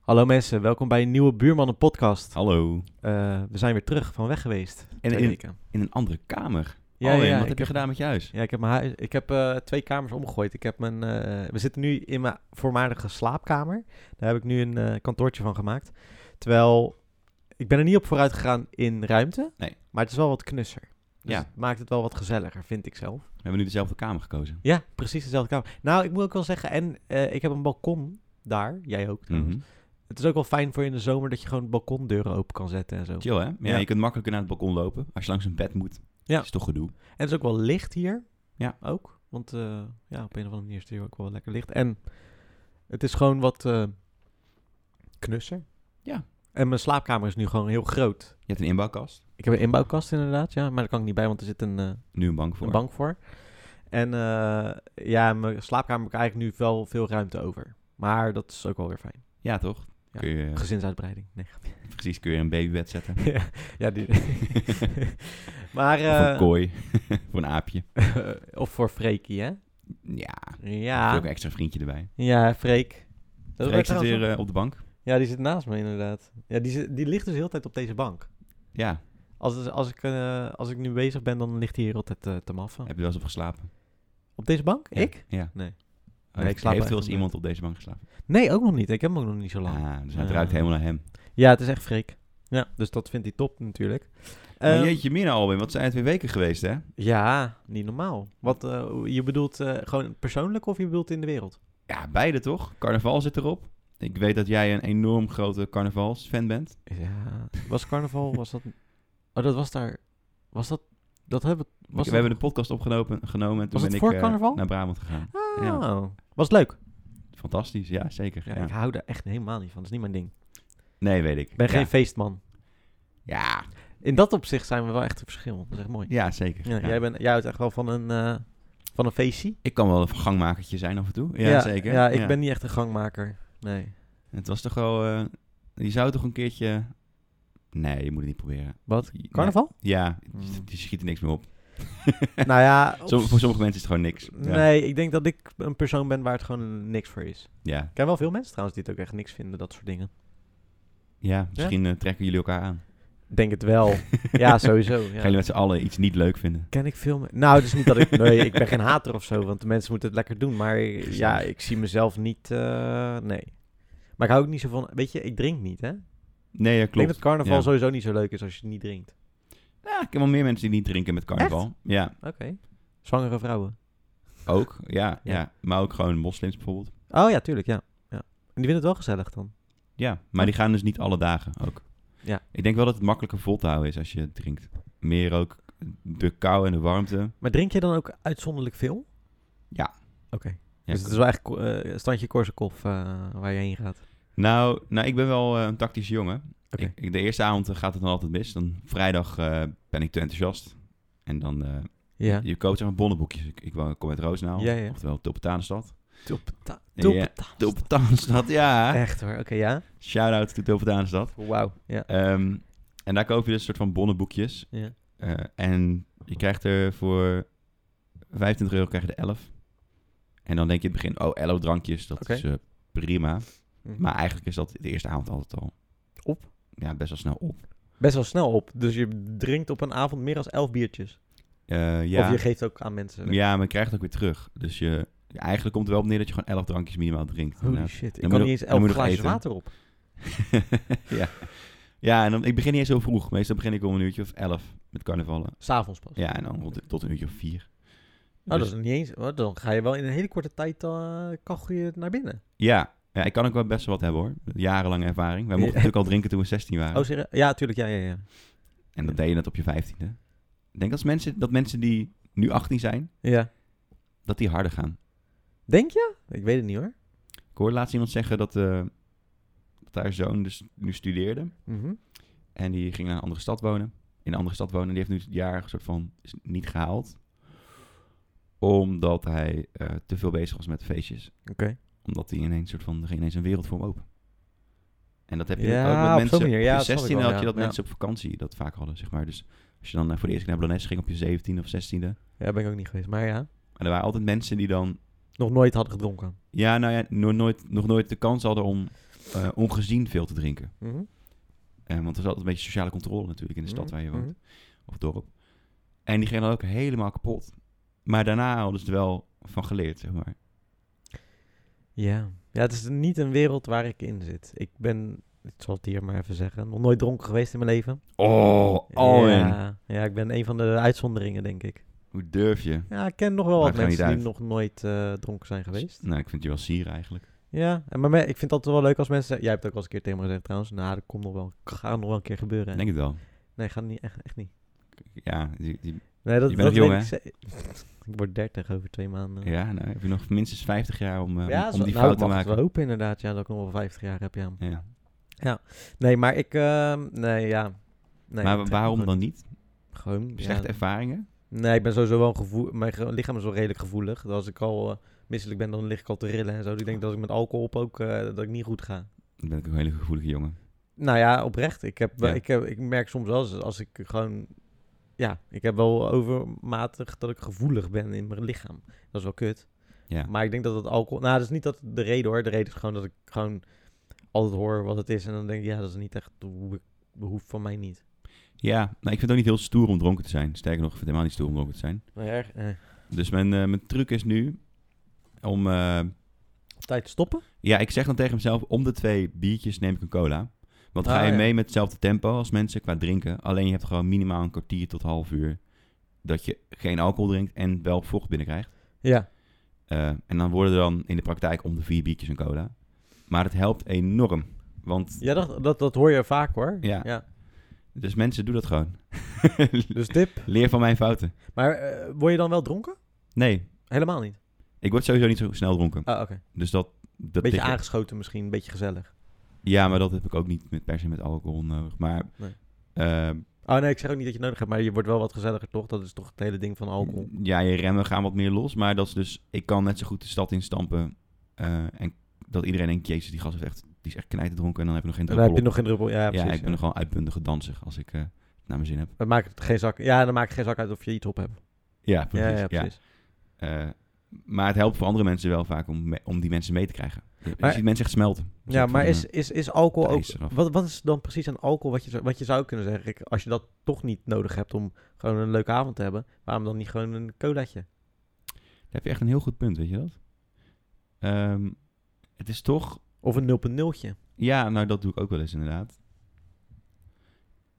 Hallo mensen, welkom bij een nieuwe Buurmannen podcast. Eh, Hallo. we zijn weer terug van weg geweest. En Twee in- weken. In een andere kamer. Ja, Alwin, ja, ja, wat ik heb je heb- gedaan met je huis? Ja, ik heb, mijn huis, ik heb eh, twee kamers omgegooid. Ik heb mijn, eh, we zitten nu in mijn voormalige slaapkamer. Daar heb ik nu een eh, kantoortje van gemaakt. Terwijl, ik ben er niet op vooruit gegaan in ruimte. Nee. Maar het is wel wat knusser. Dus Ja. het maakt het wel wat gezelliger, vind ik zelf. We hebben nu dezelfde kamer gekozen. Ja, precies dezelfde kamer. Nou, ik moet ook wel zeggen, en eh, ik heb een balkon daar. Jij ook trouwens. Mhm. Het is ook wel fijn voor in de zomer dat je gewoon balkondeuren open kan zetten en zo. Chill, hè? Ja, Ja. Je kunt makkelijker naar het balkon lopen als je langs een bed moet. Ja. Is toch gedoe. En het is ook wel licht hier. Ja. Ook. Want eh, ja, op een of andere manier is het hier ook wel lekker licht. En het is gewoon wat eh, knusser. Ja. En mijn slaapkamer is nu gewoon heel groot. Je hebt een inbouwkast. Ik heb een inbouwkast inderdaad, ja. Maar daar kan ik niet bij, want er zit een, eh, Nu een bank voor. een bank voor. En eh, ja, in mijn slaapkamer heb ik eigenlijk nu wel veel ruimte over. Maar dat is ook wel weer fijn. Ja, toch? Ja. Kun je, Gezinsuitbreiding, nee. precies, kun je een babybed zetten. ja, die... maar... Of eh, een kooi. voor een aapje. of voor Freekie, hè? Ja. Ja. Heb je ook een extra vriendje erbij. Ja, Freek. Dat werd Freek zit trouwens weer ook- eh, op de bank. Ja, die zit naast me inderdaad. Ja, die, zit- die ligt dus heel de tijd op deze bank. Ja. Als, het- als, ik, eh, als ik nu bezig ben, dan ligt hij hier altijd eh, te maffen. Heb je wel eens op geslapen? Op deze bank? Ja. Ik? Ja. Nee. Oh, Nee, ik slaap heeft wel echt eens op iemand op deze bank geslapen? Nee, ook nog niet. Ik heb hem ook nog niet zo lang. Ah, dus hij Eh. ruikt helemaal naar hem. Ja, het is echt freak. Ja, dus dat vindt hij top natuurlijk. Maar Ehm, jeetje mina Alwin, wat zijn het weer weken geweest hè? ja, niet normaal. Wat, eh, je bedoelt eh, gewoon persoonlijk of je bedoelt in de wereld? Ja, beide toch? Carnaval zit erop. Ik weet dat jij een enorm grote carnavalsfan bent. Ja. Was carnaval, was dat... Oh, dat was daar... Was dat... Dat hebben... Ik- Was we dat- hebben de podcast opgenomen genomen en toen Was het ben ik voor eh, carnaval? naar Brabant gegaan. Oh, Ja, was het leuk? fantastisch. Ja, zeker. Ja, Ja. Ik hou daar echt helemaal niet van. Dat is niet mijn ding. Nee, weet ik. Ik ben ja. geen feestman. Ja, In dat opzicht zijn we wel echt een verschil. Dat is echt mooi. ja zeker. Ja, Ja. Jij, bent, jij houdt echt wel van een, eh, van een feestje. Ik kan wel een gangmakertje zijn af en toe. Ja, zeker. Ja, ik ben niet echt een gangmaker. Nee. Het was toch wel... eh, je zou toch een keertje... Nee, je moet het niet proberen. Wat? Nee. Carnaval? Ja, Hmm. die schiet er niks meer op. nou ja... op Som- voor s- sommige mensen is het gewoon niks. Ja. Nee, ik denk dat ik een persoon ben waar het gewoon niks voor is. Ja, Ik ken wel veel mensen trouwens die het ook echt niks vinden, dat soort dingen. ja misschien eh, trekken jullie elkaar aan. Denk het wel. ja, sowieso. Gaan Ja. jullie met z'n allen iets niet leuk vinden. Ken ik veel me- Nou, het is niet dat ik... Nee, ik ben geen hater of zo, want de mensen moeten het lekker doen. Maar ja, ik zie mezelf niet... eh, nee. Maar ik hou ook niet zo van... Weet je, ik drink niet, hè? Nee, ja, Ik denk klopt. dat carnaval ja. sowieso niet zo leuk is als je niet drinkt. Ja, ik heb wel meer mensen die niet drinken met carnaval. Ja, Oké. Zwangere vrouwen. ook. Ja, Ja. ja. maar ook gewoon moslims bijvoorbeeld. Oh ja, tuurlijk, ja. ja. En die vinden het wel gezellig dan. Ja, maar die gaan dus niet alle dagen ook. Ja. Ik denk wel dat het makkelijker vol te houden is als je drinkt. Meer ook de kou en de warmte. Maar drink je dan ook uitzonderlijk veel? Ja. Oké. Ja, dus het is wel echt ko- eh, standje Korsakoff eh, waar je heen gaat. Nou, nou, ik ben wel eh, een tactische jongen. Oké. Ik- ik- de eerste avond eh, gaat het dan altijd mis. Dan vrijdag eh, ben ik te enthousiast. En dan, eh, Ja. je koopt zeg maar bonnenboekjes. Ik, ik wo- kom uit Roosendaal, Ja, ja. oftewel Tulpentanenstad. Tulpenta- Ja. Tulpenta- Tulpentanenstad, ja. Echt hoor, oké, ja. Shout-out to Tulpentanenstad. Wauw. Ja. Ehm, en daar koop je dus een soort van bonnenboekjes. ja. Eh, en je krijgt er voor 25 euro krijg je er 11. En dan denk je in het begin, oh, 11 drankjes, dat Oké. is eh, prima. Mhm. Maar eigenlijk is dat de eerste avond altijd al. Op? Ja, best wel snel op. Best wel snel op. Dus je drinkt op een avond meer dan elf biertjes. Eh, ja, Of je geeft ook aan mensen. ja, maar je krijgt het ook weer terug. Dus je, eigenlijk komt het wel op neer dat je gewoon 11 drankjes minimaal drinkt. Holy inderdaad. shit, ik Dan kan moet niet je- eens dan elf moet je nog glaasjes eten. water op. ja. ja, en dan, ik begin niet eens heel vroeg. Meestal begin ik om een uurtje of 11 met carnavallen. S'avonds pas. Ja, en dan rond- tot een uurtje of 4. Oh, dat is niet eens. oh, dan ga je wel in een hele korte tijd eh kachel je naar binnen. Ja. ja, ik kan ook wel best wel wat hebben hoor. Jarenlange ervaring. Wij mochten Ja. natuurlijk al drinken toen we 16 waren. Oh, serieus? Ja, tuurlijk. Ja, ja, ja. En dat deed je net op je vijftiende. Ik denk dat mensen, dat mensen die nu 18 zijn, ja. dat die harder gaan. Denk je? Ik weet het niet hoor. Ik hoorde laatst iemand zeggen dat, eh, dat haar zoon dus nu studeerde. Mhm. En die ging naar een andere stad wonen. In een andere stad wonen. En die heeft nu het jaar soort van is niet gehaald. Omdat hij eh, te veel bezig was met feestjes. Oké. Omdat hij ineens soort van, er ging ineens een wereld voor hem open. En dat heb je Ja, ook op met zo'n mensen. manier. Ja, op dat je snap ik 16 wel, had je ja. dat Ja. mensen op vakantie dat vaak hadden, zeg maar. Dus als je dan eh, voor de eerste keer naar Blanes ging op je 17 of 16e. Ja, ben ik ook niet geweest. Maar ja, En er waren altijd mensen die dan nog nooit hadden gedronken. Ja, nou ja, nog nooit, nog nooit de kans hadden om eh, ongezien veel te drinken. Mhm. Eh, want er is altijd een beetje sociale controle natuurlijk in de stad waar je woont. Mhm. Of dorp. En die gingen dan ook helemaal kapot. Maar daarna hadden ze er wel van geleerd, zeg maar. Ja. ja, het is niet een wereld waar ik in zit. Ik ben, ik zal het hier maar even zeggen, nog nooit dronken geweest in mijn leven. Oh, oh man. ja. ja, ik ben een van de uitzonderingen, denk ik. Hoe durf je? Ja, ik ken nog wel Maakt wat gewoon mensen die niet nog nooit eh, dronken zijn geweest. Nou, ik vind je wel sier eigenlijk. Ja, en maar me- ik vind dat wel leuk als mensen zeggen... Jij hebt ook wel eens een keer tegen me gezegd trouwens... Nou, dat komt nog wel, gaat nog wel een keer gebeuren. Ik denk het wel. Nee, gaat niet, echt, echt niet. Ja, die, die- Nee, dat, Je dat bent nog weet ik jong, ze- ik word 30 over twee maanden. ja nou, heb je nog minstens 50 jaar om, eh, om- Ja, om, zo- die nou, fout ik te mag het wel maken. hopen inderdaad. Ja, dat ik nog wel 50 jaar heb, ja. Ja. Nee, maar ik... ehm, nee, ja. Nee, maar ik wa- trek waarom me dan niet? Gewoon... gewoon, ja. Slechte ervaringen? Nee, ik ben sowieso wel gevoel... Mijn ge- lichaam is wel redelijk gevoelig. Dus als ik al eh, misselijk ben, dan lig ik al te rillen en zo. Dus ik denk dat ik met alcohol op ook... eh, dat ik niet goed ga. Dan ben ik ook een hele gevoelige jongen. Nou ja, oprecht. Ik, heb, Ja. ik, heb, ik merk soms wel eens als ik gewoon... Ja, ik heb wel overmatig dat ik gevoelig ben in mijn lichaam. Dat is wel kut. Ja. Maar ik denk dat het alcohol... Nou, dat is niet dat de reden hoor. De reden is gewoon dat ik gewoon altijd hoor wat het is. En dan denk ik, ja, dat is niet echt... hoe ik- Behoeft van mij niet. Ja, nou, ik vind het ook niet heel stoer om dronken te zijn. Sterker nog, ik vind het helemaal niet stoer om dronken te zijn. Nee, erg. eh, Dus mijn, eh, mijn truc is nu om... eh, op tijd stoppen? ja, ik zeg dan tegen mezelf, om de twee biertjes neem ik een cola. Want ga Ah, je ja. mee met hetzelfde tempo als mensen qua drinken. Alleen je hebt gewoon minimaal een kwartier tot half uur dat je geen alcohol drinkt en wel vocht binnenkrijgt. Ja. Eh, en dan worden er dan in de praktijk om de vier biertjes een cola. Maar het helpt enorm. Want Ja, dat, dat, dat hoor je vaak hoor. Ja. dus mensen doen dat gewoon. Dus tip. Leer van mijn fouten. Maar eh, word je dan wel dronken? Nee, Helemaal niet. ik word sowieso niet zo snel dronken. Ah, oké. Dus dat... dat Beetje tik ik- aangeschoten misschien, een beetje gezellig. Ja, maar dat heb ik ook niet met, per se met alcohol nodig. Maar Nee. ehm, Oh nee, ik zeg ook niet dat je het nodig hebt, maar je wordt wel wat gezelliger toch? Dat is toch het hele ding van alcohol. ja, je remmen gaan wat meer los. Maar dat is dus... Ik kan net zo goed de stad instampen. eh, en dat iedereen denkt, jezus, die gast is echt, die is echt knijterdronken. En dan heb je nog geen dan heb druppel je nog op. geen druppel. Ja, Ja, precies. ik ben nog gewoon uitbundige danser als ik eh, het naar mijn zin heb. Dat maakt het geen zak. Ja, dan maakt het geen zak uit of je iets op hebt. Ja, precies. ja, ja, ja. precies. Eh, maar het helpt voor andere mensen wel vaak om, me- om die mensen mee te krijgen. Je, Maar- je ziet mensen echt smelten. Ja, Dus ik maar vond, is, is, is alcohol de ook... ijs eraf. Wat, wat is dan precies aan alcohol wat je, zou- wat je zou kunnen zeggen? Rick, als je dat toch niet nodig hebt om gewoon een leuke avond te hebben, waarom dan niet gewoon een colaatje? eh, daar heb je echt een heel goed punt, weet je dat? Ehm, het is toch... Of een 0.0'tje? Ja, nou dat doe ik ook wel eens inderdaad.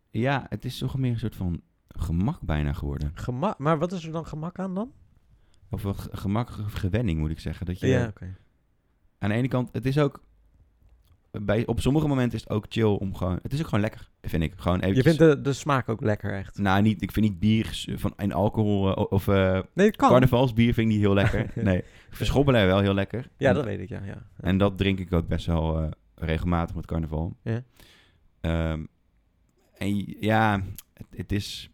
Ja, het is toch meer een soort van gemak bijna geworden. Gemak. Maar wat is er dan gemak aan dan? Of wel ge- gemak, ge- gewenning moet ik zeggen. Dat je, Ja, oké. Aan de ene kant, het is ook... Bij, op sommige momenten is het ook chill om gewoon... Het is ook gewoon lekker, vind ik. Gewoon Je eventjes... vindt de, de smaak ook lekker echt. Nou, niet, ik vind niet bier s- van, en alcohol eh, o- of eh, Nee, het kan. Carnavalsbier vind ik niet heel lekker. Nee, verschobbelen wel heel lekker. Ja, En- dat weet ik, ja. ja. En dat drink ik ook best wel eh, regelmatig met carnaval. Ja. Ehm, en j- ja, het, het is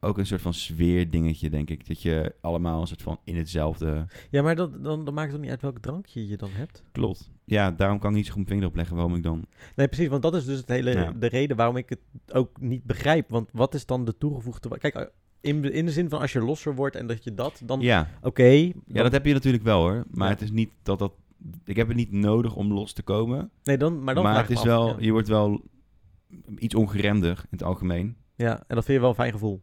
ook een soort van sfeerdingetje, denk ik. Dat je allemaal een soort van in hetzelfde Ja, maar dat, dan, dan maakt het ook niet uit welk drankje je dan hebt. klopt. Ja, daarom kan ik niet zo goed mijn vinger opleggen waarom ik dan... Nee, precies, want dat is dus het hele, Ja. de reden waarom ik het ook niet begrijp. Want wat is dan de toegevoegde... wa- Kijk, eh, in, de- in de zin van als je losser wordt en dat je dat, dan... Ja, Oké, ja, dat heb je natuurlijk wel hoor. Maar Ja. het is niet dat dat... Ik heb het niet nodig om los te komen. nee, dan, maar Maar, dan vraag het ik is me af, wel... Ja. Je wordt wel iets ongeremder in het algemeen. Ja, en dat vind je wel een fijn gevoel.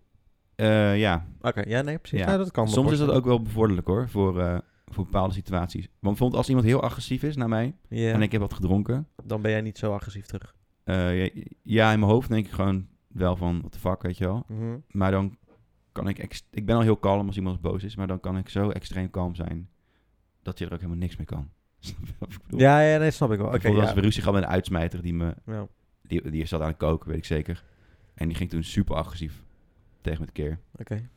Eh, ja, Oké, ja, nee, precies. Ja. Ja, dat kan. me Soms is dat voorstellen. ook wel bevorderlijk hoor, voor, eh, voor bepaalde situaties. Want bijvoorbeeld als iemand heel agressief is naar mij Ja, en ik heb wat gedronken. dan ben jij niet zo agressief terug. eh, ja, ja, in mijn hoofd denk ik gewoon wel van, what the fuck, weet je wel. Mhm. Maar dan kan ik, ex- ik ben al heel kalm als iemand boos is, maar dan kan ik zo extreem kalm zijn dat je er ook helemaal niks mee kan. Snap je wat ik bedoel? Ja, ja, nee, snap ik wel. Oké, bijvoorbeeld ja. als we ruzie gaan met een uitsmijter, die, me, Ja. die, die zat aan het koken, weet ik zeker. En die ging toen super agressief tegen me keer. Oké.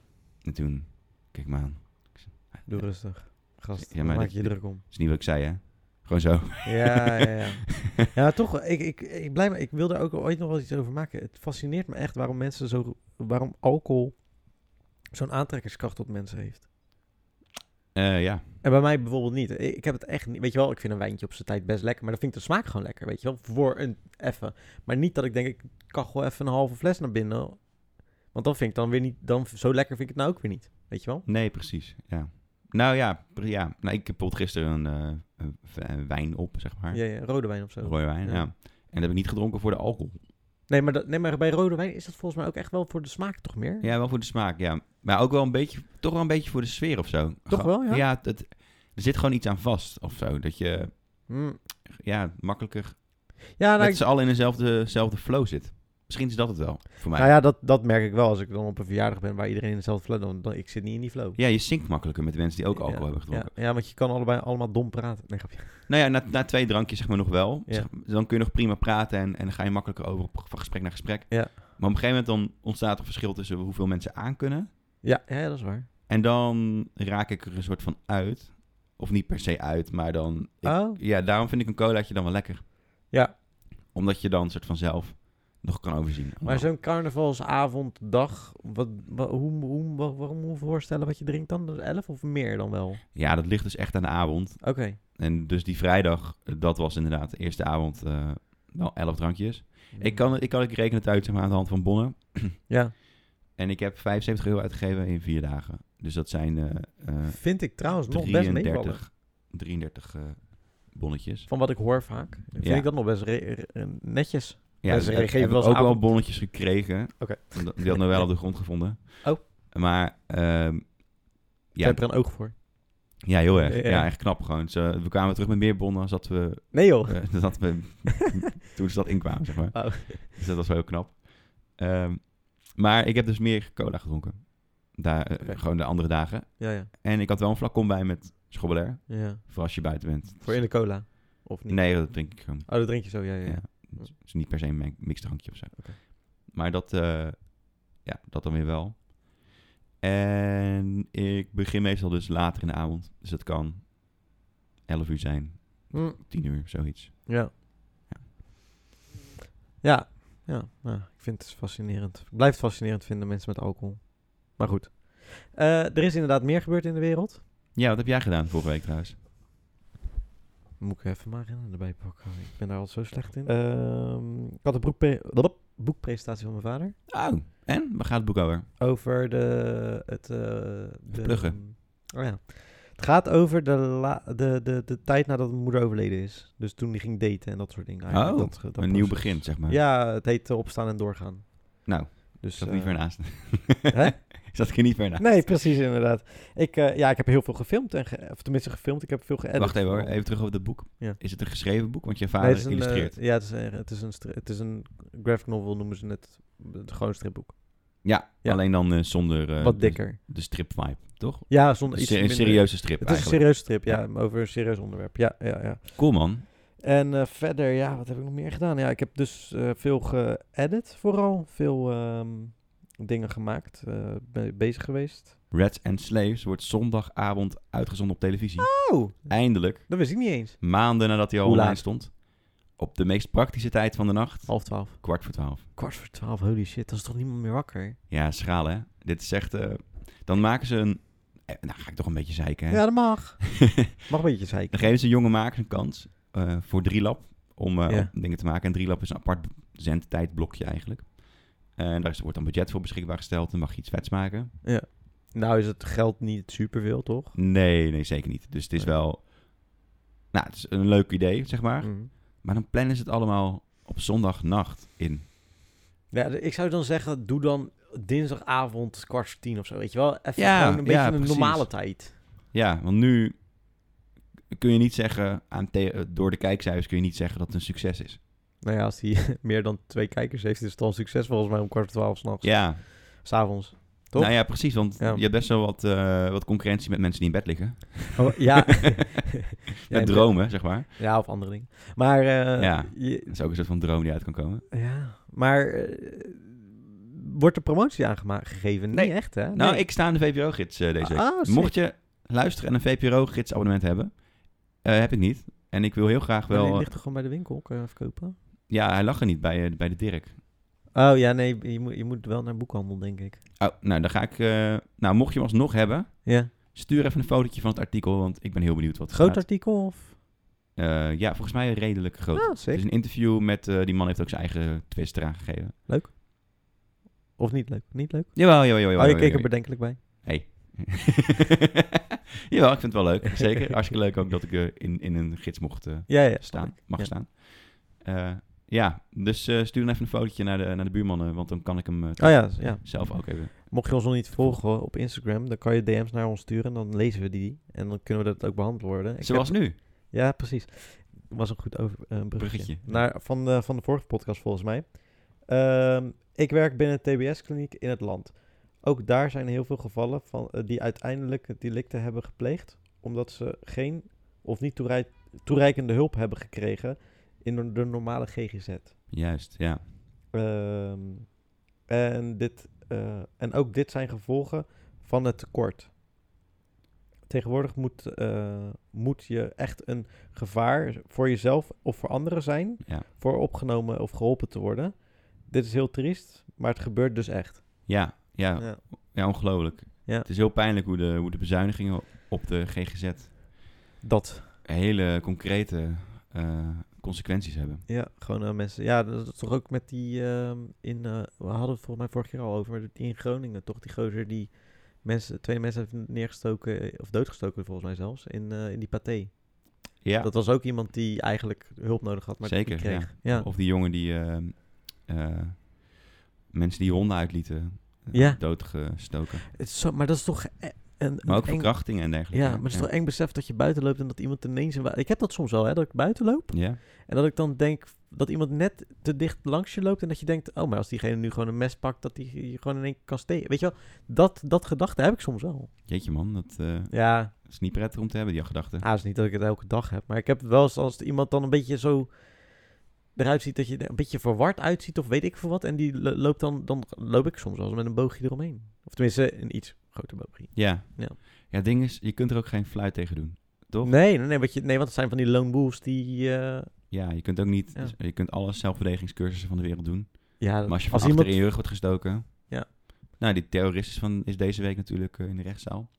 En toen, kijk me aan. Ik zei, Doe rustig, gast. Ja, Ja, maar maak dat- je je druk om. Dat is niet wat ik zei, hè? Gewoon zo. Ja, ja, ja. Ja, toch, ik, ik, ik, blijf, ik wil daar ook ooit nog wel iets over maken. Het fascineert me echt waarom mensen zo, waarom alcohol zo'n aantrekkingskracht op mensen heeft. Eh, ja. En bij mij bijvoorbeeld niet. Ik, ik heb het echt niet. Weet je wel, ik vind een wijntje op zijn tijd best lekker, maar dan vind ik de smaak gewoon lekker, weet je wel, voor een effen. Maar niet dat ik denk, ik kachel even een halve fles naar binnen. Want dan vind ik dan weer niet, dan zo lekker vind ik het nou ook weer niet, weet je wel. Nee, precies. Ja. Nou ja, pre- ja. Nou, ik heb bijvoorbeeld gisteren een eh, eh, v- eh, wijn op, zeg maar. Ja, ja, rode wijn of zo. Rode wijn, Ja. ja. En dat heb ik niet gedronken voor de alcohol. Nee maar, dat, nee, maar bij rode wijn is dat volgens mij ook echt wel voor de smaak toch meer? Ja, wel voor de smaak, ja. Maar ook wel een beetje, toch wel een beetje voor de sfeer of zo. Toch wel, ja? Ja, het, er zit gewoon iets aan vast of zo. Dat je Mm. ja, makkelijker Ja, nou, met ik- z'n allen in dezelfde, dezelfde flow zit. Misschien is dat het wel, voor mij. nou ja, dat, dat merk ik wel. Als ik dan op een verjaardag ben waar iedereen in dezelfde flow, dan, dan ik zit niet in die flow. Ja, je zinkt makkelijker met mensen die ook alcohol Ja, hebben gedronken. Ja, ja, want je kan allebei allemaal dom praten. Nee, grapje. Nou ja, na, na twee drankjes zeg maar nog wel. Ja. Zeg maar, dan kun je nog prima praten en, en dan ga je makkelijker over op, van gesprek naar gesprek. Ja. Maar op een gegeven moment dan ontstaat er een verschil tussen hoeveel mensen aankunnen. Ja, ja, dat is waar. En dan raak ik er een soort van uit. Of niet per se uit, maar dan... ik- oh, Ja, daarom vind ik een colaatje dan wel lekker. Ja. Omdat je dan soort van zelf nog kan overzien. maar zo'n carnavalsavonddag, wat, wa- hoe, hoe, wa- waarom moet je voorstellen wat je drinkt dan? Dus 11 of meer dan wel? Oké. Ja, dat ligt dus echt aan de avond. En dus die vrijdag, dat was inderdaad de eerste avond eh wel elf drankjes. Mm. Ik kan, het- ik kan ik reken het uit zeg maar, aan de hand van bonnen. Ja, En ik heb 75 euro uitgegeven in vier dagen. Dus dat zijn eh eh vind ik trouwens nog best meevallen. 33, 33 eh, bonnetjes. Van wat ik hoor vaak, vind Ja. ik dat nog best re- re- netjes. Ja, Dus dus we ik geven heb wel ook eens wel avond- bonnetjes gekregen. Oké. Omdat- Die had Noël op de grond gevonden. Oh. Maar ehm, Ik ja, heb er een oog voor. ja, heel erg. Ja. Ja, echt knap gewoon. Ze- we kwamen terug met meer bonnen als dat we, Nee joh. eh, dan dat we toen ze dat inkwamen, zeg maar. Oh. Dus dat was wel heel knap. Ehm, maar ik heb dus meer cola gedronken. Daar, eh, Oké. Gewoon de andere dagen. Ja, ja. En ik had wel een flacon bij met schobbelair. ja. Voor als je buiten bent. Dus Voor in de cola? Of niet? Nee, dat drink ik gewoon. Oh, dat drink je zo, ja, ja. ja. Ja. Het is niet per se een mixdrankje of zo. Oké. Maar dat, eh, ja, dat dan weer wel. En ik begin meestal dus later in de avond. Dus dat kan 11 uur zijn, Hm, 10 uur, zoiets. Ja. Ja. Ja. Ja. nou, ik vind het fascinerend. Ik blijf het fascinerend vinden, mensen met alcohol. Maar goed. Eh, er is inderdaad meer gebeurd in de wereld. Ja, wat heb jij gedaan vorige week trouwens? Moet ik even maar in erbij pakken. Ik ben daar altijd zo slecht in. Ehm, ik had een broekpre- boekpresentatie van mijn vader. Oh, en? Waar gaat het boek over? Over de... Het, eh, de, pluggen. Oh ja. Het gaat over de, la- de, de, de tijd nadat mijn moeder overleden is. Dus toen die ging daten en dat soort dingen. eigenlijk. Oh, dat, dat een nieuw proces. begin, zeg maar. Ja, het heet eh, opstaan en doorgaan. Nou, Dus, Zat ik eh, niet ver naast. Hè? Zat ik er niet ver naast. Nee, precies inderdaad. Ik, eh, ja, ik heb heel veel gefilmd. En ge- of tenminste gefilmd, ik heb veel geëdit. Wacht even hoor, vooral. even terug over dat boek. Ja. Is het een geschreven boek? Want je Nee, vader het is een, eh, illustreert. ja, het is, een- het, is een, stri- het is een graphic novel, noemen ze het. Het gewoon een stripboek. ja, ja. alleen dan eh, zonder eh, Wat de- dikker. de, strip vibe, toch? Ja, zonder Een iets se- een minder- serieuze strip Het is een eigenlijk. serieuze strip, ja. Over een serieus onderwerp. Ja, ja, ja. Cool man. En eh, verder, ja, wat heb ik nog meer gedaan? Ja, ik heb dus eh, veel geëdit vooral. Veel ehm, dingen gemaakt. eh, ben bezig geweest. Rats and Slaves wordt zondagavond uitgezonden op televisie. Oh, Eindelijk, dat wist ik niet eens. maanden nadat hij al Hoe online laat? stond. Op de meest praktische tijd van de nacht, Half twaalf. kwart voor twaalf. Kwart voor twaalf, holy shit. Dan is toch niemand meer wakker? Ja, schraal hè. Dit is echt... eh, dan maken ze een... eh, nou, ga ik toch een beetje zeiken hè. Ja, dat mag. mag een beetje zeiken. Dan geven ze jonge makers een kans eh, voor Drielab om, eh, Ja. om dingen te maken. En Drielab is een apart zendtijdblokje eigenlijk. En daar is- wordt dan budget voor beschikbaar gesteld. Dan mag je iets vets maken. Nou is het geld niet superveel, toch? Nee, nee, zeker niet. Dus het is Nee. wel... Nou, het is een leuk idee, zeg maar. Mm. Maar dan plannen ze het allemaal op zondagnacht in. Ja, d- ik zou dan zeggen, doe dan dinsdagavond kwart voor tien of zo. Weet je wel? Even Ja, gewoon een beetje ja, een precies. normale tijd. Ja, want nu kun je niet zeggen, aan the- door de kijkcijfers kun je niet zeggen dat het een succes is. Nou ja, als hij meer dan twee kijkers heeft, is het al een succes volgens mij om kwart voor twaalf s'nachts. Ja, S'avonds. Toch? nou ja, precies, want Ja. je hebt best wel wat, eh, wat concurrentie met mensen die in bed liggen. Oh, ja. Met dromen, zeg maar. Ja, of andere dingen. Maar, eh, Ja. je- Dat is ook een soort van droom die uit kan komen. ja. maar eh, wordt er promotie aangegeven? Nee, Nee. echt hè? Nou, Nee. ik sta aan de VPRO-gids eh, deze week. Ah, sick. Mocht je luisteren en een VPRO-gids-abonnement hebben, eh, heb ik niet. En ik wil heel graag Maar die wel... ligt toch gewoon bij de winkel, kan je even kopen? Ja, hij lag er niet bij, eh, bij de Dirk. Oh ja, nee, je moet, je moet wel naar boekhandel, denk ik. Oh, nou, dan ga ik... eh, nou, mocht je hem alsnog hebben, Ja. Stuur even een fotootje van het artikel, want ik ben heel benieuwd wat er Groot staat. artikel of? Eh, ja, volgens mij redelijk groot. Ah, het sick. is een interview met... eh, die man heeft ook zijn eigen twist eraan gegeven. Of niet leuk? Niet leuk? Jawel, jawel, jawel. oh, jawel, je keek er jawel. bedenkelijk bij. Hey. Jawel, ik vind het wel leuk. Zeker. Hartstikke leuk ook dat ik eh, in, in een gids mocht eh, Ja, ja. staan. Mag Ja. staan. Eh, ja, dus eh, stuur dan even een fotootje naar de, naar de buurmannen, want dan kan ik hem eh, Oh ja, ja. zelf ook even. Mocht je ons nog niet volgen op Instagram, dan kan je DM's naar ons sturen. Dan lezen we die. En dan kunnen we dat ook behandeld worden. Ik Zoals nu. heb- ja, precies. Was een goed over, eh, bruggetje. Bruggetje. Naar, van, de, van de vorige podcast volgens mij. Ehm, ik werk binnen een TBS-kliniek in het land. Ook daar zijn heel veel gevallen van, eh, die uiteindelijk het delicten hebben gepleegd. Omdat ze geen of niet toerei- toereikende hulp hebben gekregen in de- de normale GGZ. Juist, ja. Ehm, en, dit, eh, en ook dit zijn gevolgen van het tekort. Tegenwoordig moet, eh, moet je echt een gevaar voor jezelf of voor anderen zijn Ja. voor opgenomen of geholpen te worden. Dit is heel triest, maar het gebeurt dus echt. Ja, ja, Ja. ja ongelooflijk. Ja. Het is heel pijnlijk hoe de, hoe de bezuinigingen op de GGZ Dat, hele concrete eh, consequenties hebben. ja, gewoon eh, mensen. Ja, dat is toch ook met die ehm, in, eh, we hadden het volgens mij vorig jaar al over, die in Groningen toch, die gozer die mensen, twee mensen heeft neergestoken, eh, of doodgestoken volgens mij zelfs, in, eh, in die paté. Ja, Dat was ook iemand die eigenlijk hulp nodig had, maar Zeker, die kreeg. Ja. of die jongen die eh, eh, mensen die honden uitlieten eh, Ja. doodgestoken. Het is zo, maar dat is toch e- een, Maar ook een eng... verkrachtingen en dergelijke. Ja, maar het is toch eng besef dat je buiten loopt en dat iemand ineens... Een wa- ik heb dat soms wel, hè, dat ik buiten loop Ja, en dat ik dan denk dat iemand net te dicht langs je loopt en dat je denkt, oh, maar als diegene nu gewoon een mes pakt, dat die je gewoon in één keer kan steken. Weet je wel, dat, dat gedachte heb ik soms wel. jeetje man, dat eh, Ja, is niet prettig om te hebben, die gedachten. ah, is niet dat ik het elke dag heb, maar ik heb het wel eens als iemand dan een beetje zo eruit ziet dat je er een beetje verward uitziet of weet ik veel wat en die lo- loopt dan, dan loop ik soms wel eens met een boogje eromheen. Of tenminste, een iets groter boogje. Ja. Ja. ja, het ding is, je kunt er ook geen fluit tegen doen. Toch? Nee, nee, nee, want je, nee, want het zijn van die lone wolves die... eh, Ja, je kunt ook niet, Ja. je kunt alle zelfverdedigingscursussen van de wereld doen. ja, Maar als je van als achter iemand... in je rug wordt gestoken. Ja. Nou, die terrorist is, van, is deze week natuurlijk eh, in de rechtszaal.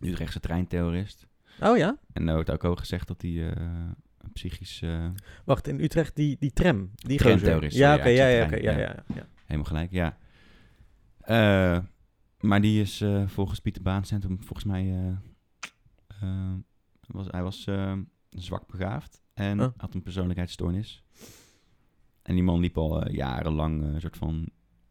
De Utrechtse treinterrorist. Oh ja? En nou wordt ook al gezegd dat hij eh, een psychisch... eh, Wacht, in Utrecht die, die tram. Die Tram gozer. terrorist, Ja, sorry, oké, ja, ja, ik ja, zei oké, ja, tram, ja, ja. helemaal gelijk, ja. Eh, maar die is eh, volgens Pieter Baancentrum volgens mij... eh, eh, was, hij was eh, zwak begaafd en Oh. had een persoonlijkheidsstoornis. En die man liep al eh, jarenlang eh, een soort van...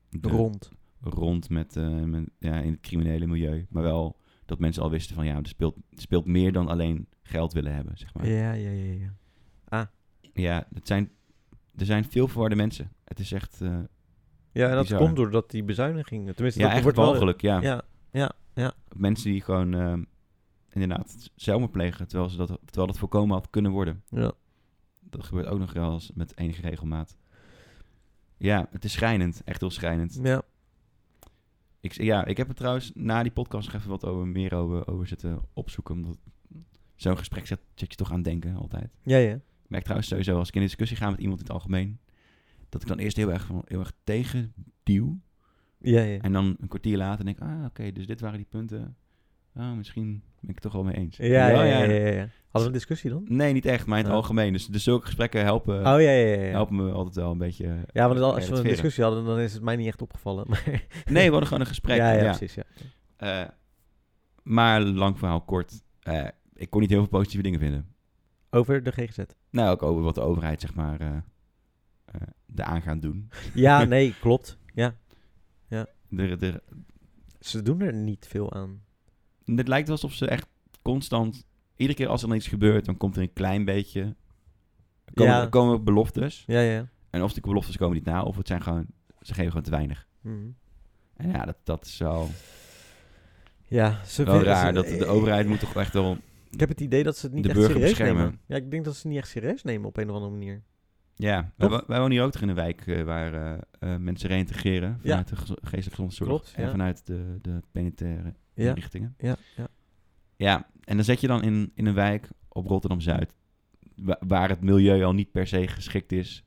de- Rond. rond met, eh, met- ja, in het criminele milieu. Maar wel dat mensen al wisten van ja, er speelt, er speelt meer dan alleen geld willen hebben, zeg maar. Ja, Ja, ja, ja, ja. het zijn, er zijn veel verwarde mensen. Het is echt, eh, Ja, en dat Bizar. komt doordat die bezuinigingen. Tenminste, ja, Dus dat eigenlijk wordt wel... mogelijk, ja. Ja, Mensen die gewoon eh, inderdaad zelfmoord plegen, terwijl, ze dat, terwijl dat voorkomen had kunnen worden. ja. Dat gebeurt ook nog wel eens met enige regelmaat. Ja, het is schrijnend, echt heel schrijnend. ja. Ik, ja, ik heb er trouwens na die podcast nog even wat over, meer over, over zitten opzoeken. Omdat zo'n gesprek zet, zet je toch aan het denken altijd. Ja, ja. Ik merk trouwens sowieso als ik in discussie ga met iemand in het algemeen. Dat ik dan eerst heel erg, van- heel erg tegen duw. Ja, ja. En dan een kwartier later denk ik, ah oké, dus dit waren die punten. Ah, misschien ben ik het toch wel mee eens. Ja, ja, ja, ja. ja, ja, ja. Hadden we een discussie dan? Nee, niet echt, maar in het Ah. algemeen. Dus, dus zulke gesprekken helpen, Oh, ja, ja, ja. ja. helpen me altijd wel een beetje. Ja, want als we een relativeren. discussie hadden, dan is het mij niet echt opgevallen. Maar... Nee, we hadden gewoon een gesprek. ja, ja, ja. precies, ja. Eh, maar lang verhaal kort. eh, ik kon niet heel veel positieve dingen vinden. Over de GGZ. Nou, ook over wat de overheid, zeg maar, eh eh, eraan gaat doen. Ja, nee, klopt. Ja. Er, er, Ze doen er niet veel aan. het lijkt wel alsof ze echt constant... Iedere keer als er dan iets gebeurt, dan komt er een klein beetje... Er komen, Ja. er komen beloftes. Ja, ja. En of die beloftes komen niet na, of het zijn gewoon... Ze geven gewoon te weinig. Mhm. En ja, dat, dat is Oh. wel, Ja, ze wel vinden- raar. ze- Dat de overheid moet toch echt wel... Ik heb het idee dat ze het niet de echt burger serieus beschermen. nemen. Ja, ik denk dat ze het niet echt serieus nemen op een of andere manier. Ja, wij, Toch? wo- wij wonen hier ook toch in een wijk eh, waar eh, eh, mensen reïntegreren. Vanuit de gezo- geestelijke gezondheidszorg. Klopt, en ja. vanuit de, de penitentiaire Ja, inrichtingen. ja, ja. Ja, en dan zet je dan in, in een wijk op Rotterdam-Zuid, wa- waar het milieu al niet per se geschikt is.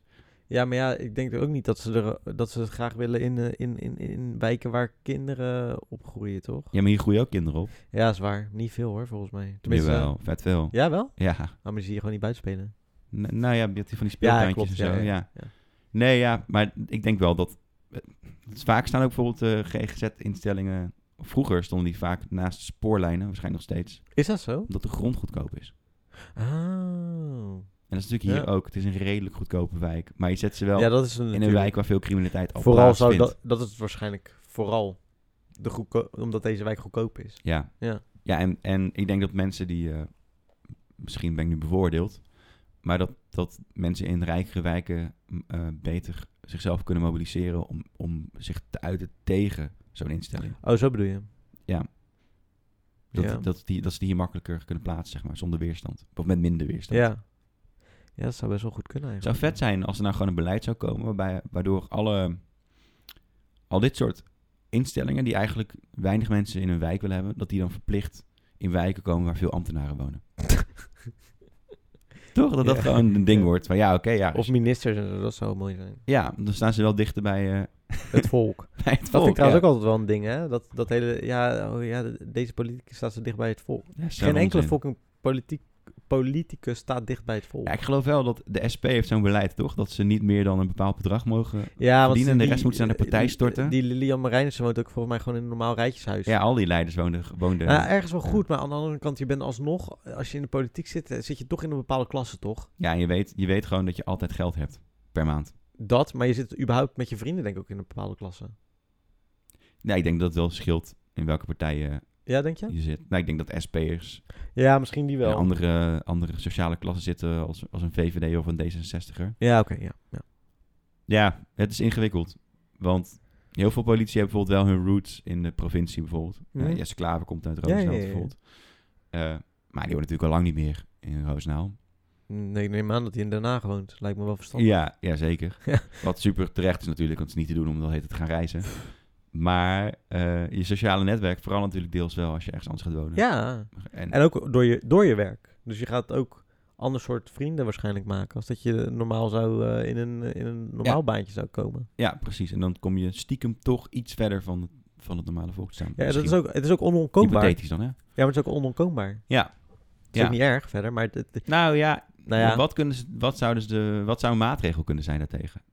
Ja, maar ja, ik denk ook niet dat ze, er, dat ze het graag willen in, eh, in, in, in wijken waar kinderen opgroeien, toch? Ja, maar hier groeien ook kinderen op. Ja, is waar. Niet veel hoor, volgens mij. Tenminste, eh, Jawel, vet veel. Ja. Ja, wel? Nou, maar zie je gewoon niet buiten spelen. N- nou ja, je hebt hier van die speeltuintjes klopt, en zo. ja, Ja, ja, ja. Nee, ja, maar ik denk wel dat... eh, Vaak staan ook bijvoorbeeld eh, GGZ-instellingen vroeger stonden die vaak naast spoorlijnen, waarschijnlijk nog steeds, Is dat zo? omdat de grond goedkoop is. Ah. En dat is natuurlijk hier Ja. ook. Het is een redelijk goedkope wijk. Maar je zet ze wel Ja, dat is een, in een wijk waar veel criminaliteit al Vooral zou plaatsvindt. dat, dat is waarschijnlijk vooral de goedko- omdat deze wijk goedkoop is. Ja. Ja. ja en, en ik denk dat mensen die... eh, misschien ben ik nu bevoordeeld. Maar dat, dat mensen in rijkere wijken m, eh, beter zichzelf kunnen mobiliseren... Om, om zich te uiten tegen zo'n instelling. Oh, zo bedoel je? Ja. Dat, ja. dat, die, dat ze die hier makkelijker kunnen plaatsen, zeg maar. Zonder weerstand. Of met minder weerstand. ja. Ja, dat zou best wel goed kunnen Het zou eigenlijk. vet zijn als er nou gewoon een beleid zou komen... Waarbij, waardoor alle, al dit soort instellingen... die eigenlijk weinig mensen in hun wijk willen hebben... dat die dan verplicht in wijken komen waar veel ambtenaren wonen. Toch? Dat dat Ja. gewoon een ding Ja. wordt. Van ja, oké, ja. Of ministers, en zo, dat zou mooi zijn. ja, dan staan ze wel dichter bij, eh, Het volk. bij het Dat volk. vind ik ja. trouwens ook altijd wel een ding, hè? Dat, dat hele, ja, oh ja, de- deze politicus staat zo dicht bij het volk. Ja, zo'n Geen enkele onzin. fucking politiek, politicus staat dicht bij het volk. Ja, Ja, ik geloof wel dat de SP heeft zo'n beleid, toch? Dat ze niet meer dan een bepaald bedrag mogen... want verdienen en de die- rest moeten ze aan de partij die- storten. Die, Lilian Marijnissen woont ook volgens mij gewoon in een normaal rijtjeshuis. Ja, al die leiders woonden... woonden Nou, ergens wel ja. goed, maar aan de andere kant, je bent alsnog, als je in de politiek zit, eh, zit je toch in een bepaalde klasse, toch? Ja, en je weet, je weet gewoon dat je altijd geld hebt per maand. Dat, maar je zit überhaupt met je vrienden, denk ik, ook in een bepaalde klasse. Nee, ik denk dat het wel scheelt in welke partij je, Ja, denk je? je zit. Nou, ik denk dat SP'ers Ja, misschien die in wel. andere, andere sociale klassen zitten als, als een VVD of een D66er. Ja, oké, ja, ja. Ja, het is ingewikkeld. Want heel veel politici hebben bijvoorbeeld wel hun roots in de provincie bijvoorbeeld. Mhm. Eh, Jesse Klaver komt uit ja, Roosendaal ja, ja. bijvoorbeeld. Eh, maar die wordt natuurlijk al lang niet meer in Roosendaal. Nee, ik neem aan dat hij in Den Haag woont. Lijkt me wel verstandig. Ja, ja, zeker. Ja. Wat super terecht is natuurlijk, want het is niet te doen om dat heet te gaan reizen. Maar eh, je sociale netwerk vooral natuurlijk deels wel als je ergens anders gaat wonen. ja. En, En ook door je, door je werk. Dus je gaat ook ander soort vrienden waarschijnlijk maken. Als dat je normaal zou eh, in, een, in een normaal Ja. baantje zou komen. ja, precies. En dan kom je stiekem toch iets verder van, van het normale volk te staan. Ja, dat Misschien is ook, het is ook onontkoombaar. Ja, Hypothetisch dan, hè? maar het is ook onontkoombaar. Ja. Het is ja. ook niet erg verder, maar het, het- Nou ja, nou ja, Wat, kunnen ze, wat, zouden ze de, wat zou een maatregel kunnen zijn daartegen?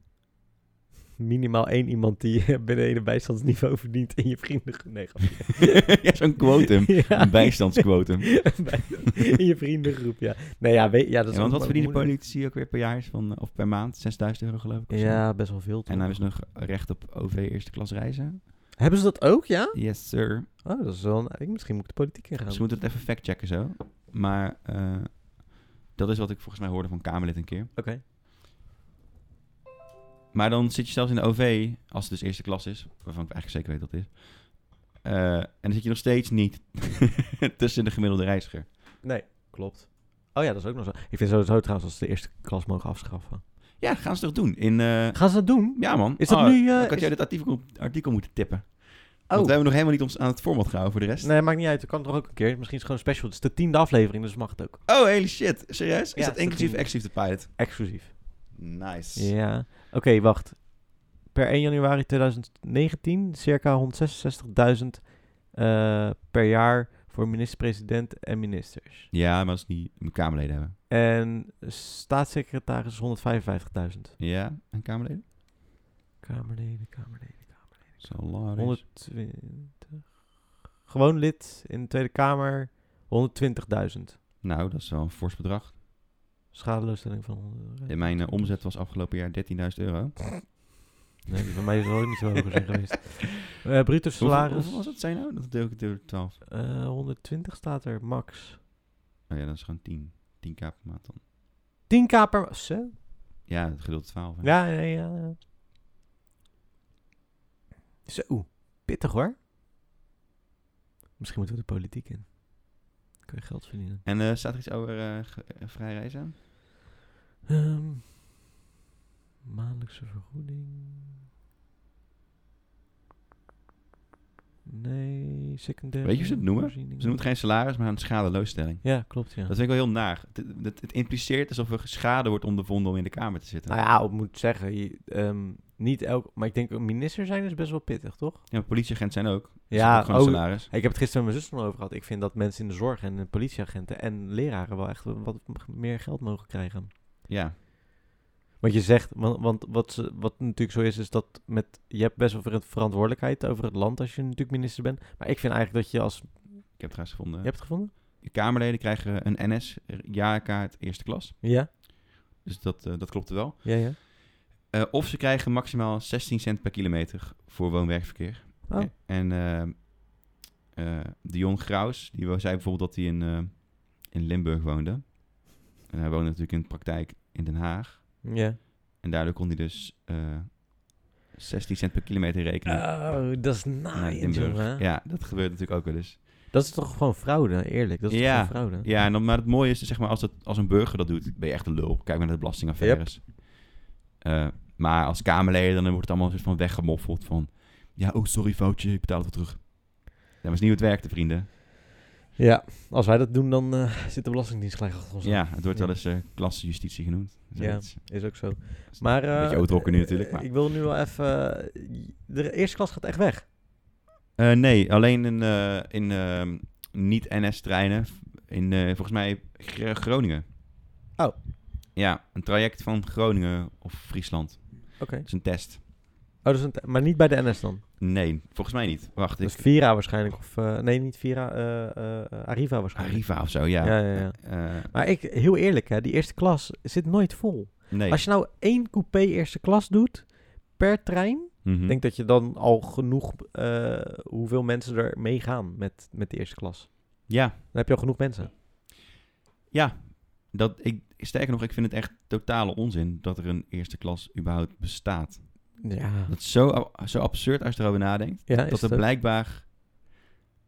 minimaal één iemand die binnen een bijstandsniveau verdient in je vrienden. Nee, grapje. ja, zo'n quotum. Ja. Een bijstandsquotum. Ja, Een bijstand- in je vriendengroep, ja. Nee, ja, weet, ja dat is want ook wat verdienen moeilijk. politici ook weer per jaar? Is Van, eh, of per maand? 6000 euro geloof ik. of zo. Ja, best wel veel. toch? En dan hebben ze nog recht op OV eerste klas reizen. Hebben ze dat ook, ja? Yes, sir. Oh, dat is wel een- ik, misschien moet ik de politiek ingaan. Ze moeten het even factchecken zo. Maar eh, dat is wat ik volgens mij hoorde van Kamerlid een keer. Oké. Maar dan zit je zelfs in de OV, als het dus eerste klas is, waarvan ik eigenlijk zeker weet dat het is. eh, en dan zit je nog steeds niet tussen de gemiddelde reiziger. Nee, klopt. Oh ja, dat is ook nog zo. Ik vind sowieso trouwens dat ze de eerste klas mogen afschaffen. Ja, gaan ze toch doen? In, eh, Gaan ze dat doen? ja man. Is dat nu, eh, dan Oh, had is- jij dit artikel, artikel moeten tippen. Want Oh. we hebben nog helemaal niet ons aan het format gehouden voor de rest. Nee, maakt niet uit. Dat kan toch ook een keer. Misschien is het gewoon special. Het is de tiende aflevering, dus mag het ook. Oh, hele shit. Serieus? Is Ja, dat is inclusief dat- exclusief de pilot? Exclusief. Nice. Ja. Oké, wacht. Per 1 januari 2019 circa 166.000 eh, per jaar voor minister-president en ministers. Ja, maar als ze die een Kamerleden hebben. En staatssecretaris 155.000. Ja, een Kamerleden? Kamerleden, Kamerleden. Salaris. 120. Gewoon lid in de Tweede Kamer. 120.000. Nou, dat is wel een fors bedrag. Schadeloosstelling van 100 euro. En mijn eh, omzet was afgelopen jaar 13.000 euro. Nee, die van mij is wel ook niet zo hoger zijn geweest. Eh bruto Hoeveel, salaris. hoeveel was het zijn nou? Dat deel ik door 12. eh, 120 staat er, max. Nou ja, dat is gewoon 10. 10k per maand dan. 10k per... Zo? Ja, het gedeelte 12. hè. Ja, nee, ja. ja. Zo, pittig hoor. Misschien moeten we de politiek in. Kun je geld verdienen. En eh, staat er iets over eh, ge- eh, vrij reizen? aan? Ehm, maandelijkse vergoeding. Nee, secundaire. Weet je hoe ze het noemen? voorzieningen. Ze noemen het geen salaris, maar een schadeloosstelling. Ja, klopt. Ja. Dat vind ik wel heel naar. Het, het, het impliceert alsof er schade wordt ondervonden om in de Kamer te zitten. Nou ja, ik moet zeggen, je, ehm, niet elk. Maar ik denk, een minister zijn is best wel pittig, toch? Ja, maar politieagenten zijn ook. Ze Ja, hebben ook gewoon een oh. salaris. Ik heb het gisteren met mijn zus nog over gehad. Ik vind dat mensen in de zorg en de politieagenten en leraren wel echt wat meer geld mogen krijgen. Ja. Want je zegt, want, want wat, ze- wat natuurlijk zo is, is dat met, je hebt best wel ver- verantwoordelijkheid over het land als je natuurlijk minister bent. Maar ik vind eigenlijk dat je als, Ik heb het trouwens gevonden. je hebt het gevonden? De Kamerleden krijgen een NS-jaarkaart eerste klas. Ja, Dus dat, eh, dat klopte wel. ja, ja. Eh, of ze krijgen maximaal 16 cent per kilometer voor woon-werkverkeer. Oh. Eh, En eh, eh, Dion Graus, die wel- zei bijvoorbeeld dat hij in, eh, in Limburg woonde. En hij woonde natuurlijk in de praktijk in Den Haag. Ja. En daardoor kon hij dus eh 16 cent per kilometer rekenen. Oh, dat is naar naaiend, Limburg. jongen. Ja, dat gebeurt natuurlijk ook wel eens. Dat is toch gewoon fraude, eerlijk? Dat is Ja. toch gewoon fraude? Ja, en dan, maar het mooie is, zeg maar, als, het, als een burger dat doet, ben je echt een lul. Kijk maar naar de belastingaffaires. Eh, maar als Kamerleden, dan wordt het allemaal een soort van weggemoffeld van... Ja, oh, sorry, foutje, ik betaal het wel terug. Dat was niet hoe het werkte, vrienden. Ja, als wij dat doen, dan eh, zit de Belastingdienst gelijk achter ons. aan. Ja, het wordt Ja. wel eens eh klassejustitie genoemd. Zoiets. Is ook zo. Maar, Een beetje eh, oudrokken nu natuurlijk, maar- Ik wil nu wel even... eh, De eerste klas gaat echt weg. Eh, nee, alleen in, eh, in ehm, niet-NS-treinen. In, eh, volgens mij, Gr- Groningen. Oh. Ja, een traject van Groningen of Friesland. Oké. Dat is een test. Oh, dus een t- maar niet bij de NS dan? Nee, volgens mij niet. Wacht, Dus ik, Vira waarschijnlijk. Of, eh, nee, niet Vira. eh, eh, eh, Arriva waarschijnlijk. Arriva of zo, ja. Ja, ja, ja. Eh, Maar ik, heel eerlijk, hè, die eerste klas zit nooit vol. nee. Als je nou één coupé eerste klas doet per trein... Mhm. Ik denk dat je dan al genoeg... eh, hoeveel mensen er meegaan met, met de eerste klas. Ja, Dan heb je al genoeg mensen. ja. Dat, ik, sterker nog, ik vind het echt totale onzin dat er een eerste klas überhaupt bestaat. Ja. Dat is zo, a- zo absurd als je erover nadenkt. Ja, is dat het er ook. blijkbaar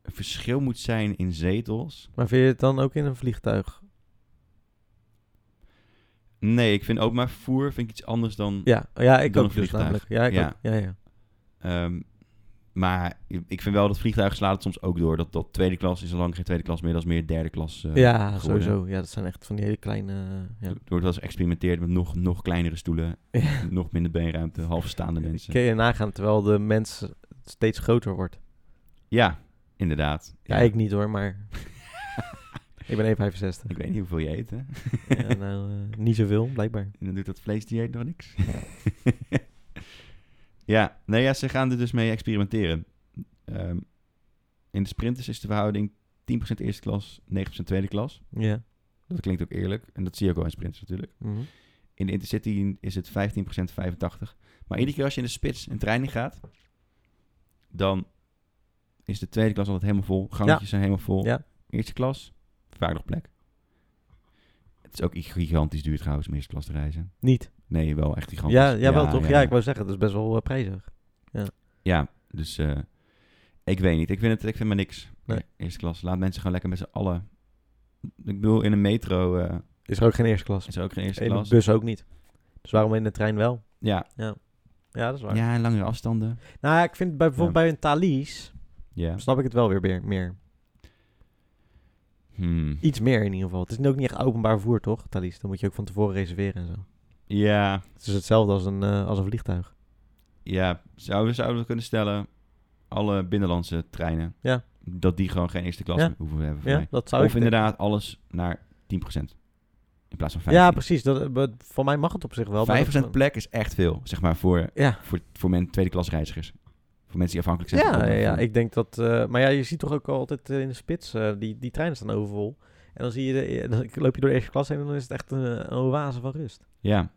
een verschil moet zijn in zetels. Maar vind je het dan ook in een vliegtuig? Nee, ik vind ook maar voer vind ik iets anders dan... Ja, ja ik Dan ook een dus vliegtuig. namelijk. Ja, ik Ja. ook. ja. ja. ehm, maar ik vind wel dat vliegtuigen slaat het soms ook door. Dat, dat tweede klas is al lang geen tweede klas meer. Dat is meer derde klas. eh, Ja, geworden. sowieso. Ja, dat zijn echt van die hele kleine... eh, ja. Er wordt wel eens geëxperimenteerd met nog, nog kleinere stoelen. Ja. Nog minder beenruimte. Halfstaande mensen. Kun je nagaan terwijl de mens steeds groter wordt. Ja, inderdaad. Ja, ik niet hoor, maar... ik ben 1,65. Ik weet niet hoeveel je eet, hè? Ja, nou, eh, niet zoveel, blijkbaar. En dan doet dat vleesdieet nog niks. ja, nou ja, ze gaan er dus mee experimenteren. Ehm, in de sprinters is de verhouding 10% eerste klas, 9% tweede klas. Ja. Dat klinkt ook eerlijk. En dat zie je ook wel in sprinters natuurlijk. Mhm. In de Intercity is het 15%, 85%. Maar iedere keer als je in de spits een trein in gaat, dan is de tweede klas altijd helemaal vol. Gangetjes zijn helemaal vol. Ja. Eerste klas, vaak nog plek. Het is ook gigantisch duur trouwens om eerste klas te reizen. Niet. Nee, wel echt gigantisch. Ja, ja, wel toch? Ja, ik wou zeggen, dat is best wel eh, prijzig. Ja, dus eh, ik weet niet. Ik vind, het, ik vind maar niks. E- Nee. Eerste klas. Laat mensen gewoon lekker met z'n allen. Ik bedoel, in een metro eh, Is er ook geen eerste klas. is er ook geen eerste In de klas. bus ook niet. Dus waarom in de trein wel? Ja. Ja, dat is waar. ja, en langere afstanden. Nou, ja, ik vind bijvoorbeeld Ja. bij een Thalys... Ja. snap ik het wel weer meer- meer. Hmm. Iets meer in ieder geval. Het is ook niet echt openbaar vervoer, toch, Thalys? Dan moet je ook van tevoren reserveren en zo. Ja, Het is hetzelfde als een, eh, als een vliegtuig. ja. Zouden, zouden we kunnen stellen, alle binnenlandse treinen, Ja. dat die gewoon geen eerste klas Ja. meer hoeven te hebben voor Ja, mij. dat zou Of ik denken. inderdaad alles naar 10%. In plaats van 5%. Ja, precies. Dat, eh, be- voor mij mag het op zich wel. maar 5% dat- plek is echt veel, zeg maar, voor, Ja. voor, voor men, tweede klas reizigers. Voor mensen die afhankelijk zijn. Ja, van- ja, ja, van- ik denk dat... eh, maar ja, je ziet toch ook altijd eh, in de spits, eh, die, die treinen staan overvol. En dan, zie je de, eh, dan loop je door de eerste klas heen en dan is het echt een, eh, een oase van rust. Ja.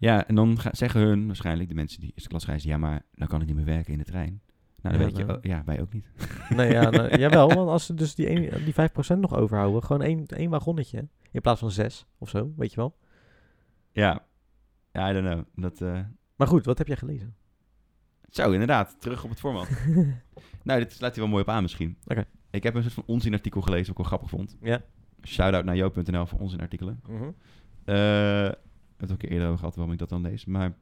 Ja, en dan ga- zeggen hun waarschijnlijk, de mensen die eerste klas reizen, ja, maar dan kan ik niet meer werken in de trein. Nou, dan Ja, weet je, nou. oh, ja, wij ook niet. Nee, ja, nou, jawel, want als ze dus die, een, die 5% nog overhouden, gewoon één, één wagonnetje. In plaats van zes of zo, weet je wel. Ja, ja I don't know. Dat, eh, Maar goed, wat heb jij gelezen? Zo, inderdaad. Terug op het format. nou, dit slaat hij wel mooi op aan misschien. Oké. Ik heb een soort van onzinartikel gelezen, wat ik wel grappig vond. Ja. Mhm. Shout-out naar jo.nl voor onzinartikelen. Eh, we hebben het ook eerder over gehad waarom ik dat dan lees. Maar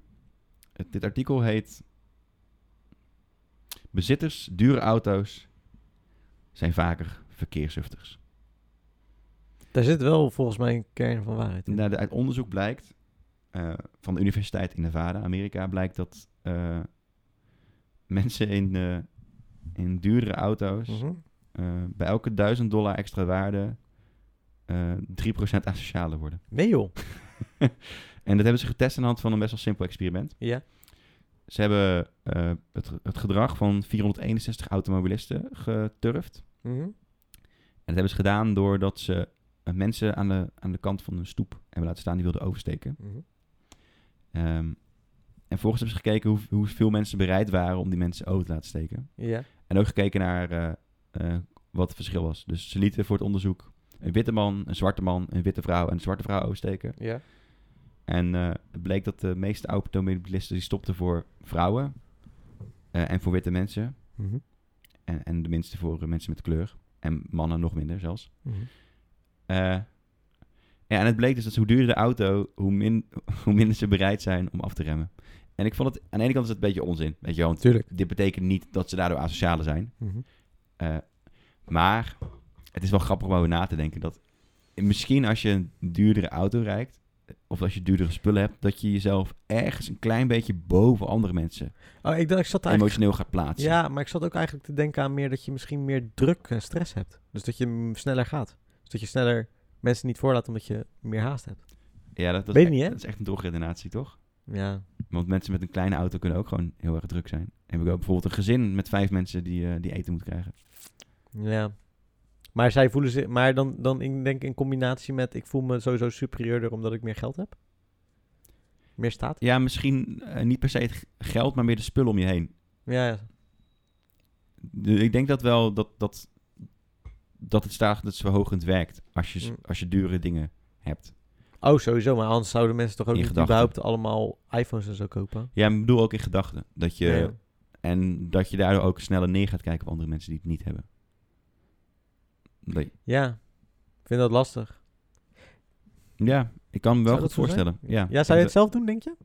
het- dit artikel heet... Bezitters dure auto's zijn vaker verkeerszuchters. Daar zit wel volgens mij een kern van waarheid in. Nou, de- uit onderzoek blijkt eh, van de Universiteit in Nevada, Amerika, blijkt dat eh, mensen in, eh, in duurdere auto's Mhm. eh, bij elke 1000 dollar extra waarde eh 3% asocialer worden. Nee joh. En dat hebben ze getest aan de hand van een best wel simpel experiment. Ja. Ze hebben eh, het, het gedrag van 461 automobilisten geturfd. Mhm. En dat hebben ze gedaan doordat ze eh, mensen aan de, aan de kant van een stoep hebben laten staan die wilden oversteken. Mhm. Ehm, en vervolgens hebben ze gekeken hoe, hoeveel mensen bereid waren om die mensen over te laten steken. Ja. En ook gekeken naar eh, eh, wat het verschil was. Dus ze lieten voor het onderzoek een witte man, een zwarte man, een witte vrouw en een zwarte vrouw oversteken. Ja. En eh, het bleek dat de meeste automobilisten die stopten voor vrouwen eh, en voor witte mensen. Mhm. En, en de minste voor eh, mensen met kleur. En mannen nog minder zelfs. Mhm. Eh, ja, en het bleek dus dat hoe duurder de auto, hoe, min, hoe minder ze bereid zijn om af te remmen. En ik vond het, aan de ene kant is het een beetje onzin. Weet je wel, want Tuurlijk. dit betekent niet dat ze daardoor asociale zijn. Mhm. Eh, maar het is wel grappig om over na te denken dat misschien als je een duurdere auto rijdt, eh, of als je duurdere spullen hebt, dat je jezelf ergens een klein beetje boven andere mensen Oh, ik, dacht, ik zat eigenlijk... emotioneel gaat plaatsen. Ja, maar ik zat ook eigenlijk te denken aan meer dat je misschien meer druk en stress hebt. Dus dat je mm, sneller gaat. Dus dat je sneller mensen niet voorlaat omdat je meer haast hebt. Ja, dat, dat, Weet is, niet, hè? echt, dat is echt een doorredenatie, toch? Ja. Want mensen met een kleine auto kunnen ook gewoon heel erg druk zijn. Heb ik ook bijvoorbeeld een gezin met vijf mensen die, eh, die eten moet krijgen. Ja. Maar zij voelen zich... Maar dan, dan in, denk ik in combinatie met... Ik voel me sowieso superieurder omdat ik meer geld heb. Meer staat. Ja, misschien eh, niet per se het g- geld, maar meer de spullen om je heen. Ja, ja. Dus ik denk dat wel dat, dat, dat het staat dat verhogend werkt als je, s- Mm. als je dure dingen hebt. Oh, sowieso. Maar anders zouden mensen toch ook In niet gedachten. überhaupt allemaal iPhones en zo kopen? Ja, maar ik bedoel ook in gedachten. Dat je, Nee, joh. En dat je daardoor ook sneller neer gaat kijken op andere mensen die het niet hebben. Nee. Ja. Ik vind dat lastig. Ja, ik kan me wel Zou goed dat zo zijn? voorstellen. Ja, Ja, zou je het zelf doen, denk je?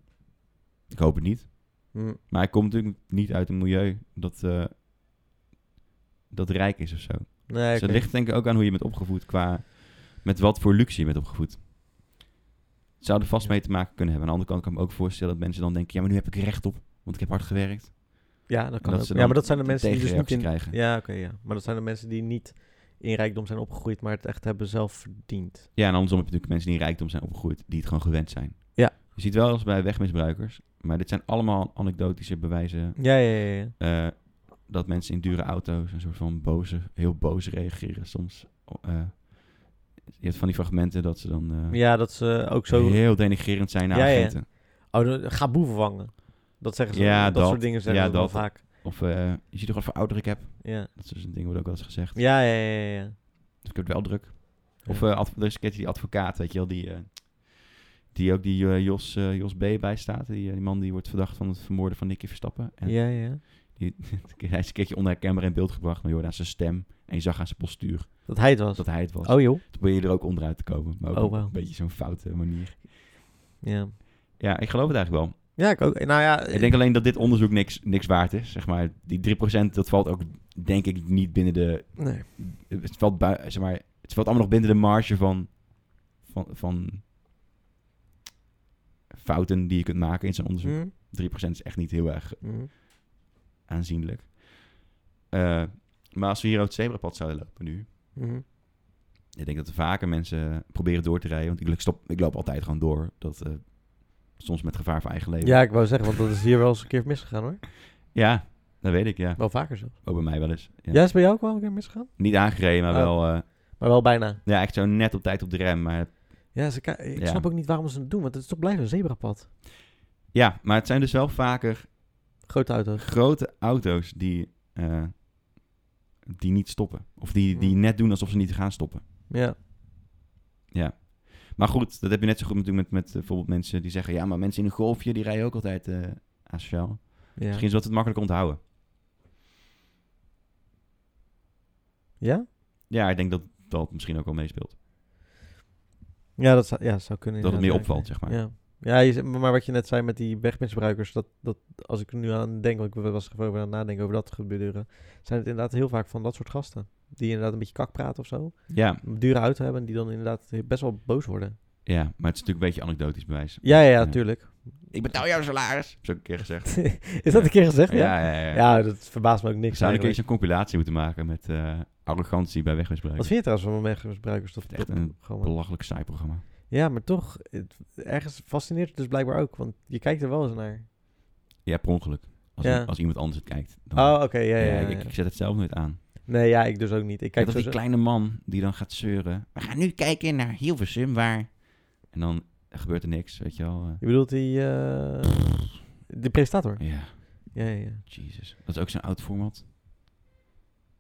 Ik hoop het niet. Hm. Maar ik kom natuurlijk niet uit een milieu dat, eh, dat rijk is of zo. Nee, Dus oké. het ligt denk ik ook aan hoe je bent opgevoed qua... Met wat voor luxe je bent opgevoed. Het zou er vast Ja. mee te maken kunnen hebben. Aan de andere kant kan ik me ook voorstellen dat mensen dan denken... Ja, maar nu heb ik er recht op, want ik heb hard gewerkt. Ja, dat kan dat ook. ze Ja, dan maar dat zijn de een mensen die dus niet tegenreactie in... krijgen. Ja, oké, ja. Maar dat zijn de mensen die niet in rijkdom zijn opgegroeid, maar het echt hebben zelf verdiend. Ja, en andersom heb je natuurlijk mensen die in rijkdom zijn opgegroeid... die het gewoon gewend zijn. Ja. Je ziet wel eens bij wegmisbruikers... maar dit zijn allemaal anekdotische bewijzen... Ja, ja, ja. ja. eh, dat mensen in dure auto's een soort van boze... heel boos reageren soms. eh, je hebt van die fragmenten dat ze dan... eh, Ja, dat ze ook zo... heel denigrerend zijn naar Ja, ja. agenten. Oh, dan- ga boeven vangen. Dat zeggen ze. Ja, dat, dat. soort dingen zeggen Ja, ze wel dat. vaak. Of eh, je ziet toch wat voor ouder ik heb. Ja. Dat is dus een ding wordt ook wel eens gezegd. Ja, ja, ja, ja, ja. Dus ik heb het wel druk. Of Ja. eh, adv- er is een keertje die advocaat, weet je wel, die, eh, die ook die eh, Jos, eh, Jos B. bijstaat. Die, eh, die man die wordt verdacht van het vermoorden van Nicky Verstappen. En Ja, ja. die, hij is een keertje onherkenbaar in beeld gebracht, maar je hoorde aan zijn stem en je zag aan zijn postuur Dat hij het was. dat hij het was. Oh, joh. Toen probeer je er ook onderuit te komen, maar ook Oh, op wauw. een beetje zo'n foute manier. Ja. Ja, ik geloof het eigenlijk wel. Ja, ik ook. Nou ja, Ik denk alleen dat dit onderzoek niks, niks waard is, zeg maar. Die 3% dat valt ook, denk ik, niet binnen de, Nee. het valt, bui- zeg maar, het valt allemaal nog binnen de marge van, van, van fouten die je kunt maken in zo'n onderzoek. Hm? 3% is echt niet heel erg Hm. aanzienlijk. Eh, maar als we hier op het zebrapad zouden lopen nu... Hm. Ik denk dat er vaker mensen proberen door te rijden. Want ik, stop, ik loop altijd gewoon door. Dat, eh, soms met gevaar voor eigen leven. Ja, ik wou zeggen, want dat is hier wel eens een keer misgegaan, hoor. Ja, dat weet ik, ja. Wel vaker zelfs. Ook bij mij wel eens. Ja. Ja, is bij jou ook wel een keer misgegaan? Niet aangereden, maar Oh. wel... eh, Maar wel bijna. ja, echt zo net op tijd op de rem. Maar Ja, ze ka- ik Ja. snap ook niet waarom ze het doen, want het is toch blijven een zebrapad. ja, maar het zijn dus wel vaker Grote auto. grote auto's die, eh, die niet stoppen. Of die, die Hmm. net doen alsof ze niet gaan stoppen. Ja. Maar goed, dat heb je net zo goed natuurlijk met, met eh, bijvoorbeeld mensen die zeggen... ja, maar mensen in een golfje, die rijden ook altijd eh asociaal. Ja? Misschien is dat het makkelijk onthouden. Ja, Ja, ik denk dat dat misschien ook wel meespeelt. ja, dat, zou, ja dat zou kunnen. Dat het meer inderdaad, opvalt, ja. zeg maar. Ja. Ja, je zegt- maar wat je net zei met die wegmisbruikers, dat, dat als ik er nu aan denk, want ik was er even over aan het nadenken over dat gebeuren, zijn het inderdaad heel vaak van dat soort gasten. Die inderdaad een beetje kak praten of zo. Ja, Een dure auto hebben en die dan inderdaad best wel boos worden. ja, maar het is natuurlijk een beetje anekdotisch bewijs. Ja, ja, ja, Ja. tuurlijk. Ik betaal jouw salaris, heb ik een keer gezegd. Is dat een keer gezegd? Ja, ja, ja, ja. dat verbaast me ook Ik niks. zou een keer eigenlijk. zo'n compilatie moeten maken met eh, arrogantie bij Wat wegmisbruik. vind je trouwens van wegmisbruikers? Dat Echt dat een programma? Belachelijk saai programma. Ja, maar toch, het- ergens fascineert het dus blijkbaar ook, want je kijkt er wel eens naar. Ja, per ongeluk. Als, Ja. als iemand anders het kijkt. dan- Oh, oké, ja, Ja, ja, ja, Eh, Ik, ik zet het zelf nooit aan. Nee, ja, ik dus ook niet. Ik Kijk, kijk dat zo is die kleine man die dan gaat zeuren. We gaan nu kijken naar Hilversum, waar... En dan gebeurt er niks, weet je wel. Je bedoelt die... eh, de presentator? eh. ja, Ja, ja, ja. Jesus. Dat is ook zo'n oud format.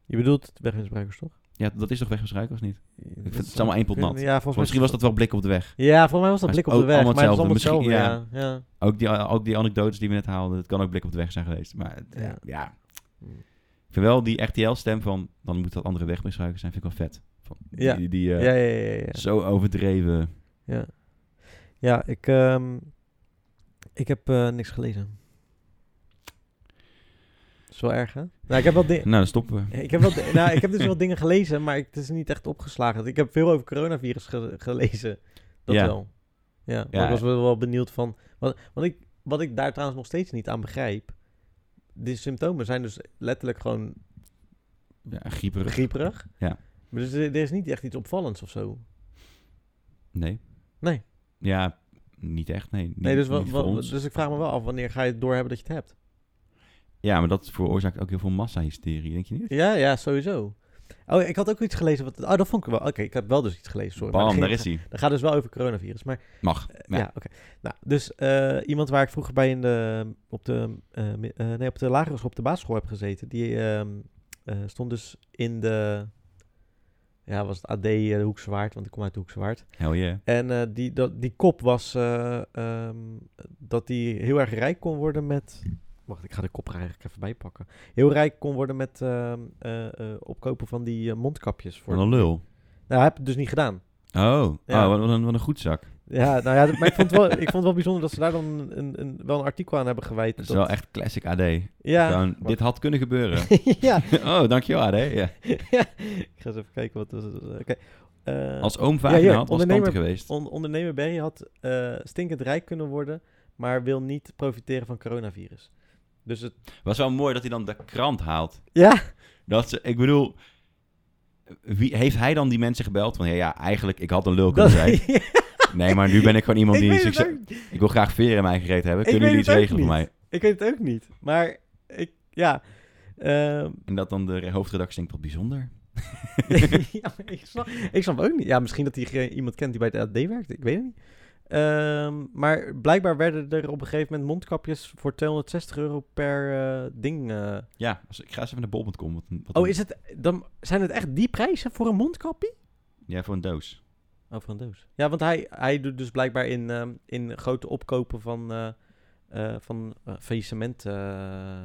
Je bedoelt wegmisbruikers, toch? Ja, dat is toch wegmisbruiken of niet? Ik vind het allemaal één pot nat. Ja, volgens mij Misschien was dat wel blik op de weg. Ja, volgens mij was dat Maar blik op ook de weg. Maar allemaal het is allemaal hetzelfde. hetzelfde, Misschien- ja. ja. Ook die, ook die anekdotes die we net haalden, dat kan ook blik op de weg zijn geweest. Maar het- ja. Ja. Hm. Ik vind wel die RTL-stem van, dan moet dat andere wegmisbruiken zijn, vind ik wel vet. Van, die- Ja. Die, die, eh, Ja, ja, ja, ja, ja. Zo overdreven. Ja, ja ik, ehm, ik heb eh, niks gelezen. Dat is wel erg, hè? Nou, ik heb wel dingen... Nou, dan stoppen we. Ik heb, wel, di- nou, ik heb dus wel dingen gelezen, maar ik- het is niet echt opgeslagen. Ik heb veel over coronavirus ge- gelezen. Dat Ja. wel. Ja, maar Ja. ik was wel, wel benieuwd van... Wat, want ik, wat ik daar trouwens nog steeds niet aan begrijp... Die symptomen zijn dus letterlijk gewoon Ja, grieperig. grieperig. Ja. Maar dus er, er is niet echt iets opvallends of zo. Nee. Nee. Ja, niet echt, nee. Niet, Nee, dus, wat, niet voor ons. dus ik vraag me wel af, wanneer ga je het doorhebben dat je het hebt? Ja, maar dat veroorzaakt ook heel veel massahysterie, denk je niet? Ja, ja, sowieso. Oh, ik had ook iets gelezen. Wat, oh, dat vond ik wel. Oké, ik heb wel dus iets gelezen. Sorry. maar Bam, dat daar ging- is hij. Dat gaat dus wel over coronavirus. Maar Mag. ja, Ja. oké. Nou, dus eh, iemand waar ik vroeger bij in de, op, de, eh, mi- eh, nee, op de lagere school, op de basisschool heb gezeten, die ehm, eh, stond dus in de, ja, was het AD eh, de Hoekse Waard, want ik kom uit de Hoekse Waard. Hell yeah. En eh, die, dat, die kop was eh, ehm, dat die heel erg rijk kon worden met. Wacht, ik ga de kop er eigenlijk even bij pakken. Heel rijk kon worden met ehm, eh, eh, opkopen van die eh, mondkapjes. Voor... Wat een lul. Nou, heb het dus niet gedaan. Oh, Ja. oh wat, wat een, wat een goed zak. Ja, nou ja, maar ik vond, het wel, ik vond het wel bijzonder dat ze daar dan een, een, een- wel een artikel aan hebben gewijd. Dat is dat- wel echt classic AD. Ja, Gewoon, dit had kunnen gebeuren. ja. oh, dankjewel AD. Ja. Ik ga eens even kijken wat. wat- wat- Oké. Eh, Als oom vagina hier, had, was ondernemer- tante geweest. on- ondernemer Berry had eh, stinkend rijk kunnen worden, maar wil niet profiteren van coronavirus. Dus het. Was wel mooi dat hij dan de krant haalt. Ja, Dat ze, ik bedoel, wie, heeft hij dan die mensen gebeld? Van, ja, ja eigenlijk, ik had een lul kunnen zijn. Nee, maar nu ben ik gewoon iemand ik, die... weet succes- het ook, Ik wil graag veren in mijn eigen reet hebben. Ik Kunnen weet jullie iets het ook regelen voor mij? ik weet het ook niet. Maar ik, ja. ehm, En dat dan de re- hoofdredactie denkt, wat bijzonder. ja, maar ik, snap, ik snap ook niet. Ja, misschien dat hij geen- iemand kent die bij het AD werkt. Ik weet het niet. Ehm, maar blijkbaar werden er op een gegeven moment mondkapjes voor 260 euro per eh, ding. eh. Ja, als, ik ga eens even naar bol.com. Wat, een- wat Oh, een- is het, dan, zijn het echt die prijzen voor een mondkapje? Ja, voor een doos. Oh, voor een doos. Ja, want hij, hij doet dus blijkbaar in, ehm, in grote opkopen van, eh eh, van eh, faillissement eh,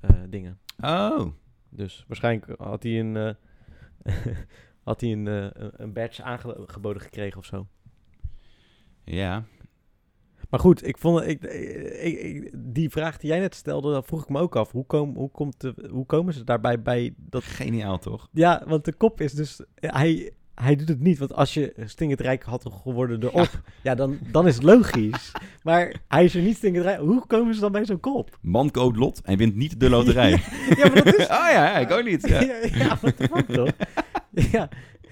eh, dingen. Oh, Dus waarschijnlijk had hij een, eh, had hij een, eh, een- een badge aangeboden gekregen of zo. ja. Maar goed, ik vond, ik, ik- ik- die vraag die jij net stelde, dat vroeg ik me ook af. Hoe, kom, hoe, komt de, hoe komen ze daarbij bij dat... Geniaal, toch? Ja, want de kop is dus... Hij, hij doet het niet, want als je stinkend rijk had geworden erop, ja, dan, dan is het logisch. maar hij is er niet stinkend rijk. Hoe komen ze dan bij zo'n kop? Man koopt lot en wint niet de loterij. Ja, maar dat is... oh ja, ja, ik ook niet. Ja, Ja. ja, what the fuck toch? ja.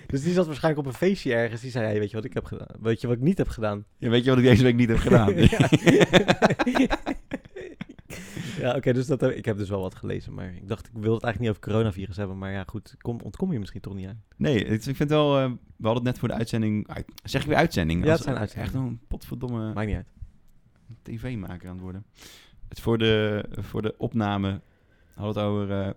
Dus die zat waarschijnlijk op een feestje ergens. Die zei, hey, weet je wat ik heb gedaan? Weet je wat ik niet heb gedaan? Ja, weet je wat ik deze week niet heb gedaan? ja, ja oké, dus dat heb, ik heb dus wel wat gelezen. Maar ik dacht, ik wilde het eigenlijk niet over coronavirus hebben. Maar ja, goed, kom, ontkom je misschien toch niet aan. Nee, het- ik vind wel... eh, we hadden het net voor de uitzending... uit- zeg ik weer uitzending? Ja, Als- het zijn uitzendingen. Echt een potverdomme Maakt niet uit. tv-maker aan het worden. Het voor de, voor de opname hadden we het over... eh,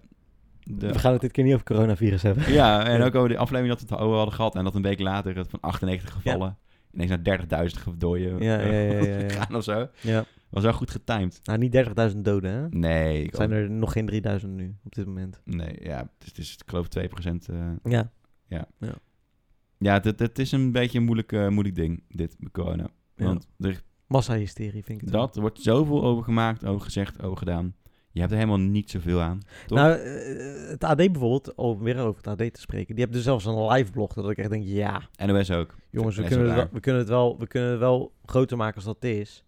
de We gaan het dit keer niet over coronavirus hebben. Ja, en Ja. ook over die aflevering dat we het over hadden gehad. En dat een week later het van 98 gevallen ineens naar 30.000 gedooien Ja, ja, ja, ja, ja. gaan of zo. Ja. Was wel goed getimed. Nou, niet 30.000 doden, hè? Nee, ik Het zijn er nog geen 3000 nu, op dit moment. nee ja, het is, het is ik geloof 2%. eh. Ja. ja, het, het- het is een beetje een moeilijk, eh, moeilijk ding, dit met corona. Ja. Want er, Massahysterie vind ik het wel. dat, er wordt zoveel over gemaakt, over gezegd, over gedaan. Je hebt er helemaal niet zoveel aan. toch? Nou, eh, het AD bijvoorbeeld, om weer over het AD te spreken, die hebben dus zelfs een live blog dat ik echt denk, ja, NOS ook. jongens, we Best kunnen, het wel raar. wel, we, kunnen het wel, we kunnen het wel groter maken als dat het is.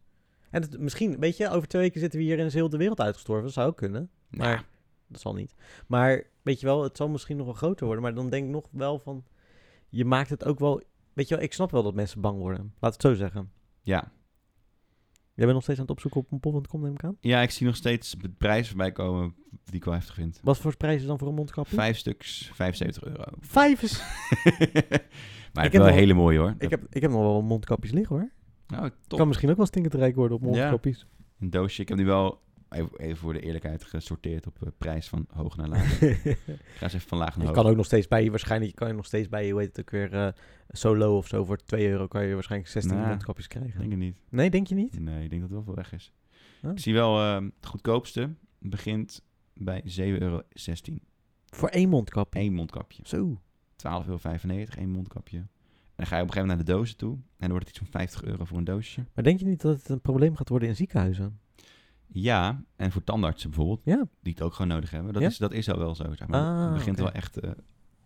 En het, misschien, weet je, over twee weken zitten we hier en is heel de wereld uitgestorven. Dat zou ook kunnen, Nou, maar dat zal niet. Maar weet je wel, het zal misschien nog wel groter worden, maar dan denk ik nog wel van, je maakt het ook wel Weet je wel, ik snap wel dat mensen bang worden. Laat het zo zeggen. Ja. Jij bent nog steeds aan het opzoeken op een pop.com, neem ik aan. ja, ik zie nog steeds de prijzen voorbij komen die ik wel heftig vind. Wat voor prijs is dan voor een mondkapje? Vijf stuks, 75 euro. Vijf is... maar heb ik heb wel nog- hele mooie hoor. ik, heb, ik heb nog wel mondkapjes liggen hoor. Nou, top. Kan misschien ook wel stinkend rijk worden op Ja. mondkapjes. Een doosje. Ik heb die wel even, even voor de eerlijkheid gesorteerd op eh, prijs van hoog naar laag. ik ga eens even van laag naar je hoog. kan ook nog steeds bij, waarschijnlijk kan je nog steeds bij, hoe heet het ook weer, eh, solo of zo. Voor 2 euro kan je waarschijnlijk 16 Nou, mondkapjes Ik krijgen. denk het niet. Nee, denk je niet? Nee, ik denk dat het wel veel weg is. Oh. Ik zie wel ehm, het goedkoopste begint bij 7,16 euro. Voor één mondkapje. Eén mondkapje. Zo. 12,95 euro, één mondkapje. En dan ga je op een gegeven moment naar de dozen toe. En dan wordt het iets van 50 euro voor een doosje. Maar denk je niet dat het een probleem gaat worden in ziekenhuizen? Ja, en voor tandartsen bijvoorbeeld, Ja. die het ook gewoon nodig hebben. Dat, Ja? is, dat is al wel zo. Zeg maar. Ah, het begint oké. wel echt eh,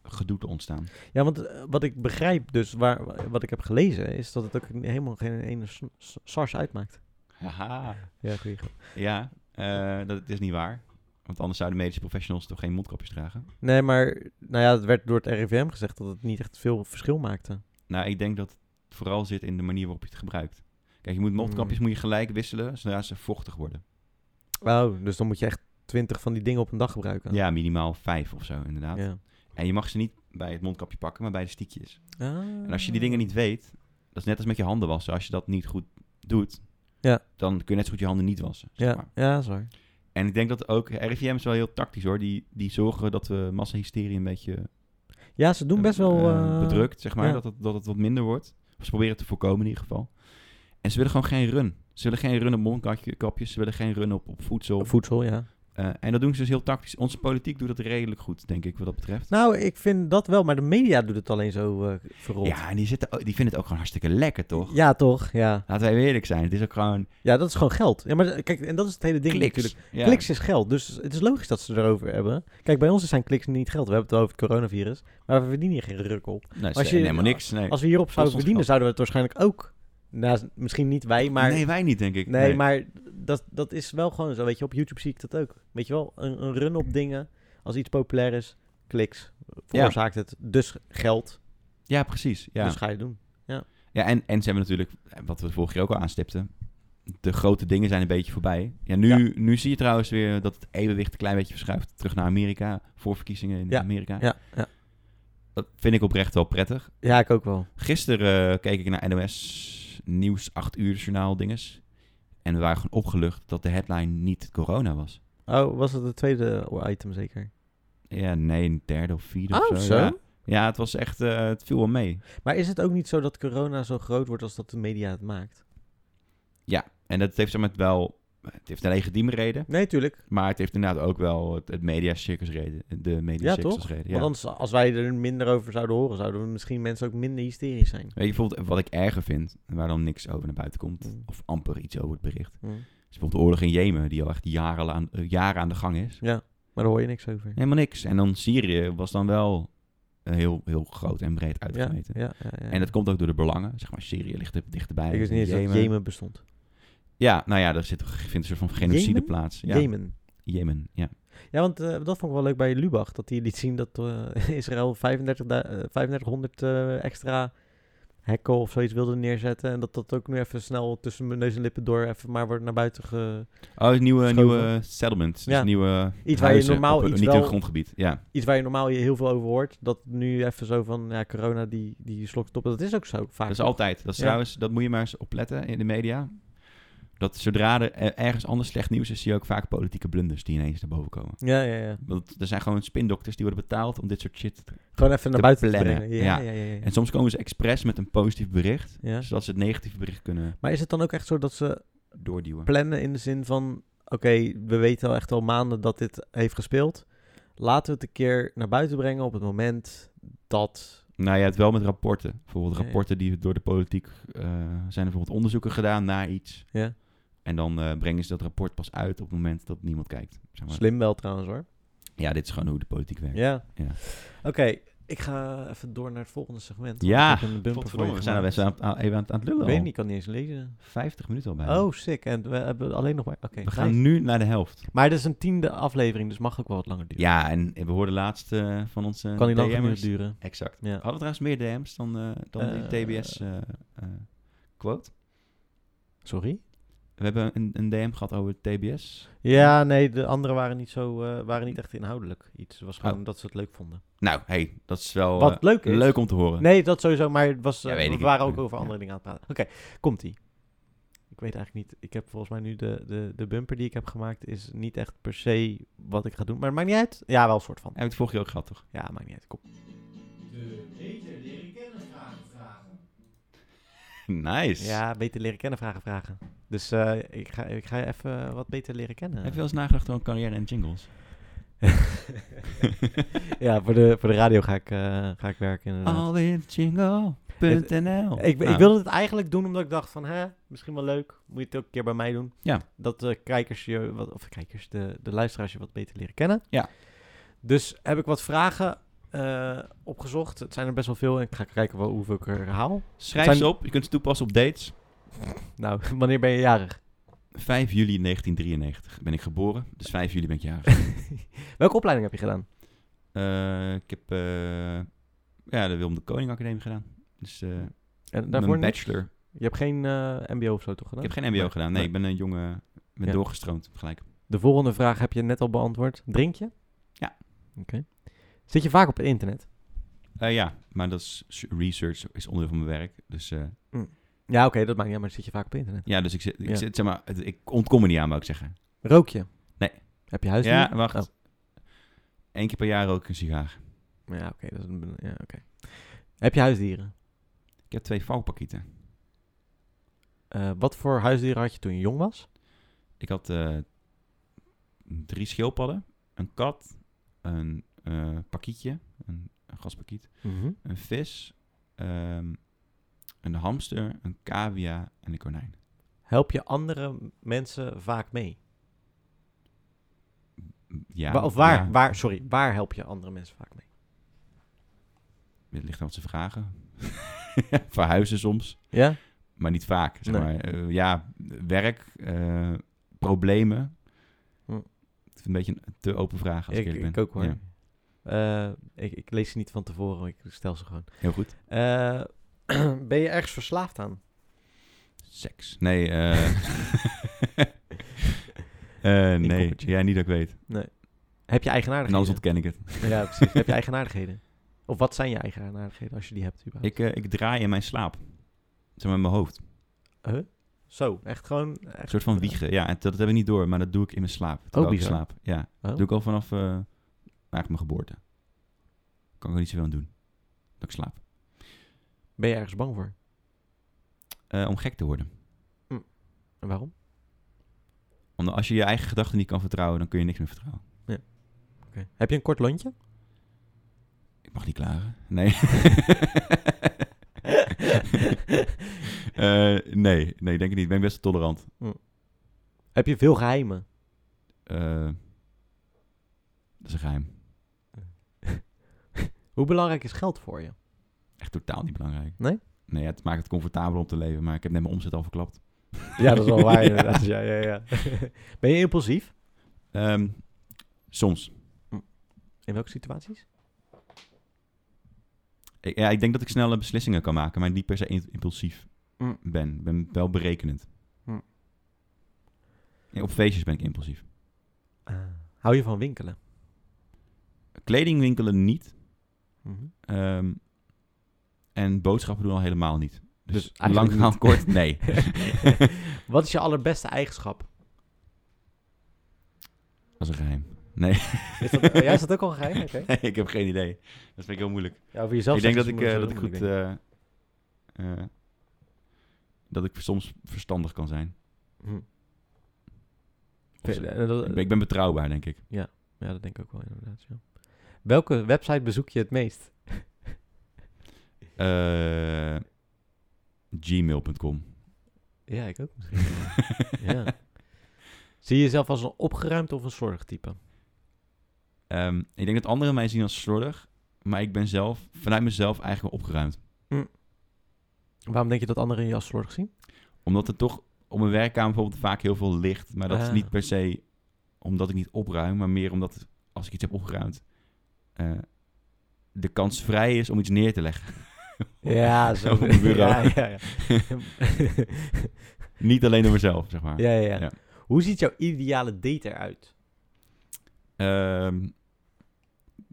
gedoe te ontstaan. Ja, want eh, wat ik begrijp dus, waar, wat ik heb gelezen, is dat het ook helemaal geen ene s- s- SARS uitmaakt. Haha. Ja, goeie grap. Ja, eh, dat is niet waar. Want anders zouden medische professionals toch geen mondkapjes dragen. Nee, maar nou ja, het werd door het RIVM gezegd dat het niet echt veel verschil maakte. Nou, ik denk dat het vooral zit in de manier waarop je het gebruikt. Kijk, je Hmm. moet mondkapjes moet je gelijk wisselen zodra ze vochtig worden. Oh, dus dan moet je echt twintig van die dingen op een dag gebruiken. Ja, minimaal vijf of zo inderdaad. Ja. En je mag ze niet bij het mondkapje pakken, maar bij de stiekjes. Ah. En als je die dingen niet weet, dat is net als met je handen wassen. Als je dat niet goed doet, Ja. dan kun je net zo goed je handen niet wassen. zeg Ja, maar. ja, dat is waar. En ik denk dat ook, RIVM is wel heel tactisch hoor. Die, die zorgen dat we massahysterie een beetje Ja, ze doen best wel... eh, eh, bedrukt, zeg maar. ja. Dat, het, dat het wat minder wordt. Of ze proberen het te voorkomen in ieder geval. En ze willen gewoon geen run. Ze willen geen run op mondkapjes. Ze willen geen run op, op voedsel. Voedsel, ja. Eh, en dat doen ze dus heel tactisch. Onze politiek doet dat redelijk goed, denk ik, wat dat betreft. Nou, ik vind dat wel, maar de media doet het alleen zo eh verrot. ja, en die, zitten, ook- die vinden het ook gewoon hartstikke lekker, toch? Ja, toch? Ja. Laten wij eerlijk zijn. Het is ook gewoon ja, dat is gewoon geld. Ja, maar eh, kijk, en dat is het hele ding kliks. natuurlijk. Ja. Kliks is geld, dus het is logisch dat ze het erover hebben. Kijk, bij ons zijn kliks niet geld. We hebben het over het coronavirus, maar we verdienen hier geen ruk op. Nou, Als als je- je, helemaal niks. Nee. Als we hierop ons zouden verdienen, geld. zouden we het waarschijnlijk ook... Nou, misschien niet wij, maar... nee, wij niet, denk ik. Nee, maar dat, dat is wel gewoon zo. Weet je, op YouTube zie ik dat ook. Weet je wel, een, een run op dingen. Als iets populair is, kliks. Veroorzaakt het dus geld. Ja, precies. Ja. Dus ga je doen. Ja, en, en ze hebben natuurlijk, eh, wat we vorig jaar ook al aanstipten, de grote dingen zijn een beetje voorbij. Ja, nu, nu zie je trouwens weer dat het evenwicht een klein beetje verschuift terug naar Amerika, voor verkiezingen in Ja, Amerika. Ja, ja. Dat vind ik oprecht wel prettig. ja ik ook wel. Gisteren eh, keek ik naar NOS Nieuws 8 uur journaal dinges. En we waren gewoon opgelucht dat de headline niet corona was. Oh, was dat het tweede item zeker? Ja, nee, een derde of vierde Oh, of zo? zo. Ja. ja, het was echt, eh, het viel wel mee. Maar is het ook niet zo dat corona zo groot wordt als dat de media het maakt? En dat heeft zeg maar wel, het heeft een legitieme reden. Nee, tuurlijk. Maar het heeft inderdaad ook wel het, het media circus reden. De media Ja, circus toch? reden. Ja. Want anders, als wij er minder over zouden horen, zouden we misschien mensen ook minder hysterisch zijn. Weet je bijvoorbeeld wat ik erger vind, en waar dan niks over naar buiten komt, Mm. of amper iets over het bericht. Is Hm. bijvoorbeeld de oorlog in Jemen, die al echt jaren aan, eh, jaren aan de gang is. Ja, maar daar hoor je niks over. Helemaal niks. En dan Syrië was dan wel eh, heel, heel groot en breed ja, ja, uitgemeten. ja, ja. En dat komt ook door de belangen. Zeg maar, Syrië ligt er dichterbij. Ik wist niet eens dat Jemen. Jemen bestond. Ja, nou ja, daar zit, vindt een soort van genocide Jemen? plaats. Ja. Jemen. Jemen, ja. Ja, want eh, dat vond ik wel leuk bij Lubach. Dat hij liet zien dat eh, Israël 35, da- eh, 3500 eh, extra hekken of zoiets wilde neerzetten. En dat dat ook nu even snel tussen mijn neus en lippen door even maar wordt naar buiten ge... Oh, het nieuwe, Schoven. nieuwe settlements. Dus Ja. nieuwe Iets waar je huizen normaal op een- iets niet wel- een grondgebied. Ja. Iets waar je normaal je heel veel over hoort. Dat nu even zo van, ja, corona die, die slokt het op. Dat is ook zo vaak. Dat is toch? altijd. Dat is Ah, Ja. trouwens, dat moet je maar eens opletten in de media. Dat zodra er eh, ergens anders slecht nieuws is, zie je ook vaak politieke blunders die ineens naar boven komen. Ja, ja, ja. Want er zijn gewoon spindokters die worden betaald om dit soort shit. te- Gewoon even naar buiten te plannen, brengen. Ja, ja, ja. ja. ja, ja. En soms komen ze expres met een positief bericht, Ja. zodat ze het negatieve bericht kunnen Maar is het dan ook echt zo dat ze doorduwen. plannen in de zin van: oké, we weten al echt al maanden dat dit heeft gespeeld. Laten we het een keer naar buiten brengen op het moment dat. Nou ja, het wel met rapporten. Bijvoorbeeld Ja, ja. rapporten die door de politiek eh, zijn er bijvoorbeeld onderzoeken gedaan naar iets. Ja. En dan eh, brengen ze dat rapport pas uit op het moment dat niemand kijkt. Zeg maar. Slim wel trouwens hoor. Ja, dit is gewoon hoe de politiek werkt. Ja. Ja. Oké, Ik ga even door naar het volgende segment. want Ja, ik heb een bumper voor je Godverdomme, we zijn al best gemaakt. wel aan, aan- even aan, aan het lullen Ik weet al. niet, ik kan niet eens lezen. 50 minuten al bijna. Oh, sick. En we hebben alleen nog maar... Oké, we gaan nice. nu naar de helft. Maar dit is een tiende aflevering, dus mag ook wel wat langer duren. Ja, en we hoorden laatst eh, van onze kan niet lang DM'ers. genoeg duren. Exact. Ja. Hadden we trouwens meer DM's dan, eh, dan die Eh, TBS eh, eh, quote? Sorry? We hebben een, een DM gehad over TBS. Ja, nee, de anderen waren niet, zo, eh, waren niet echt inhoudelijk iets. Het was gewoon dat ze het leuk vonden. Nou, hey, dat is wel Wat Oh. eh, leuk is. leuk om te horen. Nee, dat sowieso, maar het was, Ja, eh, weet we ik. waren ook Ja, over ja. andere dingen aan het praten. Oké, komt-ie. Ik weet eigenlijk niet. Ik heb volgens mij nu de, de, de bumper die ik heb gemaakt is niet echt per se wat ik ga doen. Maar het maakt niet uit. Ja, wel een soort van. Hebben we het vorige keer ook gehad, toch? Ja, maakt niet uit. Kom. Nice. Ja, beter leren kennen vragen vragen. Dus eh, ik, ga, ik ga je even wat beter leren kennen. Heb je wel eens nagedacht over een carrière en jingles? ja, voor de, voor de radio ga ik, eh, ga ik werken inderdaad. Alweerjingle.nl Ik, ik Nou, wilde het eigenlijk doen omdat ik dacht van, hè, misschien wel leuk. Moet je het ook een keer bij mij doen. Ja. Dat de kijkers je, wat, of kijkers, de, de luisteraars je wat beter leren kennen. Ja. Dus heb ik wat vragen eh, opgezocht. Het zijn er best wel veel en ik ga kijken wel hoeveel ik er haal. Schrijf zijn- ze op. Je kunt ze toepassen op dates. Nou, wanneer ben je jarig? 5 juli 1993 ben ik geboren. Dus 5 juli ben ik jarig. Welke opleiding heb je gedaan? Eh, ik heb eh, ja, de Willem de Koning Academie gedaan. Dus eh, En daarvoor mijn niet? bachelor. Je hebt geen eh, mbo of zo toch gedaan? Ik heb geen mbo gedaan. Nee, Nee. ik ben een jongen... Ik ben Ja. doorgestroomd gelijk. De volgende vraag heb je net al beantwoord. Drink je? Ja. Oké. Zit je vaak op het internet? Eh, ja, maar dat is su- research is onderdeel van mijn werk. Dus eh, Ja, oké, dat maakt niet uit, maar zit je vaak op het internet? ja, dus ik, zit, ik, Ja. zit, zeg maar, het- ik ontkom er niet aan, wou ik zeggen. Rook je? Nee. Heb je huisdier? Ja, wacht. Oh. Eén keer per jaar rook ik een sigaar. Ja, oké. dat is een ben- ja, oké. Heb je huisdieren? Ik heb twee valkpakieten. Eh, wat voor huisdieren had je toen je jong was? Ik had eh, drie schildpadden, een kat, een eh pakietje, een, een gaspakiet, een vis, ehm, een hamster, een cavia en een konijn. Help je andere m- mensen vaak mee? Ja, Wa- of waar, ja, waar, sorry, waar help je andere mensen vaak mee? Het ligt aan wat ze vragen. Verhuizen soms. Ja? maar niet vaak. Zeg Nee. maar. Eh, ja, werk, eh, problemen. Hm. Het is een beetje een te open vraag als ik, Ik, eerlijk ben. ik ook hoor. Ja, Eh, ik, ik lees ze niet van tevoren, ik stel ze gewoon. heel goed. Eh, ben je ergens verslaafd aan? Seks. Nee, eh eh, Ik nee. koppeltje. Ja, niet dat ik weet. Heb je En anders eigenaardigheden? ontken ik het. Ja, precies. Heb je eigenaardigheden? Of wat zijn je eigenaardigheden als je die hebt überhaupt? Ik, eh, ik draai in mijn slaap. Zeg maar in mijn hoofd. Zo, echt gewoon... Een Echt, soort van wiegen. Ja, en dat, dat heb ik niet door, maar dat doe ik in mijn slaap. Terwijl ik bizar. slaap. Ja, Oh. dat doe ik al vanaf eh, eigenlijk mijn geboorte. Kan ik er niet zoveel aan doen. Dat ik slaap. Ben je ergens bang voor? Eh, om gek te worden. En waarom? Omdat als je je eigen gedachten niet kan vertrouwen, dan kun je niks meer vertrouwen. Oké. Heb je een kort lontje? Ik mag niet klagen. Nee. Eh, nee, nee, denk ik niet. Ik ben best wel tolerant. Heb je veel geheimen? Eh, dat is een geheim. Hoe belangrijk is geld voor je? Echt totaal niet belangrijk. Nee? Nee, ja, het maakt het comfortabel om te leven, maar ik heb net mijn omzet al verklapt. Ja, dat is wel waar Ja. inderdaad. Ja, ja, ja. ben je impulsief? Ehm, soms. In welke situaties? Ik, ja, ik denk dat ik snelle beslissingen kan maken, maar niet per se in- impulsief Mm. ben. Ik ben wel berekenend. Mm. Ja, Op feestjes ben ik impulsief. hou je van winkelen? Kledingwinkelen niet. Mhm. Ehm, en boodschappen doen al helemaal niet. Dus, Dus eigenlijk lang verhaal niet. kort, nee. Wat is je allerbeste eigenschap? Dat is een geheim. Nee. Is dat, oh, jij is dat ook al een geheim? Oké. nee, ik heb geen idee. Dat vind ik heel moeilijk. Ja, over jezelf ik denk dat zeggen ik, is eh, dat sowieso ik goed... moeilijk, eh, eh, dat ik soms verstandig kan zijn. denk ik. Of Hm. zo. Eh, dat- Ik ben, ik ben betrouwbaar, denk ik. Ja, dat denk ik ook wel inderdaad. Ja. Welke website bezoek je het meest? Eh, Gmail.com. Ja, ik ook misschien. ja. Zie je jezelf als een opgeruimd of een zorgtype? Ehm, ik denk dat anderen mij zien als slordig, Maar ik ben zelf, vanuit mezelf eigenlijk wel opgeruimd. Waarom denk je dat anderen in je als slordig zien? Omdat er toch op mijn werkkamer bijvoorbeeld vaak heel veel ligt. Maar dat is Ah. niet per se omdat ik niet opruim, maar meer omdat als ik iets heb opgeruimd, eh, de kans vrij is om iets neer te leggen. Ja, zo. Op een bureau. Ja, ja, ja. niet alleen door mezelf, zeg maar. ja, ja, ja. Ja. Hoe ziet jouw ideale date eruit? Ehm,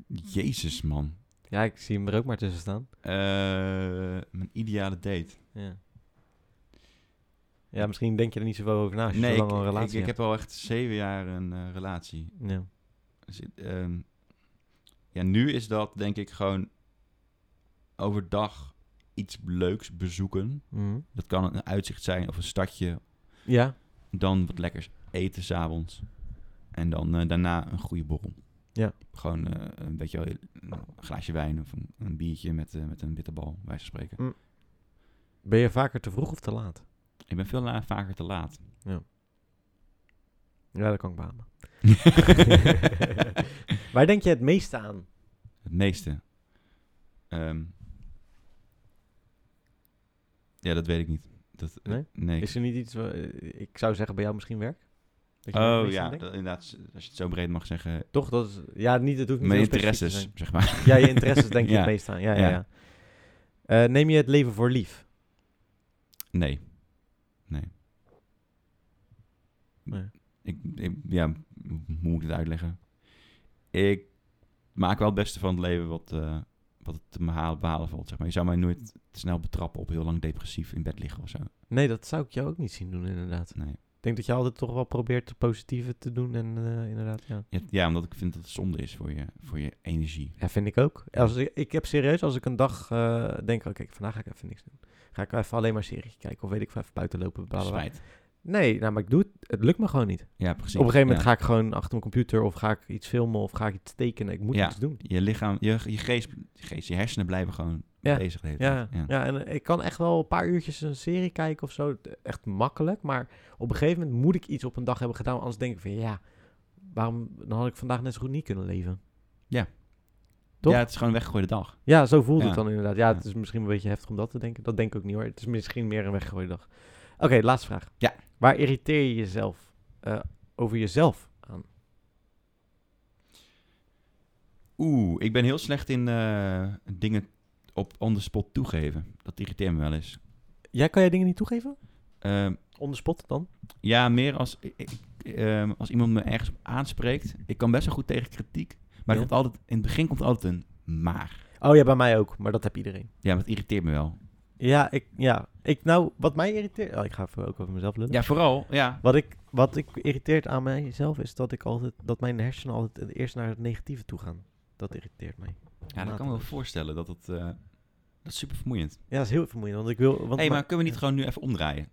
jezus, man. Ja, ik zie hem er ook maar tussen staan. Eh, mijn ideale date. Ja, ja misschien denk je er niet zoveel over na als je nee, zo ik, lang al een ik, relatie ik hebt. heb al echt zeven jaar een eh, relatie. Ja. Dus, ehm, ja, nu is dat denk ik gewoon overdag iets leuks bezoeken. Mhm. Dat kan een uitzicht zijn of een stadje. ja, Dan wat lekkers eten s'avonds. En dan eh, daarna een goede borrel. Ja. Gewoon eh, een beetje wel, een glaasje wijn of een, een biertje met, eh, met een bitterbal, bij wijze van spreken. ben je vaker te vroeg of te laat? Ik ben veel la- vaker te laat. Ja, dat kan ik beamen. Waar denk je het meeste aan? Het meeste. Ehm, ja, dat weet ik niet. Dat, eh, Nee? nee ik- Is er niet iets, wa- eh, ik zou zeggen bij jou misschien werk? Dat je daar het Oh meest aan ja, denkt? dat- inderdaad. s- Als je het zo breed mag zeggen. Toch? Dat is, ja, niet, het hoeft niet Mijn heel specifiek te interesses, zeg maar. zijn. Ja, je interesses denk je Ja. het meest aan. Ja, ja, ja. Ja. Eh, neem je het leven voor lief? Nee. Nee. Nee. Ik, ik- ja, hoe moet ik het uitleggen? Ik maak wel het beste van het leven wat, eh, wat het te behalen, behalen valt, zeg maar. Je zou mij nooit te snel betrappen op heel lang depressief in bed liggen of zo. Nee, dat zou ik jou ook niet zien doen inderdaad. Nee. Ik denk dat je altijd toch wel probeert het positieve te doen en eh, inderdaad, ja. Ja, ja, omdat ik vind dat het zonde is voor je, voor je energie. Ja, vind ik ook. Als ik, ik heb serieus, als ik een dag eh, denk, oké, vandaag ga ik even niks doen. Ga ik even alleen maar een serie kijken of weet ik veel, even buiten lopen. bla, bla, bla. Spijt. Nee, nou, maar ik doe het. Het lukt me gewoon niet. Ja, precies. Op een gegeven moment Ja. ga ik gewoon achter mijn computer of ga ik iets filmen of ga ik iets tekenen. Ik moet Ja. iets doen. Je lichaam, je, je, geest, je geest, je hersenen blijven gewoon Ja. bezig de hele Ja, tijd. ja. en eh, ik kan echt wel een paar uurtjes een serie kijken of zo. Echt makkelijk. Maar op een gegeven moment moet ik iets op een dag hebben gedaan. Anders denk ik van ja, waarom dan had ik vandaag net zo goed niet kunnen leven. Toch? Ja, het is gewoon een weggegooide dag. Ja, zo voelde Ja. het dan inderdaad. Ja, het Ja. is misschien een beetje heftig om dat te denken. Dat denk ik ook niet hoor. Het is misschien meer een weggegooide dag. Oké, laatste vraag. Ja. Waar irriteer je jezelf eh, over jezelf aan? Oeh, ik ben heel slecht in eh, dingen op on the spot toegeven. Dat irriteert me wel eens. Jij kan jij dingen niet toegeven? Ehm, On the spot dan? ja, meer als, ik- ik- ehm, als iemand me ergens op aanspreekt. Ik kan best wel goed tegen kritiek. Maar er Ja. komt altijd, in het begin komt er altijd een maar. Oh ja, bij mij ook. Maar dat heb iedereen. Ja, maar dat irriteert me wel. Ja, ik, ja, ik nou, wat mij irriteert... Oh, ik ga even ook over mezelf lullen. Ja, vooral. Ja, Wat, ik, wat ik irriteert aan mijzelf is dat ik altijd, dat mijn hersenen altijd het eerst naar het negatieve toe gaan. Dat irriteert mij. ja dat kan me wel voorstellen. Dat, het, eh, dat is super vermoeiend. Ja, dat is heel vermoeiend, want ik wil... Want Hé, hey, maar mijn- kunnen we niet gewoon nu even omdraaien?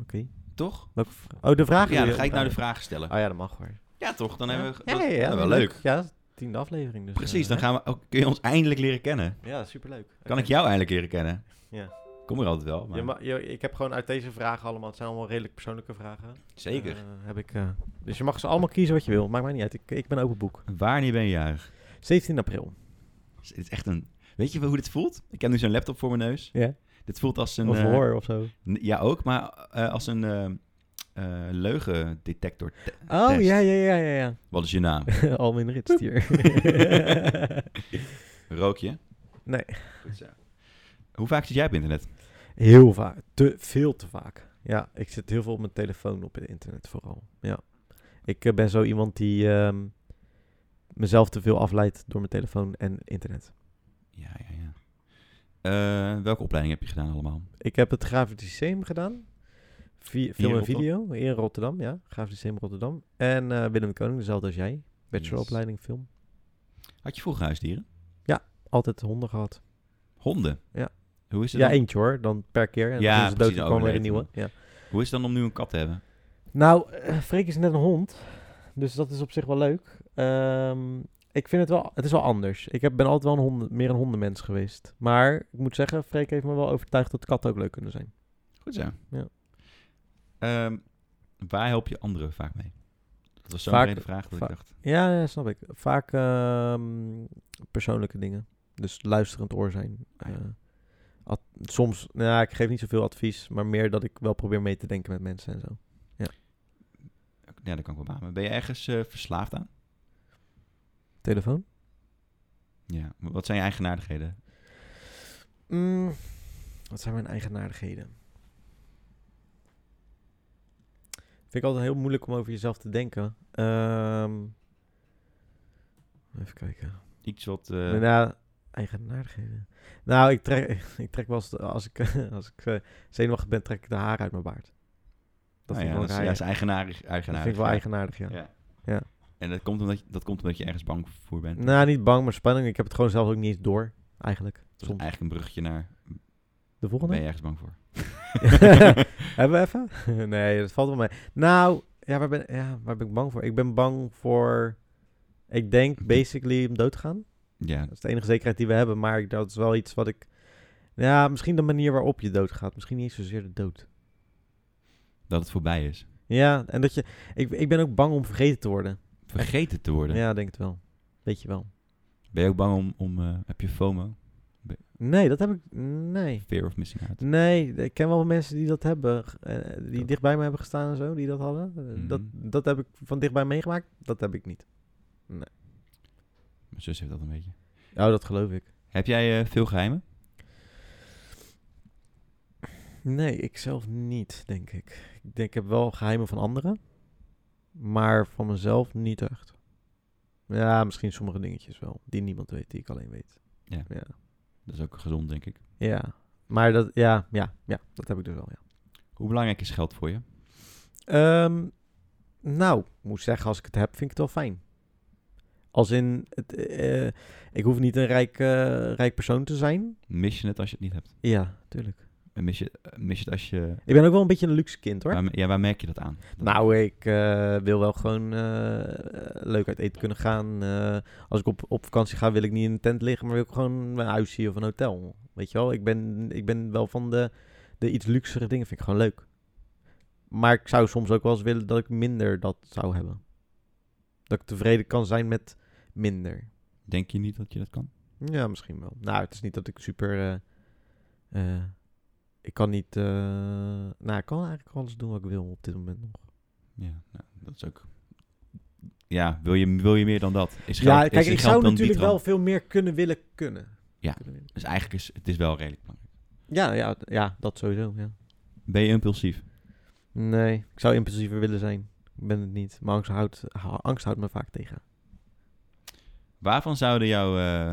Oké. Toch? Welke vra- Oh, de vraag Ja, dan ga ik nou de vraag stellen. Oh ja, dat mag hoor. Ja, toch? Dan Ja. hebben we... Ja, dat- ja, ja, dat is wel leuk. leuk. Ja, dat is de tiende aflevering dus. Precies, eh, dan hè? gaan we ook, kun je ons eindelijk leren kennen. Ja, superleuk. Kan Oké. ik jou eindelijk leren kennen? Ja. Kom er altijd wel. Maar... Je ma- je- ik heb gewoon uit deze vragen allemaal, het zijn allemaal redelijk persoonlijke vragen. Zeker. Eh, heb ik, eh, dus je mag ze allemaal kiezen wat je wil, maakt mij niet uit. Ik, ik ben open boek. Wanneer ben je jarig? 17 april. Het is echt een... Weet je wel hoe dit voelt? Ik heb nu zo'n laptop voor mijn neus. Ja. Dit voelt als een... Of eh, hoor of zo. n- ja, ook, maar eh, als een eh, eh, leugendetector. te- Oh, test. ja, ja, ja, ja, ja. Wat is je naam? Almin Rits hier. Rook je? Nee. Goed zo. Hoe vaak zit jij op internet? heel vaak. Te, veel te vaak. Ja, ik zit heel veel op mijn telefoon op het internet vooral. Ja. Ik eh, ben zo iemand die ehm, mezelf te veel afleidt door mijn telefoon en internet. Ja, ja, ja. Eh, welke opleiding heb je gedaan allemaal? Ik heb het grafisch design gedaan. Vi- film in en video in Rotterdam, ja. Grafisch design Rotterdam. En eh, Willem Koning, dezelfde als jij. Bacheloropleiding film. Had je vroeger huisdieren? Altijd honden gehad. Honden? Ja. Hoe is het, Ja, dan, eentje hoor. Dan per keer. En Ja, ja, toen ze dood precies, toen kwam weer een overleden. nieuwe. Ja. hoe is het dan om nu een kat te hebben? Nou, eh, Freek is net een hond. Dus dat is op zich wel leuk. Ehm, ik vind het wel... Het is wel anders. Ik heb, ben altijd wel een honden, meer een hondenmens geweest. Maar ik moet zeggen, Freek heeft me wel overtuigd dat katten ook leuk kunnen zijn. Goed zo. Ja. Ehm, waar help je anderen vaak mee? Dat was zo'n Vaak- brede vraag dat vaak- ik dacht. Ja, ja, snap ik. Vaak ehm, persoonlijke dingen. Dus luisterend oor zijn. Ah, ja. Eh, ad- soms, nou, ja, ik geef niet zoveel advies, maar meer dat ik wel probeer mee te denken met mensen en zo. Ja, dat kan ik wel beamen. Ben je ergens eh, verslaafd aan? Telefoon? Ja. Wat zijn je eigenaardigheden? Mm, wat zijn mijn eigenaardigheden? Vind ik altijd heel moeilijk om over jezelf te denken. Ehm, even kijken. Iets wat... eh, Nou, ja, eigenaardigheden. Nou, ik trek, ik trek wel eens, de- als ik, als ik eh, zenuwachtig ben, trek ik de haar uit mijn baard. Dat, vind, nou ja, ik wel dat is, ja, raar, is eigenaardig. dat eigenaardig vind ik wel ja. eigenaardig, ja. Ja. Ja. En dat komt, omdat je, dat komt omdat je ergens bang voor bent. Nou, niet bang, maar spanning. Ik heb het gewoon zelf ook niet eens door, eigenlijk. dat is Soms. eigenlijk een bruggetje naar... De waar Ben volgende? je ergens bang voor? Hebben we even? nee, dat valt wel mee. Nou, ja waar, ben, ja, waar ben ik bang voor? Ik ben bang voor... Ik denk basically om dood te gaan. Ja, Dat is de enige zekerheid die we hebben, maar dat is wel iets wat ik... Ja, misschien de manier waarop je doodgaat. Misschien niet eens zozeer de dood. dat het voorbij is. Ja, en dat je. Ik, ik ben ook bang om vergeten te worden. Vergeten te worden. Ja, denk het wel. Weet je wel. Ben je ook bang om... om eh, heb je FOMO? Nee, dat heb ik. Nee. Fear of missing out. Nee, ik ken wel mensen die dat hebben. eh, die Dat- dichtbij me hebben gestaan en zo, die dat hadden. Eh, Mhm. dat, dat heb ik van dichtbij meegemaakt. Dat heb ik niet. Mijn zus heeft dat een beetje. Oh, dat geloof ik. Heb jij eh, veel geheimen? Nee, ik zelf niet, denk ik. Ik denk, ik heb wel geheimen van anderen. Maar van mezelf niet echt. Ja, misschien sommige dingetjes wel. Die niemand weet, die ik alleen weet. Ja. Ja. Dat is ook gezond, denk ik. ja. Maar dat, ja, ja, ja, dat heb ik dus wel, ja. Hoe belangrijk is geld voor je? Ehm, nou, ik moet zeggen, als ik het heb, vind ik het wel fijn. Als in, het, eh, eh, ik hoef niet een rijk, eh, rijk persoon te zijn. Mis je het als je het niet hebt? Ja, tuurlijk. En mis je, eh, mis je het als je... Ik ben ook wel een beetje een luxe kind hoor. Waar, ja, waar merk je dat aan? Dat- Nou, ik eh, wil wel gewoon eh, leuk uit eten kunnen gaan. Eh, als ik op, op vakantie ga, wil ik niet in een tent liggen, maar wil ik gewoon een huis zien of een hotel. Weet je wel, ik ben, ik ben wel van de, de iets luxere dingen, vind ik gewoon leuk. Maar ik zou soms ook wel eens willen dat ik minder dat zou hebben. Dat ik tevreden kan zijn met minder. Denk je niet dat je dat kan? Ja, misschien wel. Nou, het is niet dat ik super. eh, eh, ik kan niet. eh, nou, ik kan eigenlijk alles doen wat ik wil op dit moment nog. Ja, nou, dat is ook... Ja, wil je, wil je meer dan dat? Is ja, geld- kijk, is ik geld zou dan natuurlijk die wel trant? veel meer kunnen willen kunnen. Ja. Kunnen willen. Dus eigenlijk is het is wel redelijk belangrijk. Ja, ja, ja, dat sowieso, ja. Ben je impulsief? Nee, ik zou impulsiever willen zijn. Ik ben het niet. Maar angst houdt, ha- angst houdt me vaak tegen. Waarvan zouden jouw eh,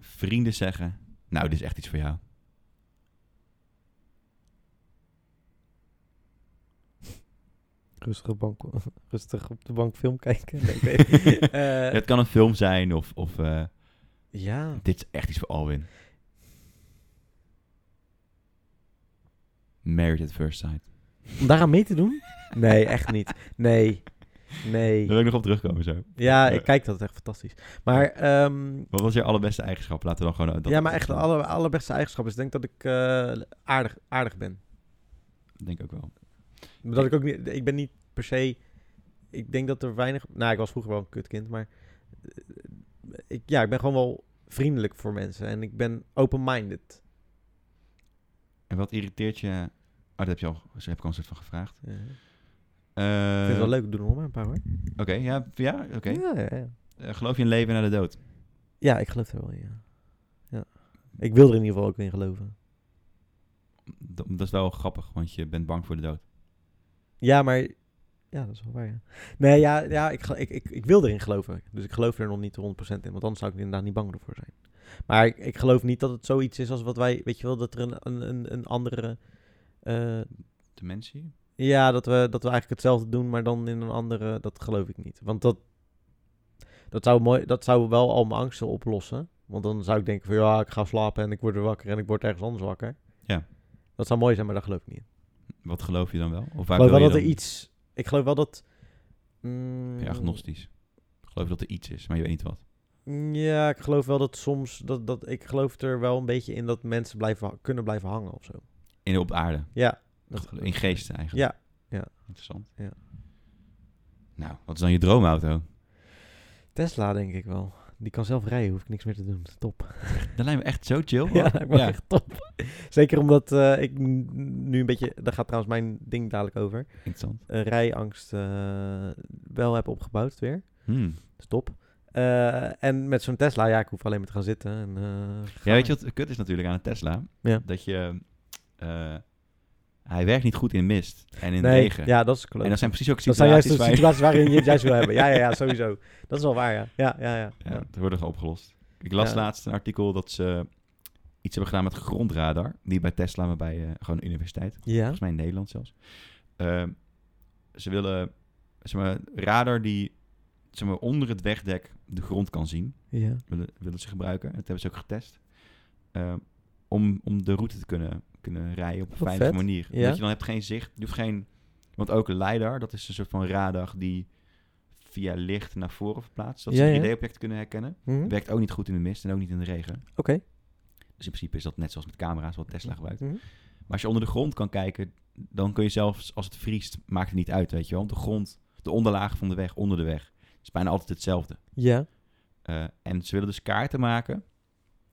vrienden zeggen... Nou, dit is echt iets voor jou. Rustig op, bank, rustig op de bank film kijken. Nee, ik weet- Eh, het kan een film zijn of... of eh, ja, dit is echt iets voor Alwin. Married at first sight. om daaraan mee te doen? Nee, echt niet. Nee, Daar nee. wil ik nog op terugkomen zo. Ja, ik kijk dat, het is echt fantastisch. Maar ehm, Wat was je allerbeste eigenschap? Laten we dan gewoon... eh, dat- ja, maar echt de dat- aller, allerbeste eigenschap is denk ik dat ik eh, aardig, aardig ben. dat Denk ik ook wel. Maar Dat ik ook niet, ik ben niet per se. Ik denk dat er weinig. Nou, ik was vroeger wel een kutkind, maar. eh, Ik, ja, ik ben gewoon wel vriendelijk voor mensen en ik ben open-minded. En wat irriteert je... Oh, dat heb, je al, daar heb ik al een soort van gevraagd. Eh, Eh, ik vind het wel leuk, doe er nog maar een paar hoor. Oké, ja, ja oké. Ja, ja, ja. Eh, geloof je in leven na de dood? ja, ik geloof er wel in. Ja. Ja. Ik wil er in ieder geval ook in geloven. Dat, dat is wel grappig, want je bent bang voor de dood. Ja, maar. Ja, dat is wel waar. Ja. Nee, ja, ja ik, gel- ik, ik, ik wil erin geloven. Dus ik geloof er nog niet 100% in. Want anders zou ik er inderdaad niet bang ervoor zijn. Maar ik, ik geloof niet dat het zoiets is als wat wij. Weet je wel, dat er een, een, een, een andere. eh, Dementie? ja, dat we, dat we eigenlijk hetzelfde doen, maar dan in een andere. Dat geloof ik niet. Want dat. Dat zou, mooi, dat zou wel al mijn angsten oplossen. Want dan zou ik denken: van ja, ik ga slapen en ik word er wakker en ik word ergens anders wakker. Ja. Dat zou mooi zijn, maar daar geloof ik niet in. Wat geloof je dan wel? Of waar Ik geloof wel wil je dat er dan- iets. Ik geloof wel dat. mm, Ja, agnostisch. Geloof je dat er iets is, maar je weet niet wat. Ja, ik geloof wel dat soms. Dat, dat, ik geloof er wel een beetje in dat mensen blijven, ha- kunnen blijven hangen of zo. In, op aarde. Ja, dat geloof In ik. geesten eigenlijk. Ja, ja. Interessant. Ja. Nou, wat is dan je droomauto? Tesla denk ik wel. Die kan zelf rijden, hoef ik niks meer te doen. Top. Dat lijkt me echt zo chill. hoor. Ja, dat lijkt me echt top. Zeker omdat eh, ik n- nu een beetje... Daar gaat trouwens mijn ding dadelijk over. Interessant. Eh, rijangst eh, wel heb opgebouwd weer. Hmm. Dat is top. Eh, en met zo'n Tesla, ja, ik hoef alleen maar te gaan zitten. En, eh, Ja, gaan. weet je wat kut is natuurlijk aan een Tesla? Ja. Dat je... eh, hij werkt niet goed in mist en in Nee, regen. Ja, dat is klopt. En dat zijn precies ook Dat zijn juist situaties de waar je- situaties waarin je het juist wil hebben. Ja, ja, ja, sowieso. Dat is wel waar, ja. Ja, ja, ja. Ja, het worden gewoon opgelost. Ik las Ja. laatst een artikel dat ze iets hebben gedaan met grondradar. Niet bij Tesla, maar bij eh, gewoon een universiteit. Ja? Volgens mij in Nederland zelfs. Ehm, ze willen zeg maar, radar die zeg maar, onder het wegdek de grond kan zien. Ja. Willen, willen ze gebruiken. Dat hebben ze ook getest. Ehm, om, om de route te kunnen, kunnen rijden op een Wat veilige vet. manier. Ja. Omdat je dan hebt geen zicht. Je hoeft geen... Want ook LiDAR, dat is een soort van radar die via licht naar voren verplaatst. Dat Ja, ja. ze 3D-objecten kunnen herkennen. Mhm. Werkt ook niet goed in de mist en ook niet in de regen. Oké. Dus in principe is dat net zoals met camera's wat Tesla gebruikt. Mhm. Maar als je onder de grond kan kijken, dan kun je zelfs als het vriest, maakt het niet uit, weet je wel. De grond, de onderlaag van de weg, onder de weg, is bijna altijd hetzelfde. Ja. Eh, en ze willen dus kaarten maken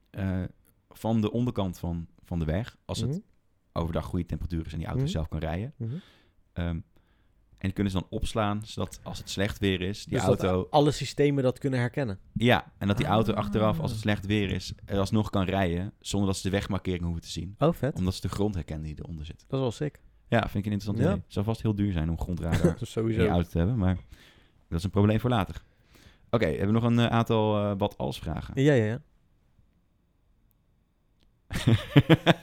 eh, van de onderkant van, van de weg, als Mhm. het overdag goede temperaturen is en die auto Mhm. zelf kan rijden. Mhm. Ehm, en die kunnen ze dan opslaan, zodat als het slecht weer is, die Dus dat auto... alle systemen dat kunnen herkennen. Ja, en dat die auto Ah. achteraf, als het slecht weer is, er alsnog kan rijden zonder dat ze de wegmarkering hoeven te zien. Oh, vet. Omdat ze de grond herkennen die eronder zit. Dat is wel sick. Ja, vind ik een interessant Ja. idee. Het zou vast heel duur zijn om grondradar is in je auto te hebben, maar dat is een probleem voor later. Oké, hebben we nog een eh, aantal eh, wat als vragen? Ja, ja, ja.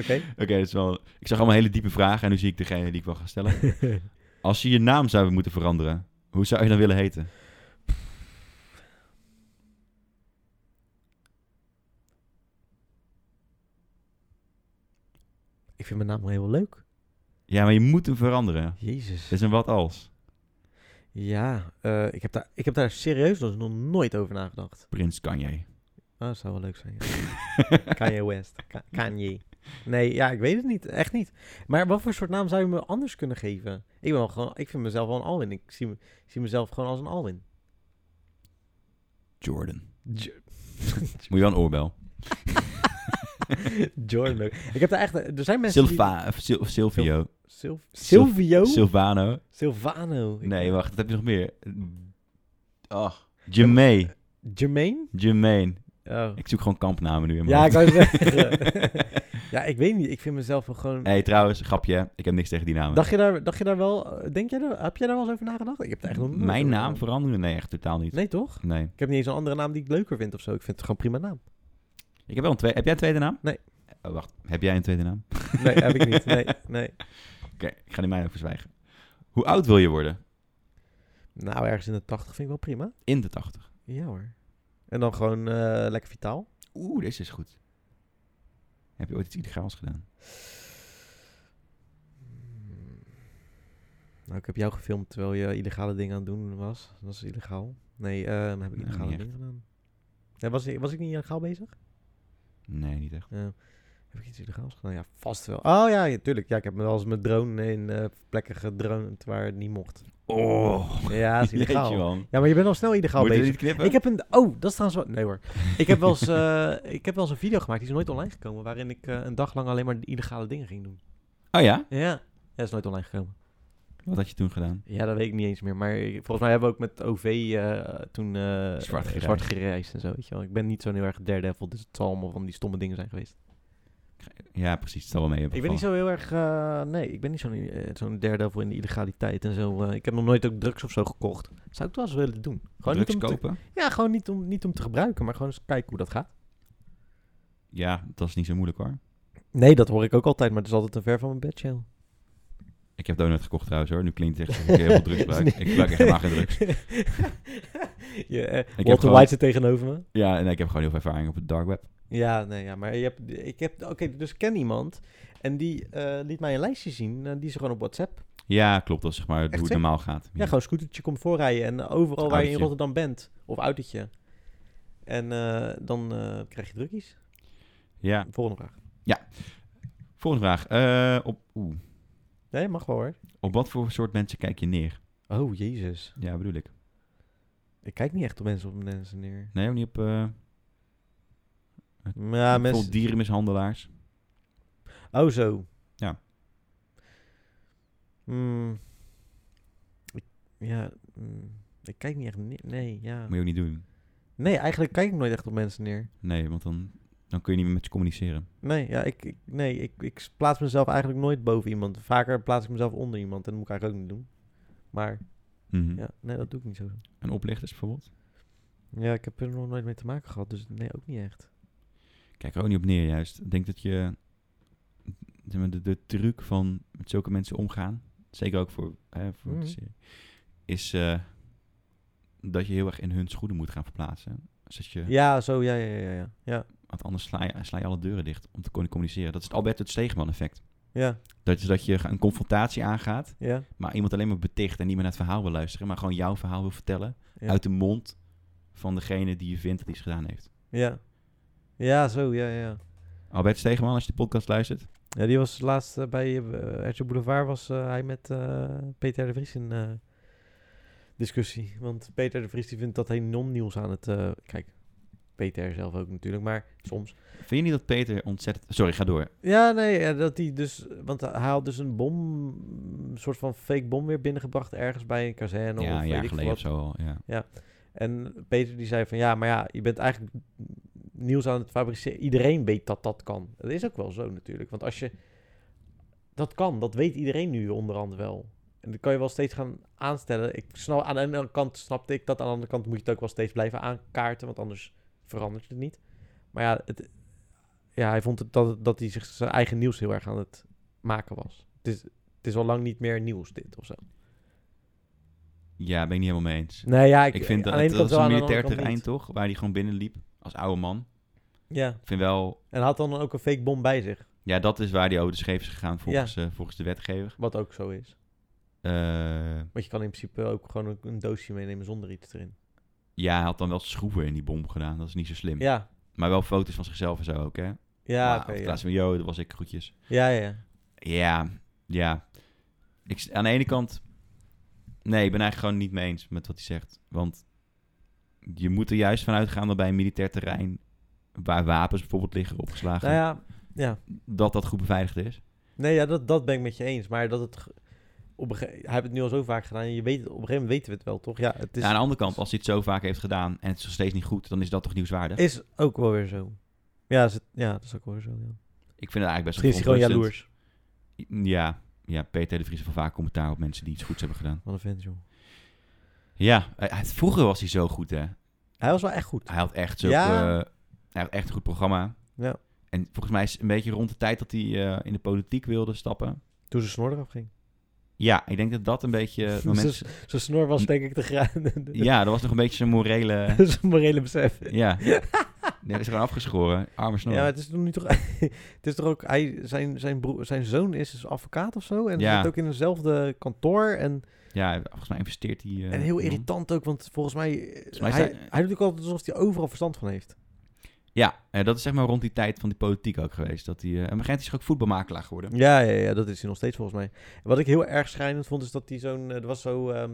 Oké. Oké, dat is wel... Ik zag allemaal hele diepe vragen en nu zie ik degene die ik wil gaan stellen. Als je je naam zou moeten veranderen, hoe zou je dan willen heten? ik vind mijn naam wel heel leuk. Ja, maar je moet hem veranderen. Jezus. Dat is een wat als. Ja, eh, ik, heb daar, ik heb daar serieus nog nog nooit over nagedacht. Prins Kanye. Ah, dat zou wel leuk zijn. ja. Kanye West. Ka- Kanye. Nee, ja, ik weet het niet. Echt niet. Maar wat voor soort naam zou je me anders kunnen geven? Ik, ben wel gewoon, ik vind mezelf wel een Alwin. Ik zie, me, ik zie mezelf gewoon als een Alwin. Jordan. Moet je wel een oorbel. Jordan leuk. Ik heb daar echt... Er zijn mensen Silva, of Sil- Silvio. die... Silv- Silv- Silvio? Silvano. Oh. Silvano. Ik- Nee, wacht, dat heb je nog meer. Ach. Jermaine. Jermaine? Jermaine. Oh. Ik zoek gewoon kampnamen nu in mijn Ja, ik hoofd. wou zeggen. ja, ik weet niet. Ik vind mezelf wel gewoon... Hey, trouwens, grapje. hè. Ik heb niks tegen die namen. Dacht je, daar, dacht je daar wel... eh, Denk jij daar, heb jij daar wel eens over nagedacht? Ik heb daar echt nog nooit Mijn over naam nagedacht. veranderen? Nee, echt totaal niet. Nee, toch? Nee. Ik heb niet eens een andere naam die ik leuker vind of zo. Ik vind het gewoon prima naam. Ik heb wel een tweede... Heb jij een tweede naam? Nee. Oh, wacht. Heb jij een tweede naam? Oké, Nee, heb ik niet. Nee, nee. ik ga die mijne ook verzwijgen. Hoe oud wil je worden? Nou, ergens in de 80 vind ik wel prima. In de 80. Ja hoor. En dan gewoon eh, lekker vitaal. Oeh, deze is goed. Heb je ooit iets illegaals gedaan? Hmm. Nou, ik heb jou gefilmd terwijl je illegale dingen aan het doen was. Dat is illegaal. Nee, ehm, heb ik Nou, illegale niet dingen gedaan? Nee, was, ik- was ik niet illegaal bezig? Nee, niet echt. Ja. heb ik iets illegaals gedaan? Ja, vast wel. Oh ja, ja, tuurlijk. Ja, ik heb me wel eens met drone in eh, plekken gedroond waar het niet mocht. Oh. Ja, dat is Jeetje, illegaal. man. Ja, maar je bent al snel illegaal Moet je bezig. dit knippen? Ik heb een. Oh, dat is trouwens wel. Nee hoor. Ik heb wel eens, eh, ik heb wel eens een video gemaakt, die is nooit online gekomen, waarin ik eh, een dag lang alleen maar illegale dingen ging doen. Oh ja? Ja. Ja, dat is nooit online gekomen. Wat had je toen gedaan? Ja, dat weet ik niet eens meer. Maar ik- volgens mij hebben we ook met OV eh, toen eh, Zwart gereisd. zwart gereisd en zo. Weet je wel. Ik ben niet zo'n heel erg daredevil, dus het zal allemaal van die stomme dingen zijn geweest. Ja, precies. Het zal wel mee hebben Ik ben niet zo heel erg. eh, nee, ik ben niet zo'n eh, zo'n daredevil in de illegaliteit en zo. eh. ik heb nog nooit ook drugs of zo gekocht. Zou ik wel eens willen doen. Gewoon Drugs niet om kopen? Te, ja, gewoon niet om, niet om te gebruiken, maar gewoon eens kijken hoe dat gaat. Ja, dat is niet zo moeilijk hoor. Nee, dat hoor ik ook altijd, maar het is altijd een ver van mijn bed, Shell. Ik heb donut gekocht trouwens hoor. Nu klinkt het echt alsof ik heel veel drugs gebruik. Ik gebruik echt helemaal geen drugs. ja, eh, heb Walter gewoon- White zit tegenover me. Ja, en ik heb gewoon heel veel ervaring op het dark web. Ja, nee, ja, maar je hebt, ik heb... Oké, dus ik ken iemand en die eh, liet mij een lijstje zien. eh, die ze gewoon op WhatsApp. Ja, klopt. Dat is zeg maar hoe het zeker? normaal gaat. Ja, gewoon scootertje komt voorrijden en overal waar je in Autootje. Rotterdam bent. Of autootje. En eh, dan eh, krijg je drukjes. Ja. Volgende vraag. Volgende vraag. Eh, op, oeh, Nee, mag wel hoor. op wat voor soort mensen kijk je neer? Oh, jezus. Ja, bedoel ik. Ik kijk niet echt op mensen op mensen neer. Nee, ook niet op eh, Ja, bijvoorbeeld mensen... dierenmishandelaars. Oh, zo. Ja. Mm. Ik- ja, mm. ik kijk niet echt neer. Nee, ja. Moet je ook niet doen. Nee, eigenlijk kijk ik nooit echt op mensen neer. Nee, want dan, dan kun je niet meer met ze communiceren. Nee, ja, ik, ik, nee ik, ik plaats mezelf eigenlijk nooit boven iemand. Vaker plaats ik mezelf onder iemand. En dat moet ik eigenlijk ook niet doen. Maar Mhm. ja, nee, dat doe ik niet zo. En oplichters bijvoorbeeld. Ja, ik heb er nog nooit mee te maken gehad. Dus nee, ook niet echt. Kijk er ook niet op neer juist. Ik denk dat je zeg maar, de, de truc van met zulke mensen omgaan, zeker ook voor, hè, voor Mhm. de serie, is eh, dat je heel erg in hun schoenen moet gaan verplaatsen. Dus dat je, Ja, zo, ja, ja, ja, ja. Ja, Want anders sla je, sla je alle deuren dicht om te kunnen communiceren. Dat is het Albert het Stegeman effect. ja, Dat is dat je een confrontatie aangaat, ja. maar iemand alleen maar beticht en niet meer naar het verhaal wil luisteren, maar gewoon jouw verhaal wil vertellen Ja. uit de mond van degene die je vindt dat hij iets gedaan heeft. Ja, ja zo, ja, ja. Albert Stegeman, als je de podcast luistert, Ja, die was laatst eh, bij eh RTL Boulevard was eh, hij met eh, Peter R. de Vries in eh, discussie. Want Peter R. de Vries die vindt dat hij non-nieuws aan het... eh, kijk, Peter zelf ook natuurlijk, maar soms. vind je niet dat Peter ontzettend... Sorry, ga door. Ja, nee, ja, dat hij dus... Want hij had dus een bom, een soort van fake bom weer binnengebracht ergens bij een kazerne ja, of een weet jaar ik veel geleden of wat. zo al. Ja. En Peter die zei van ja, maar ja, je bent eigenlijk nieuws aan het fabriceren. Iedereen weet dat dat kan. Dat is ook wel zo natuurlijk. Want als je dat kan, dat weet iedereen nu onderhand wel. En dan kan je wel steeds gaan aanstellen. Ik snap, aan de ene kant snapte ik dat, aan de andere kant moet je het ook wel steeds blijven aankaarten, want anders verandert het niet. Maar ja, het, ja hij vond het dat, dat hij zich zijn eigen nieuws heel erg aan het maken was. Het is, het is al lang niet meer nieuws dit of zo. ja, ben ik niet helemaal mee eens. Nee, ja, ik, Ik, vind aan dat de ene het kant wel, was een aan de andere militair kant terrein niet. toch, waar hij gewoon binnenliep als oude man. Ja. Ik vind wel, En had dan ook een fake bom bij zich. ja, dat is waar hij over de scheef is gegaan volgens, eh, volgens de wetgever. Wat ook zo is. Eh, Want je kan in principe ook gewoon een, een doosje meenemen zonder iets erin. ja, hij had dan wel schroeven in die bom gedaan, dat is niet zo slim. Ja, Maar wel foto's van zichzelf en zo ook, hè? ja, Maar oké, op ja. plaats van, yo, dat was ik, groetjes. ja, ja, ja. Ja, ja. Ik, s- aan de ene kant... Nee, ik ben eigenlijk gewoon niet mee eens met wat hij zegt. Want je moet er juist van uitgaan dat bij een militair terrein... waar wapens bijvoorbeeld liggen opgeslagen... Nou ja, ja. dat dat goed beveiligd is. Nee, ja, dat, dat ben ik met je eens. Maar dat het... ge- Op een ge- hij heeft het nu al zo vaak gedaan. en Je weet, het- op een gegeven moment weten we het wel, toch? Ja, nou, het is, aan de andere kant, als hij het zo vaak heeft gedaan... en het is nog steeds niet goed, dan is dat toch nieuwswaardig? is ook wel weer zo. Ja, is het, ja, dat is ook wel weer zo. Ja. Ik vind het eigenlijk best Misschien is hij gewoon verontrustend. jaloers. Ja, ja, Peter de Vries heeft wel vaak commentaar op mensen die iets goeds hebben gedaan. Wat een vent, joh. Ja, hij- hij- vroeger was hij zo goed, hè? Hij was wel echt goed. Hij had echt zulke, eh, Ja. hij had echt een goed programma. Ja. En volgens mij is het een beetje rond de tijd dat hij eh, in de politiek wilde stappen. Toen zijn snor eraf ging. Ja, ik denk dat dat een beetje... het moment is- Zijn snor was denk ik de graan. ja, dat was nog een beetje zijn morele... Dat is een morele besef. ja. Nee, dat is gewoon afgeschoren. Arme snor. Ja, maar het is toch nu toch. het is toch ook. Hij, zijn, zijn, broer, zijn zoon is dus advocaat of zo. En Ja. zit ook in eenzelfde kantoor. En, Ja, volgens mij investeert hij... eh, en heel man. irritant ook, want volgens mij. eh, mij is hij, hij- hij doet ook altijd alsof hij overal verstand van heeft. Ja, eh, dat is zeg maar rond die tijd van die politiek ook geweest. Dat hij, eh, en op een gegeven moment is hij ook voetbalmakelaar geworden. Ja, ja, ja, dat is hij nog steeds volgens mij. En wat ik heel erg schrijnend vond, is dat hij zo'n. eh, Er was zo. ehm,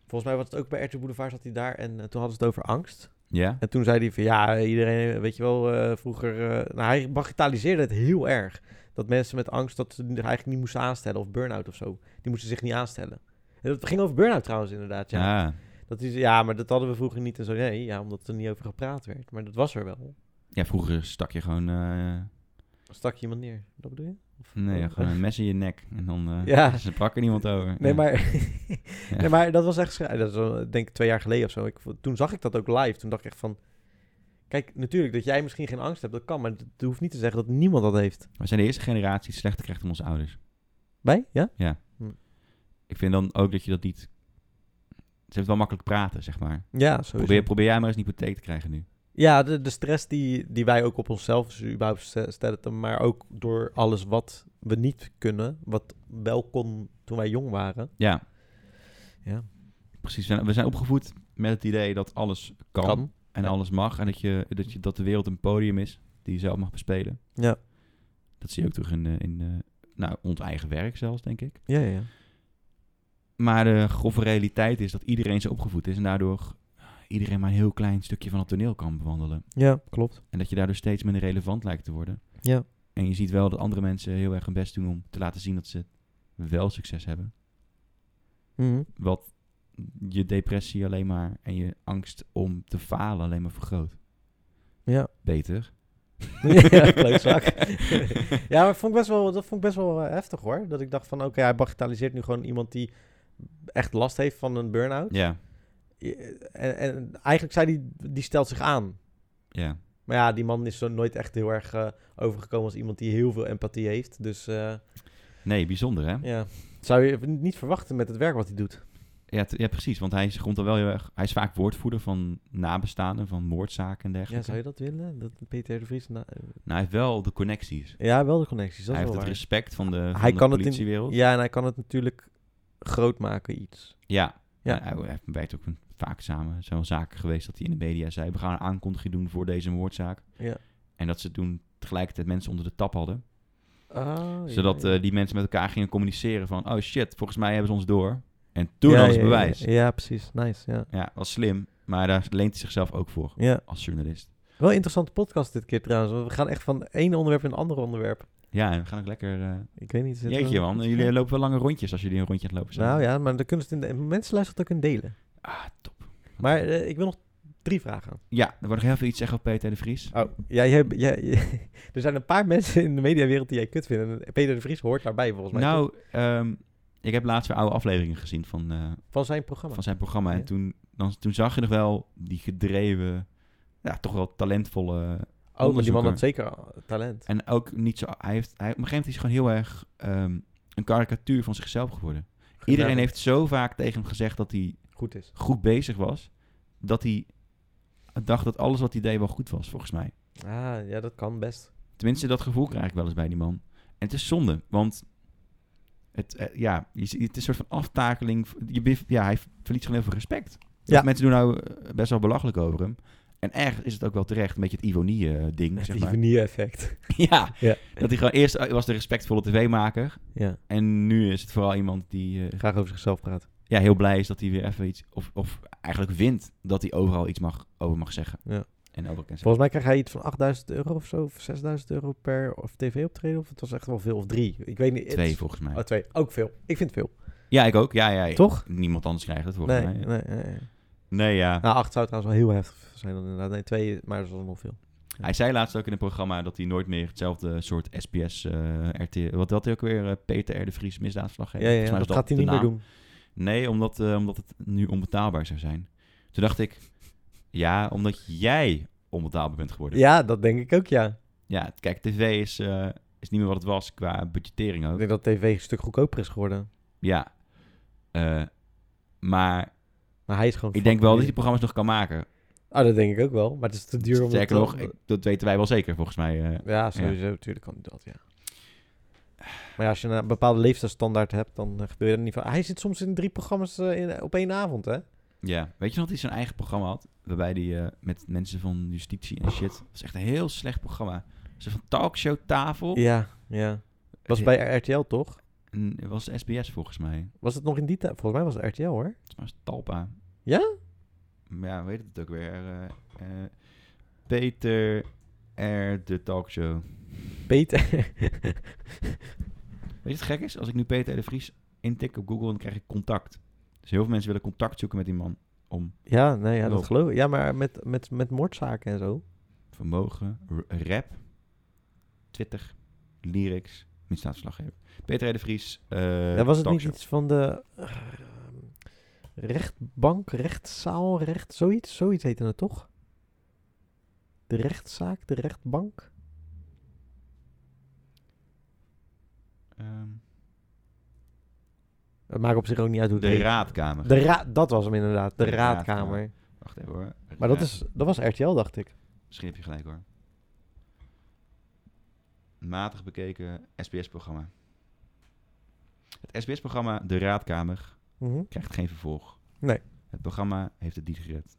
volgens mij was het ook bij RTL Boulevard, zat hij daar. En eh, toen hadden ze het over angst. Ja? En toen zei hij van ja, iedereen, weet je wel, eh, vroeger. eh, nou, hij bagatelliseerde het heel erg. Dat mensen met angst dat ze zich eigenlijk niet moesten aanstellen of burn-out of zo. Die moesten zich niet aanstellen. En dat ging over burn-out trouwens, inderdaad. Ja. Ja. Dat hij zei, ja, maar dat hadden we vroeger niet en zo. Nee, ja, omdat er niet over gepraat werd. Maar dat was er wel. Ja, vroeger stak je gewoon... eh, Dan stak je iemand neer. Dat bedoel je? Of- Nee, ja, gewoon een mes in je nek. En dan eh Ja. ze brak er niemand over. Nee, Ja. maar, nee, maar dat was echt... schri- Dat is wel, denk ik twee jaar geleden of zo. Ik, vo- toen zag ik dat ook live. Toen dacht ik echt van... Kijk, natuurlijk, dat jij misschien geen angst hebt, dat kan. Maar dat hoeft niet te zeggen dat niemand dat heeft. We zijn de eerste generatie die het slechter krijgt dan onze ouders. Bij? Ja? Ik vind dan ook dat je dat niet... Ze hebben het wel makkelijk praten, zeg maar. Ja, sowieso. Probeer, probeer jij maar eens een hypotheek te krijgen nu. Ja, de, de stress die, die wij ook op onszelf dus überhaupt st- stellen, maar ook door alles wat we niet kunnen, wat wel kon toen wij jong waren. Ja, Ja, precies. We zijn, we zijn opgevoed met het idee dat alles kan, en ja. alles mag. En dat, je, dat, je, dat de wereld een podium is die je zelf mag bespelen. Ja. Dat zie je ook terug in, eh, in eh, nou, ons eigen werk zelfs, denk ik. Ja, ja. Maar de grove realiteit is dat iedereen zo opgevoed is. En daardoor eh, iedereen maar een heel klein stukje van het toneel kan bewandelen. Ja, klopt. En dat je daardoor steeds minder relevant lijkt te worden. Ja. En je ziet wel dat andere mensen heel erg hun best doen om te laten zien dat ze wel succes hebben. Mhm. Wat je depressie alleen maar en je angst om te falen alleen maar vergroot. Ja. Beter. ja, klootzak. ja, maar vond ik best wel, dat vond ik best wel eh, heftig hoor. Dat ik dacht van, oké, hij bagatelliseert nu gewoon iemand die echt last heeft van een burn-out. ja, Je- En, en eigenlijk zei die, die stelt zich aan. ja. Maar ja, die man is zo nooit echt heel erg eh, overgekomen als iemand die heel veel empathie heeft. Dus eh, Nee, bijzonder hè? ja, zou je niet verwachten met het werk wat hij doet. Ja, t- ja, precies. Want hij is, grond dan wel heel erg, hij is vaak woordvoerder van nabestaanden, van moordzaken en Ja, dergelijke. zou je dat willen? Dat Peter de Vries... na- Nou, hij heeft wel de connecties. ja, wel de connecties. Dat hij is heeft wel het waar. respect van de, van Hij de kan het in- politiewereld. Ja, en hij kan het natuurlijk groot maken, iets. Ja. Ja. Ja. Nou, Hij, hij werkt ook vaak samen. Er zijn wel zaken geweest dat hij in de media zei... we gaan een aankondiging doen voor deze moordzaak. Ja. En dat ze toen tegelijkertijd mensen onder de tap hadden. Ah, zodat eh, die mensen met elkaar gingen communiceren van... oh shit, volgens mij hebben ze ons door. En toen hadden ze ja, bewijs. Ja, Ja, ja, precies. Nice, ja. was slim. Maar daar leent hij zichzelf ook voor ja. als journalist. Wel een interessante podcast dit keer trouwens. want We gaan echt van één onderwerp in een ander onderwerp. Ja, en we gaan ook lekker... eh Ik weet niet. zitten we- jeetje man, jullie lopen wel lange rondjes als jullie een rondje aan het lopen zijn. Nou ja, maar dan kunnen ze het in de... mensen luisteren het ook in delen. Ah, top. Maar eh, ik wil nog drie vragen. Ja, er wordt nog heel veel iets zeggen op Peter de Vries. Oh, ja, jij, jij, er zijn een paar mensen in de mediawereld die jij kut vindt. En Peter de Vries hoort daarbij volgens mij. toch? Nou, ehm, ik heb laatst weer oude afleveringen gezien van, eh, Van zijn programma. van zijn programma. Ja. En toen, dan, toen zag je nog wel die gedreven, ja, toch wel talentvolle... oh, maar die man onderzoeker. had zeker al talent. En ook niet zo... Hij heeft, hij, op een gegeven moment is hij gewoon heel erg ehm, een karikatuur van zichzelf geworden. Iedereen heeft zo vaak tegen hem gezegd dat hij Goed is. goed bezig was, dat hij dacht dat alles wat hij deed wel goed was, volgens mij. Ah, ja, dat kan best. Tenminste, dat gevoel krijg ik wel eens bij die man. En het is zonde, want het, eh, ja, je zie- het is een soort van aftakeling. Je, bef- ja, hij verliest gewoon heel veel respect. Ja. Mensen doen nou eh, best wel belachelijk over hem. En ergens is het ook wel terecht, een beetje het ironie-ding, Het zeg maar. effect Ja, Ja. dat hij gewoon eerst eh, was de respectvolle tv-maker. Ja, En nu is het vooral iemand die eh, graag over zichzelf praten. ja, heel blij is dat hij weer even iets... Of, of eigenlijk wint dat hij overal iets mag, over mag zeggen. Ja. En over kan zeggen. Volgens mij krijgt hij iets van 8000 euro of zo, of 6000 euro per of tv-optreden. Of het was echt wel veel, of drie. Ik weet niet. het- Twee, volgens mij. Oh, twee. Ook veel. Ik vind veel. Ja, ik ook. Ja, ja, ja. Toch? Niemand anders krijgt het, volgens Nee, mij. nee, nee, nee. Nee, ja. Nou, acht zou trouwens wel heel heftig zijn dan inderdaad. Nee, twee, maar dat was nog veel. Hij zei laatst ook in het programma dat hij nooit meer hetzelfde soort SPS, eh, RT... Wat had hij ook weer? eh, Peter R. de Vries, misdaadverslaggever. Ja, ja, Volgens mij dat, was gaat hij de niet meer naam. doen. Nee, omdat, eh, omdat het nu onbetaalbaar zou zijn. Toen dacht ik, ja, omdat jij onbetaalbaar bent geworden. Ja, dat denk ik ook, ja. Ja, kijk, tv is, eh, is niet meer wat het was qua budgettering Ik ook. denk dat tv een stuk goedkoper is geworden. Ja. Eh, maar Maar hij is gewoon... ik denk wel dat hij die fucking programma's nog kan maken. duur. Ah, dat denk ik ook wel. Maar het is te duur om... het Sterker te- nog, ik- dat weten wij wel zeker, volgens mij. eh. Ja, sowieso. Natuurlijk kan hij dat, ja. Maar ja, als je een bepaalde leeftijdsstandaard hebt, dan eh, gebeurt dat niet van... Hij zit soms in drie programma's eh, in, op één avond, hè? Ja, weet je nog dat hij zijn eigen programma had? Waarbij hij eh, met mensen van justitie en shit... Dat was echt een heel slecht programma. Ze van talkshowtafel. Ja, ja. Was bij RTL, toch? En het was SBS volgens mij. Was het nog in die tijd? Volgens mij was het RTL hoor. Het was Talpa. Ja? Ja, weet het ook weer. eh, eh, Peter R. de talkshow. Peter. Weet je wat gek is? Als ik nu Peter R. de Vries intik op Google, dan krijg ik contact. Dus heel veel mensen willen contact zoeken met die man. Om ja, nee, ja, Wel. dat geloof ik. Ja, maar met, met, met moordzaken en zo. vermogen, r- rap, Twitter, lyrics, misdaadverslaggever. Peter R. de Vries, eh ja, was het niet talkshow. iets van de eh, rechtbank, rechtszaal, recht, zoiets? Zoiets heette het toch? De rechtszaak, de rechtbank? Ehm, Het maakt op zich ook niet uit hoe het de heet. raadkamer. de ra dat was hem inderdaad, de, De raadkamer. Wacht even hoor. Maar Raad- dat, is, dat was RTL, dacht ik. Misschien heb je gelijk hoor. Matig bekeken SBS-programma. Het SBS-programma De Raadkamer Mhm. krijgt geen vervolg. Nee. Het programma heeft het niet gered.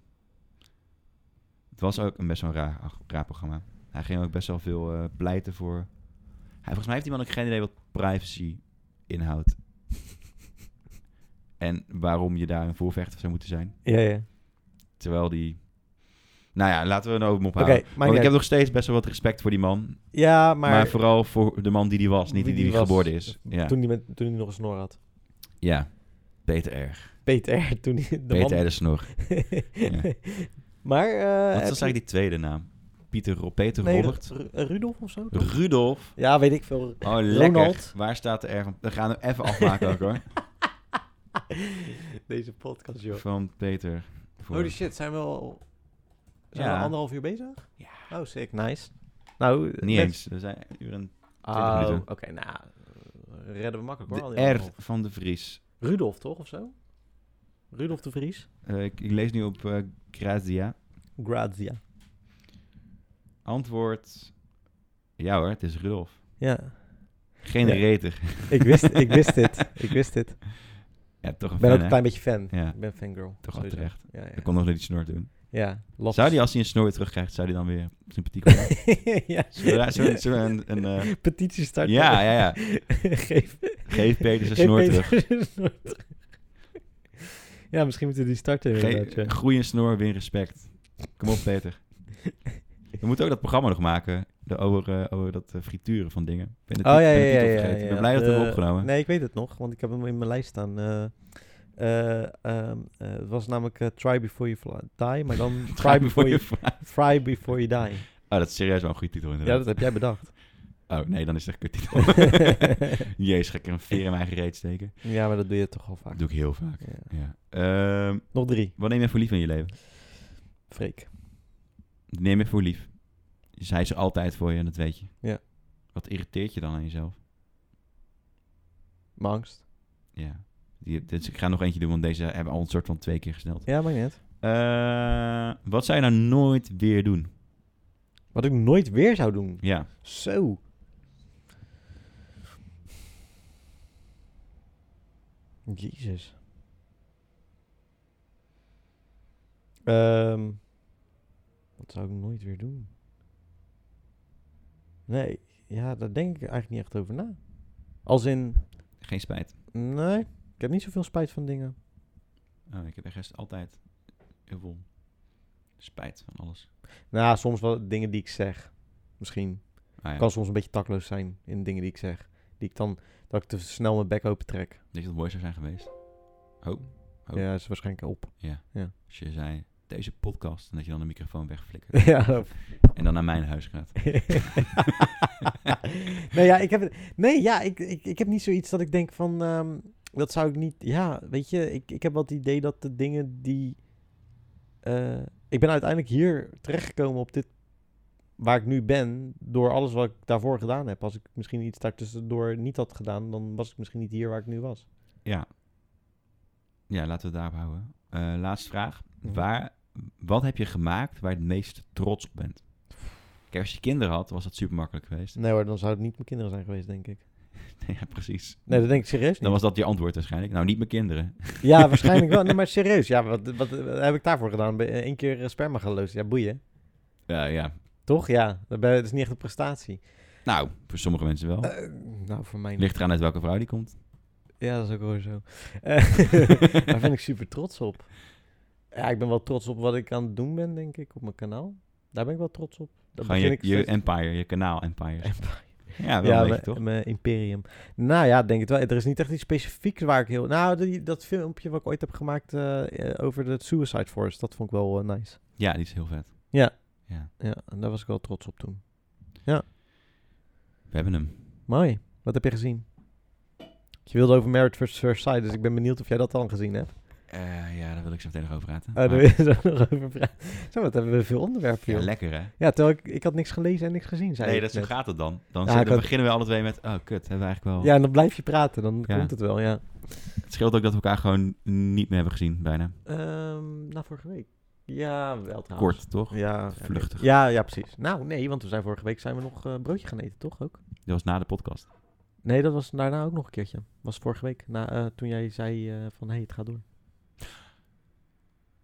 Het was ook een best wel een raar, ach, raar programma. Hij ging ook best wel veel eh, pleiten voor... Hij, volgens mij heeft die man ook geen idee wat privacy inhoudt. en waarom je daar een voorvechter zou moeten zijn. Ja, ja. Terwijl die... Nou ja, laten we er over hem Oké, ophouden. maakt niet Want ik uit. heb nog steeds best wel wat respect voor die man. Ja, maar... Maar, vooral voor de man die die was, niet die die, die was. geboren is. Ja. Toen, die met, toen hij nog een snor had. ja, Peter R. Peter, toen hij... De Peter man... R. de Snor. Ja. maar... eh, heb Wat is je- eigenlijk die tweede naam? Pieter, Ro- Peter nee, Robert? Ru- Ru- Rudolf of zo? toch? Rudolf? Ja, weet ik veel. Oh, lekker. Ronald. Waar staat de R? van- We gaan hem even afmaken ook hoor. Deze podcast, joh. Van Peter. Voor- Holy shit, zijn we al zijn we Ja. al anderhalf uur bezig? Ja. Oh, sick. Nice. Nou, Niet net- eens. We zijn een uur en- Oh, 20 minuten. oké. nou, eh, redden we makkelijk hoor. al die De R anderhalf. van de Vries. Rudolf, toch? Of zo? Rudolf de Vries? Eh, ik, ik lees nu op eh, Grazia. Grazia. Antwoord. Ja hoor, het is Rudolf. Ja. Geen Ja. reter. Ik wist, ik wist dit. Ik wist dit. Ja, toch een Ik ben ook fan, een hè? klein beetje fan. Ja, Ik ben fangirl. toch wel sowieso. terecht. Ja, ja. Ik kon nog niet die snor doen. ja lots. Zou die als hij een snor weer terugkrijgt, zou die dan weer sympathiek worden? ja. Zullen we daar- zullen we- zullen we een... een eh, Petitie starten. ja, ja, ja. Geef, Geef Peter zijn geef snor Peter terug. zijn snor terug. ja, misschien moeten we die starten inderdaad. ja. Ge groei een snor, win respect. Kom op, Peter. We moeten ook dat programma nog maken. De, over, eh, over dat eh, frituren van dingen. Ik ben de oh tit- ja, ben de ja, ja, titel ja, vergeten. Ik ja. ben blij dat we De- hebben opgenomen. Nee, ik weet het nog, want ik heb hem in mijn lijst staan. Eh, eh, ehm, eh, het was namelijk eh, Try Before You Fly- Die, maar dan Try Before You vraag. Fry Before You Die. Oh, dat is serieus wel een goede titel Ja, inderdaad. dat heb jij bedacht. Oh, nee, dan is het echt een kuttitel. Jezus, ga ik er een veer in mijn eigen reet steken? ja, maar dat doe je toch al Dat vaak. doe ik heel vaak. Ja. Ja. Ehm, Nog drie, wat neem je voor lief in je leven? Freek. Neem je voor lief. Dus hij is er altijd voor je en dat weet je. Ja. Wat irriteert je dan aan jezelf? Mijn angst. Ja. Die, dit, ik ga nog eentje doen, want deze hebben we al een soort van twee keer gesteld. Ja, maar net. Eh, wat zou je nou nooit weer doen? Wat ik nooit weer zou doen. Ja. Zo. Jezus. Ehm, wat zou ik nooit weer doen? Nee, ja, daar denk ik eigenlijk niet echt over na. Als in, Geen spijt. nee, ik heb niet zoveel spijt van dingen. Oh, ik heb echt rest altijd heel veel spijt van alles. Nou, soms wel dingen die ik zeg. Misschien. Ah, ja. Ik kan soms een beetje takloos zijn in dingen die ik zeg. Die ik dan, dat ik te snel mijn bek open trek. Denk je dat het mooi zou zijn geweest? Oh, Oh. Ja, is waarschijnlijk op. ja. Ja. Als je zei, deze podcast, en dat je dan de microfoon wegflikkert. ja. En dan naar mijn huis gaat. nee, ja, ik heb, het- nee, ja ik, ik, ik heb niet zoiets dat ik denk van... ehm, dat zou ik niet... Ja, weet je, ik, ik heb wel het idee dat de dingen die... eh, ik ben uiteindelijk hier terechtgekomen op dit... Waar ik nu ben, door alles wat ik daarvoor gedaan heb. Als ik misschien iets daartussendoor niet had gedaan, dan was ik misschien niet hier waar ik nu was. Ja. Ja, laten we het daarop houden. Eh, laatste vraag. Mhm. Waar, wat heb je gemaakt waar je het meest trots op bent? Kijk, als je kinderen had, was dat super makkelijk geweest. Nee hoor, dan zouden het niet mijn kinderen zijn geweest, denk ik. ja, precies. Nee, dat denk ik serieus niet. Dan was dat je antwoord waarschijnlijk. Nou, niet mijn kinderen. Ja, waarschijnlijk wel. Nee, maar serieus, ja, wat, wat, wat heb ik daarvoor gedaan? Ben- Eén keer eh, sperma geloosd. Ja, boeien. Ja, ja. Toch? Ja. Dat ben- dat is niet echt een prestatie. Nou, voor sommige mensen wel. Eh, nou, voor mij niet. Ligt eraan uit welke vrouw die komt. Ja, dat is ook wel zo. Eh, Daar ben ik super trots op. Ja, ik ben wel trots op wat ik aan het doen ben, denk ik, op mijn kanaal. Daar ben ik wel trots op. Dat Gewoon begin je, ik je steeds- empire, je kanaal empire. Ja, wel ja, een beetje, mijn, toch? mijn imperium. Nou ja, denk het wel. Er is niet echt iets specifieks waar ik heel... Nou, die, dat filmpje wat ik ooit heb gemaakt eh, eh, over de Suicide Force, dat vond ik wel eh, nice. Ja, die is heel vet. Ja. Ja. Ja, en daar was ik wel trots op toen. We hebben hem. Mooi. Wat heb je gezien? Je wilde over Marriage vs. Versailles, dus ik ben benieuwd of jij dat al gezien hebt. Eh, ja, daar wil ik zo meteen nog over praten. Oh, daar Maar- wil je zo nog over praten. Zo, wat hebben we veel onderwerpen ja, hier. Ja, lekker hè? terwijl ik, ik had niks gelezen en niks gezien, zei Nee, ik dat, zo net. gaat het dan. Dan, Ja, zitten- ik had- beginnen we alle twee met, oh kut, hebben we eigenlijk wel... Ja, en dan blijf je praten, dan Ja. komt het wel, ja. Het scheelt ook dat we elkaar gewoon niet meer hebben gezien, bijna. Ehm na vorige week. Ja, wel trouwens. Kort, toch? Ja, Vluchtig. Ja, ja, precies. Nou, nee, want we zijn vorige week zijn we nog eh, broodje gaan eten, toch ook? Dat was na de podcast. Nee, dat was daarna ook nog een keertje. Was vorige week, na, eh, toen jij zei eh, van, hé, hey, het gaat door.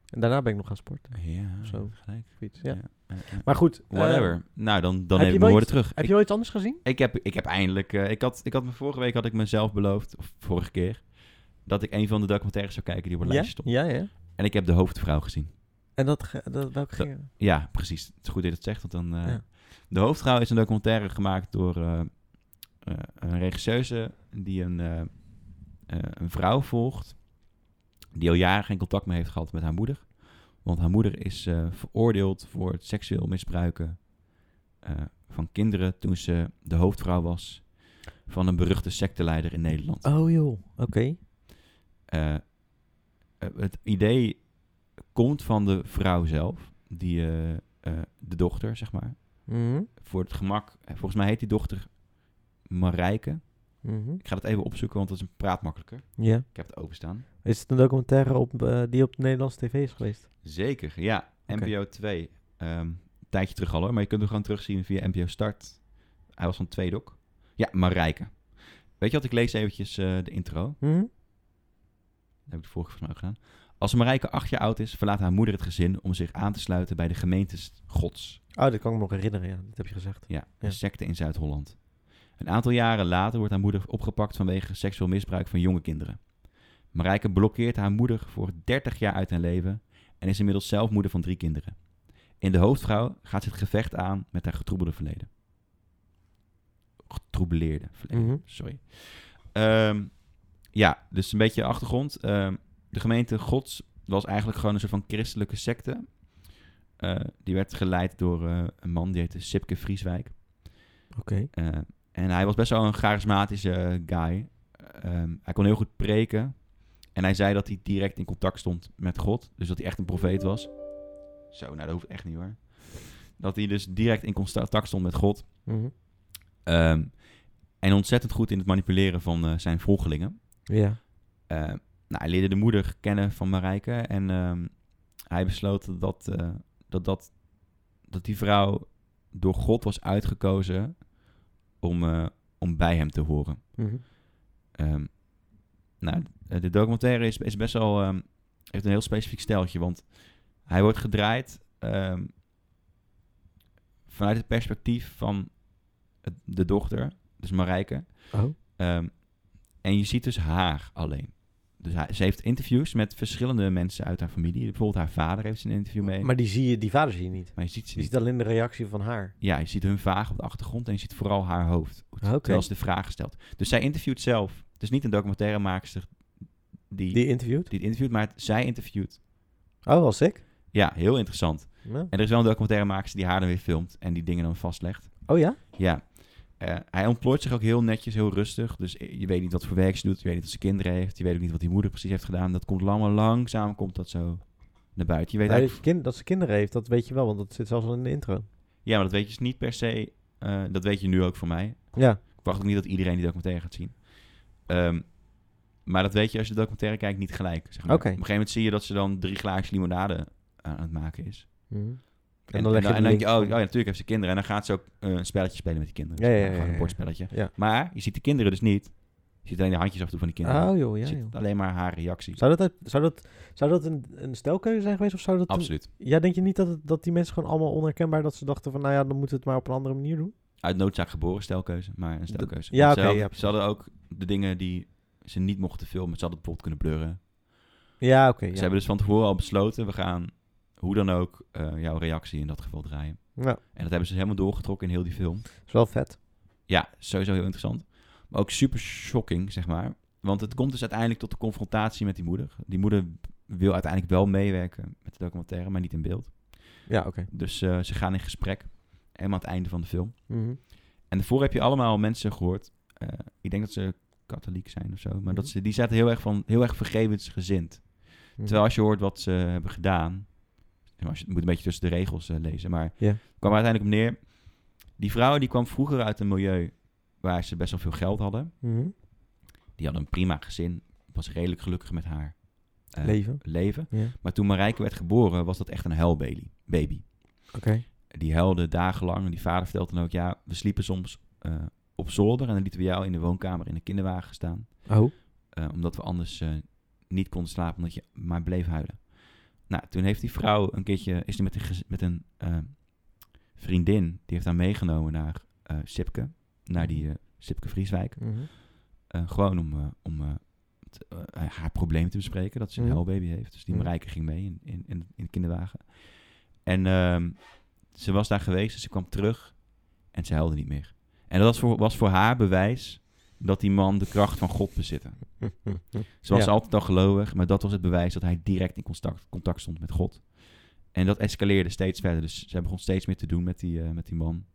En daarna ben ik nog gaan sporten. Ja, Zo. gelijk. of iets, Ja. Ja, ja, ja. Maar goed. eh, Whatever. nou, dan, dan heb heb je ik wel mijn woorden terug. heb je ooit anders gezien? Ik heb, ik heb eindelijk... eh, ik, had, ik had me vorige week had ik mezelf beloofd, of vorige keer, dat ik een van de documentaires zou kijken die op een ja? lijstje stond. ja, ja. En ik heb de hoofdvrouw gezien. En dat, ge- dat welke Dat- ging... Ja, precies. Het is goed dat je dat zegt. Want dan, eh, Ja. De hoofdvrouw is een documentaire gemaakt door eh, eh, een regisseuse die een, eh, eh, een vrouw volgt. Die al jaren geen contact meer heeft gehad met haar moeder. Want haar moeder is eh, veroordeeld voor het seksueel misbruiken eh, van kinderen toen ze de hoofdvrouw was van een beruchte secteleider in Nederland. Oh joh, oké. Eh, eh, het idee komt van de vrouw zelf, die, eh, eh, de dochter, zeg maar. Mhm, Voor het gemak, eh, volgens mij heet die dochter Marijke. mhm. Ik ga dat even opzoeken, want dat is een praat makkelijker. Ja. Ik heb het openstaan. Is het een documentaire op, eh, die op de Nederlandse tv is geweest? Zeker, ja. Oké. NPO 2. Ehm, een tijdje terug al hoor, maar je kunt hem gewoon terugzien via NPO Start. Hij was van Tweedok. Ja, Marijke. Weet je wat, ik lees eventjes eh, de intro. Mhm. Dat heb ik de vorige keer van ook gedaan. Als Marijke acht jaar oud is, verlaat haar moeder het gezin om zich aan te sluiten bij de gemeentes Gods, Oh, dat kan ik me nog herinneren, ja. Dat heb je gezegd. ja, Ja. een secte in Zuid-Holland. Een aantal jaren later wordt haar moeder opgepakt vanwege seksueel misbruik van jonge kinderen. Marijke blokkeert haar moeder voor 30 jaar uit haar leven en is inmiddels zelf moeder van drie kinderen. In de hoofdvrouw gaat ze het gevecht aan met haar getroebelde verleden. Getroebeleerde verleden, Mhm. sorry. Ehm, ja, dus een beetje achtergrond. Ehm, de gemeente Gods was eigenlijk gewoon een soort van christelijke secte. Eh, die werd geleid door eh, een man die heette Sipke Vrieswijk. Oké. Eh, en hij was best wel een charismatische eh, guy. Ehm, hij kon heel goed preken. En hij zei dat hij direct in contact stond met God. Dus dat hij echt een profeet was. Zo, nou dat hoeft echt niet hoor. Dat hij dus direct in contact stond met God. Mhm. Ehm, en ontzettend goed in het manipuleren van eh, zijn volgelingen. Ja. Eh, nou, hij leerde de moeder kennen van Marijke. En ehm, hij besloot dat, eh, dat, dat, dat die vrouw door God was uitgekozen om, eh, om bij hem te horen. Mhm. Ehm, nou, eh, de documentaire is, is best wel... ehm, heeft een heel specifiek steltje, want hij wordt gedraaid ehm, vanuit het perspectief van het- de dochter, dus Marijke. Oh. Ehm, en je ziet dus haar alleen. Dus hij, ze heeft interviews met verschillende mensen uit haar familie. Bijvoorbeeld haar vader heeft ze een interview mee. Maar, Maar die, zie je, die vader zie je niet. je ziet ze Je niet. ziet alleen de reactie van haar. Ja, je ziet hun vaag op de achtergrond en je ziet vooral haar hoofd. Ah, Oké. Terwijl ze de vraag stelt. Dus zij interviewt zelf. Dus niet een documentairemaakster die, die Die interviewt. het interviewt, maar het- zij interviewt. Oh, was ik? Ja, heel interessant. En er is wel een documentairemaakster die haar dan weer filmt en die dingen dan vastlegt. Oh ja? Ja. Eh, hij ontplooit zich ook heel netjes, heel rustig. Dus je weet niet wat voor werk ze doet. Je weet niet wat ze kinderen heeft. Je weet ook niet wat die moeder precies heeft gedaan. Dat komt allemaal langzaam komt dat zo naar buiten. Je weet Nou, eigenlijk- dat, kind, dat ze kinderen heeft, dat weet je wel, want dat zit zelfs al in de intro. Ja, maar dat weet je dus niet per se. eh, dat weet je nu ook van mij. Ja. Ik wacht ook niet dat iedereen die documentaire gaat zien. Ehm, maar dat weet je als je de documentaire kijkt niet gelijk. Zeg maar. Oké. Op een gegeven moment zie je dat ze dan drie glaasjes limonade eh, aan aan het maken is. Mhm. En dan leg je en de denk je, link oh, oh van- ja, natuurlijk heeft ze kinderen. En dan gaat ze ook eh, een spelletje spelen met die kinderen. Ja, ja, zeg maar, ja, Gewoon een ja, ja. bordspelletje. Ja. Maar je ziet de kinderen dus niet. Je ziet alleen de handjes af en toe van die kinderen. Oh joh, je ja ziet joh. alleen maar haar reactie. Zou dat, uit- zou dat, zou dat een, een stelkeuze zijn geweest? Of zou dat een- Absoluut. ja, denk je niet dat, het- dat die mensen gewoon allemaal onherkenbaar dat ze dachten van, nou ja, dan moeten we het maar op een andere manier doen? Uit noodzaak geboren stelkeuze, maar een stelkeuze. ja, Want oké, ja, ze, hadden, precies. ze hadden ook de dingen die ze niet mochten filmen. Ze hadden het bijvoorbeeld kunnen blurren. Ja, oké. Ze ja. hebben dus van tevoren al besloten, we gaan hoe dan ook eh, jouw reactie in dat geval draaien. Ja, En dat hebben ze dus helemaal doorgetrokken in heel die film. is wel vet. Ja, sowieso heel interessant. Maar ook super shocking, zeg maar. Want het komt dus uiteindelijk tot de confrontatie met die moeder. Die moeder wil uiteindelijk wel meewerken met de documentaire, maar niet in beeld. Ja, oké. Dus eh, ze gaan in gesprek. Helemaal aan het einde van de film. Mhm. En daarvoor heb je allemaal mensen gehoord. eh, ik denk dat ze katholiek zijn of zo. Maar dat ze, die zaten heel erg, van, heel erg vergevensgezind. Mhm. Terwijl als je hoort wat ze hebben gedaan. zeg maar, Als je, het moet een beetje tussen de regels eh, lezen. Maar Ja. kwam er uiteindelijk op neer. Die vrouw die kwam vroeger uit een milieu waar ze best wel veel geld hadden. Mhm. Die hadden een prima gezin. Was redelijk gelukkig met haar eh, Leven. leven. Ja, Maar toen Marijke werd geboren was dat echt een huilbaby. Baby. oké. die huilde dagenlang. En die vader vertelde dan ook, ja, we sliepen soms eh, op zolder. En dan lieten we jou in de woonkamer in de kinderwagen staan. Oh. eh, omdat we anders eh, niet konden slapen, omdat je maar bleef huilen. Nou, toen heeft die vrouw een keertje, is die met een, gez- met een eh, vriendin, die heeft haar meegenomen naar eh Sipke. Naar die eh, Sipke Vrieswijk. Mhm. Eh, gewoon om, eh, om eh, t- eh, haar probleem te bespreken, dat ze een Mhm. huilbaby heeft. Dus die Mhm. Marijke ging mee in, in, in, in de kinderwagen. En ehm, ze was daar geweest, dus ze kwam terug en ze huilde niet meer. En dat was voor, was voor haar bewijs dat die man de kracht van God bezitte. Ze was Ja. altijd al gelovig, maar dat was het bewijs dat hij direct in contact, contact stond met God. En dat escaleerde steeds verder. Dus zij begon steeds meer te doen met die, eh, met die man,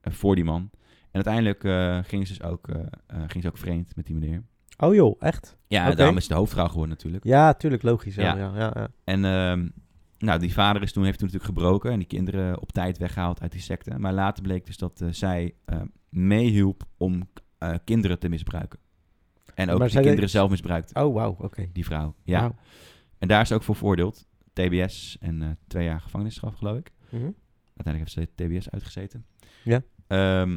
eh, voor die man. En uiteindelijk eh, ging, ze dus ook, eh, eh, ging ze ook vreemd met die meneer. Oh joh, echt? Ja, Oké. daarom is ze de hoofdvrouw geworden natuurlijk. Ja, tuurlijk, logisch. Ja, Ja. ja, ja, ja. En ehm, nou, die vader is toen, heeft toen natuurlijk gebroken en die kinderen op tijd weggehaald uit die secte. Maar later bleek dus dat eh, zij eh, meehielp om eh, kinderen te misbruiken. En ook Maar de zij kinderen deed- zelf misbruikte, Oh, wauw, oké. die vrouw. Ja. Wauw. En daar is ze ook voor veroordeeld. TBS en eh, twee jaar gevangenisstraf, geloof ik. Mhm. Uiteindelijk heeft ze TBS uitgezeten. Ja. Ehm,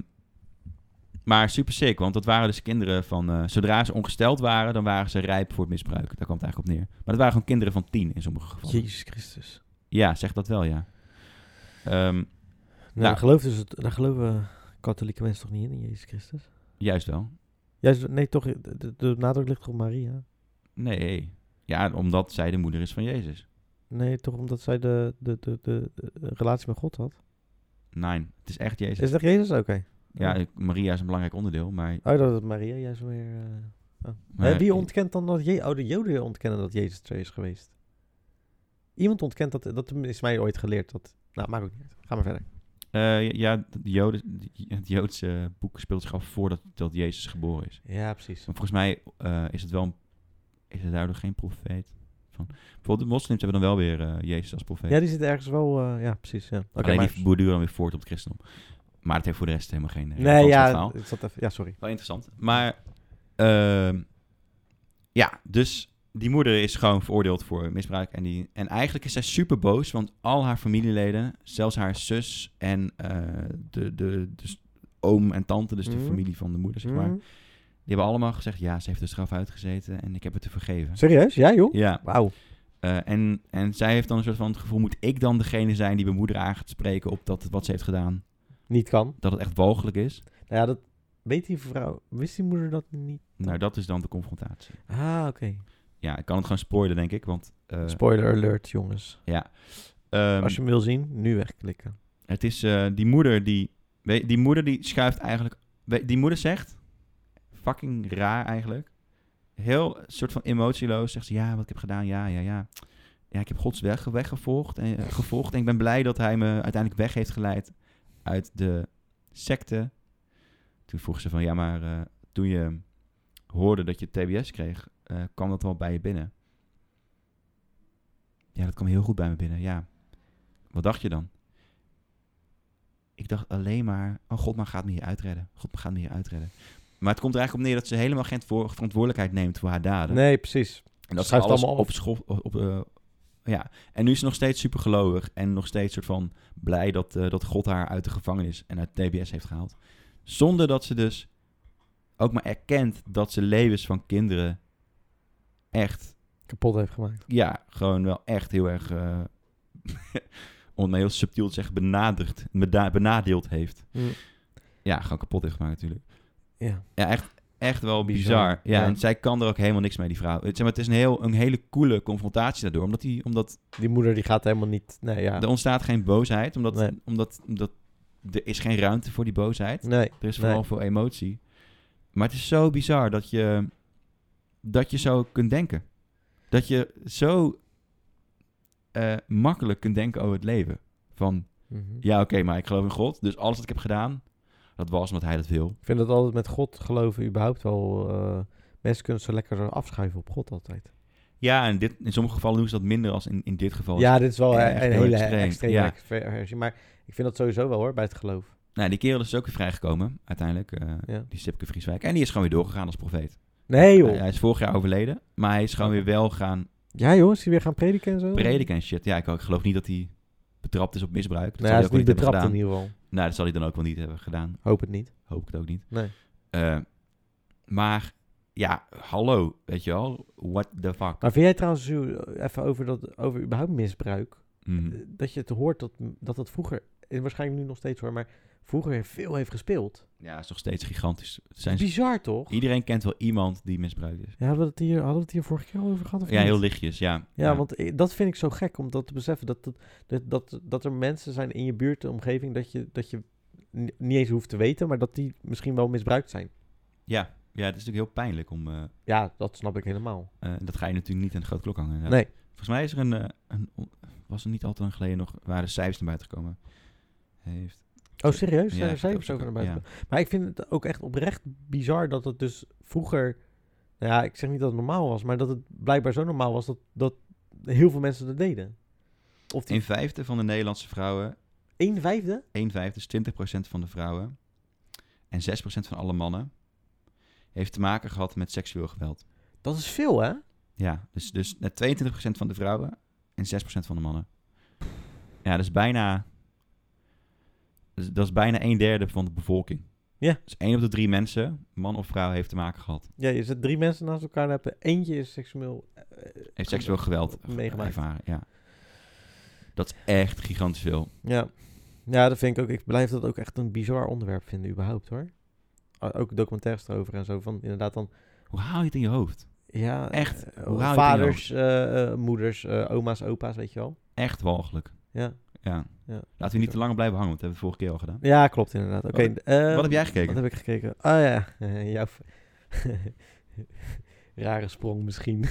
maar super sick, want dat waren dus kinderen van... eh, zodra ze ongesteld waren, dan waren ze rijp voor het misbruik. Daar kwam het eigenlijk op neer. Maar dat waren gewoon kinderen van tien in sommige gevallen. Jezus Christus. Ja, zeg dat wel, ja. Ehm, Nou, Nou. daar, gelooft dus het, daar geloven katholieke mensen toch niet in, in Jezus Christus? juist wel. Juist, nee, toch, de, de- de nadruk ligt toch op Maria? Nee. Ja, omdat zij de moeder is van Jezus. Nee, toch omdat zij de, de, de, de, de relatie met God had? Nee, het is echt Jezus. Is dat Jezus? Oké. Ja, ik- Maria is een belangrijk onderdeel, maar... Oh, dat het Maria juist weer... eh, maar- Hè, wie ontkent dan dat... Je oh, de Joden ontkennen dat Jezus er is geweest. Iemand ontkent dat... Dat is mij ooit geleerd. Dat, nou, maakt ook niet uit. Ga maar verder. Eh, ja, de Joden, het Joodse boek speelt zich af voordat dat Jezus geboren is. Ja, precies. Maar volgens mij eh, is het wel een, is het daardoor geen profeet. Van. Bijvoorbeeld de moslims hebben dan wel weer eh, Jezus als profeet. Ja, die zit ergens wel... eh, ja, precies. Ja. Oké, Alleen maar- die borduren dan weer voort op het christendom. Maar het heeft voor de rest helemaal geen... eh, Nee, relevantie met het verhaal. ja, ik zat even, ja, sorry. Wel interessant. Maar, ehm, ja, dus die moeder is gewoon veroordeeld voor misbruik. En, die, en eigenlijk is zij super boos, want al haar familieleden, zelfs haar zus en eh, de, de, dus oom en tante, dus de Mhm. familie van de moeder, zeg maar, Mhm. die hebben allemaal gezegd, ja, ze heeft de straf uitgezeten en ik heb het te vergeven. Serieus? Ja, joh? Ja, Wauw. eh, en, en zij heeft dan een soort van het gevoel, moet ik dan degene zijn die mijn moeder aan gaat spreken op dat, wat ze heeft gedaan, Niet kan. dat het echt walgelijk is? Nou ja, dat... Weet die vrouw... Wist die moeder dat niet? Nou, dat is dan de confrontatie. Ah, oké. Ja, ik kan het gewoon spoilen, denk ik, want... eh, Spoiler alert, jongens. Ja. Ehm, Als je hem wil zien, nu wegklikken. Het is eh, die moeder die... weet- Die moeder die schuift eigenlijk... weet- Die moeder zegt... Fucking raar eigenlijk. Heel soort van emotieloos zegt ze... Ja, wat ik heb gedaan, ja, ja, ja. Ja, ik heb Gods weg weggevolgd en, eh, gevolgd. En ik ben blij dat hij me uiteindelijk weg heeft geleid uit de secte. Toen vroeg ze van... Ja, maar eh, toen je hoorde dat je TBS kreeg... eh, kwam dat wel bij je binnen? Ja, dat kwam heel goed bij me binnen, ja. Wat dacht je dan? ik dacht alleen maar, oh god, maar gaat me hier uitredden. God, maar gaat me hier uitredden. Maar het komt er eigenlijk op neer dat ze helemaal geen voor- verantwoordelijkheid neemt voor haar daden. Nee, precies. en dat ze schuift alles allemaal af. op school... Op, eh, ja, en nu is ze nog steeds super gelovig en nog steeds soort van blij dat, eh, dat God haar uit de gevangenis en uit TBS heeft gehaald. Zonder dat ze dus ook maar erkent dat ze levens van kinderen echt, Kapot heeft gemaakt. ja, gewoon wel echt heel erg, eh, om het maar heel subtiel te zeggen, benaderd, bena- benadeeld heeft. Ja, gewoon kapot heeft gemaakt natuurlijk. Ja. Ja, echt, echt wel Bizar. bizar. Ja, Ja. en zij kan er ook helemaal niks mee, die vrouw. Het, zeg maar, het is een, heel, een hele coole confrontatie daardoor. Omdat, die, omdat Die moeder die gaat helemaal niet... Nee, ja. er ontstaat geen boosheid. Omdat, Nee. omdat, omdat er is geen ruimte voor die boosheid. Nee. Er is Nee. vooral veel emotie. Maar het is zo bizar dat je, dat je zo kunt denken. Dat je zo eh, makkelijk kunt denken over het leven. Van, ja oké, maar ik geloof in God. Dus alles wat ik heb gedaan, dat was omdat hij dat wil. Ik vind dat altijd met God geloven überhaupt wel... eh, mensen kunnen zo lekker afschuiven op God altijd. Ja, en dit, in sommige gevallen doen ze dat minder als in, in dit geval. ja, dit is wel echt een, Oh, heel hele extreem, extreme ja. ver- versie. Maar ik vind dat sowieso wel hoor, bij het geloof. Nou, die kerel is dus ook weer vrijgekomen, uiteindelijk. eh, Ja. Die Sipke Vrieswijk. En die is gewoon weer doorgegaan als profeet. Nee Hij, joh. Mm. hij is vorig jaar overleden, maar hij is gewoon weer wel gaan Ja joh, is hij weer gaan prediken en zo? prediken en shit. Ja, ik, ik geloof niet dat hij betrapt is op misbruik. Dat Nou, hij is zal hij niet ook wel niet hebben betrapt in gedaan. ieder geval. Nou, dat zal hij dan ook wel niet hebben gedaan. Hoop het niet. Hoop ik het ook niet. Nee. Eh, maar, ja, hallo, weet je wel. What the fuck. Maar vind jij trouwens, Sjoerd, even over, dat, over überhaupt misbruik. Mhm. dat je het hoort dat dat, dat vroeger, en waarschijnlijk nu nog steeds hoor, maar vroeger veel heeft gespeeld. Ja, is nog steeds gigantisch. Het zijn Bizar toch? Iedereen kent wel iemand die misbruikt is. Ja, hadden we het hier, hadden we het hier vorige keer al over gehad? Of Ja, niet? heel lichtjes, ja. Ja, want i- dat vind ik zo gek om dat te beseffen. Dat, dat, dat, dat, dat er mensen zijn in je buurt, de omgeving, dat je, dat je ni- niet eens hoeft te weten, maar dat die misschien wel misbruikt zijn. Ja, ja, het is natuurlijk heel pijnlijk om... eh, Ja, dat snap ik helemaal. eh, dat ga je natuurlijk niet aan de grote klok hangen. inderdaad. Nee. Volgens mij is er een... eh, een on- was er niet al te lang geleden nog... Waren de cijfers naar buiten gekomen. Heeft... Oh, serieus? Zijn Ja, er ik heb cijfers ook over naar zo- buiten? gekomen? Maar ik vind het ook echt oprecht bizar dat het dus vroeger... Nou ja, ik zeg niet dat het normaal was, maar dat het blijkbaar zo normaal was dat, dat heel veel mensen dat deden. Of die Een vijfde van de Nederlandse vrouwen 1 vijfde? 1 vijfde, is 20% van de vrouwen en 6% van alle mannen heeft te maken gehad met seksueel geweld. Dat is veel, hè? Ja, dus, dus net 22% van de vrouwen en 6% van de mannen. Ja, dat is bijna, dat is- dat is bijna een derde van de bevolking. Ja. Dus 1 op de drie mensen, man of vrouw, heeft te maken gehad. Ja, je zet drie mensen naast elkaar en heb je- eentje is seksueel... eh, Heeft seksueel geweld ge- Meegemaakt. ervaren. Ja. Dat is echt gigantisch veel. Ja. ja, dat vind ik ook. Ik blijf dat ook echt een bizar onderwerp vinden, überhaupt hoor. O- Ook documentaires erover en zo. Van inderdaad dan. Hoe haal je het in je hoofd? Ja, Echt, eh, hoe haal je het in je vaders, eh, eh, moeders, eh, oma's, opa's, weet je wel. Echt walgelijk. Ja, Ja. Ja. Laten we niet te lang blijven hangen, want dat hebben we vorige keer al gedaan. ja klopt inderdaad. Oké. Wat- ehm, Wat heb jij gekeken? Wat heb ik gekeken? Ah ja, eh, jouw. Rare sprong misschien.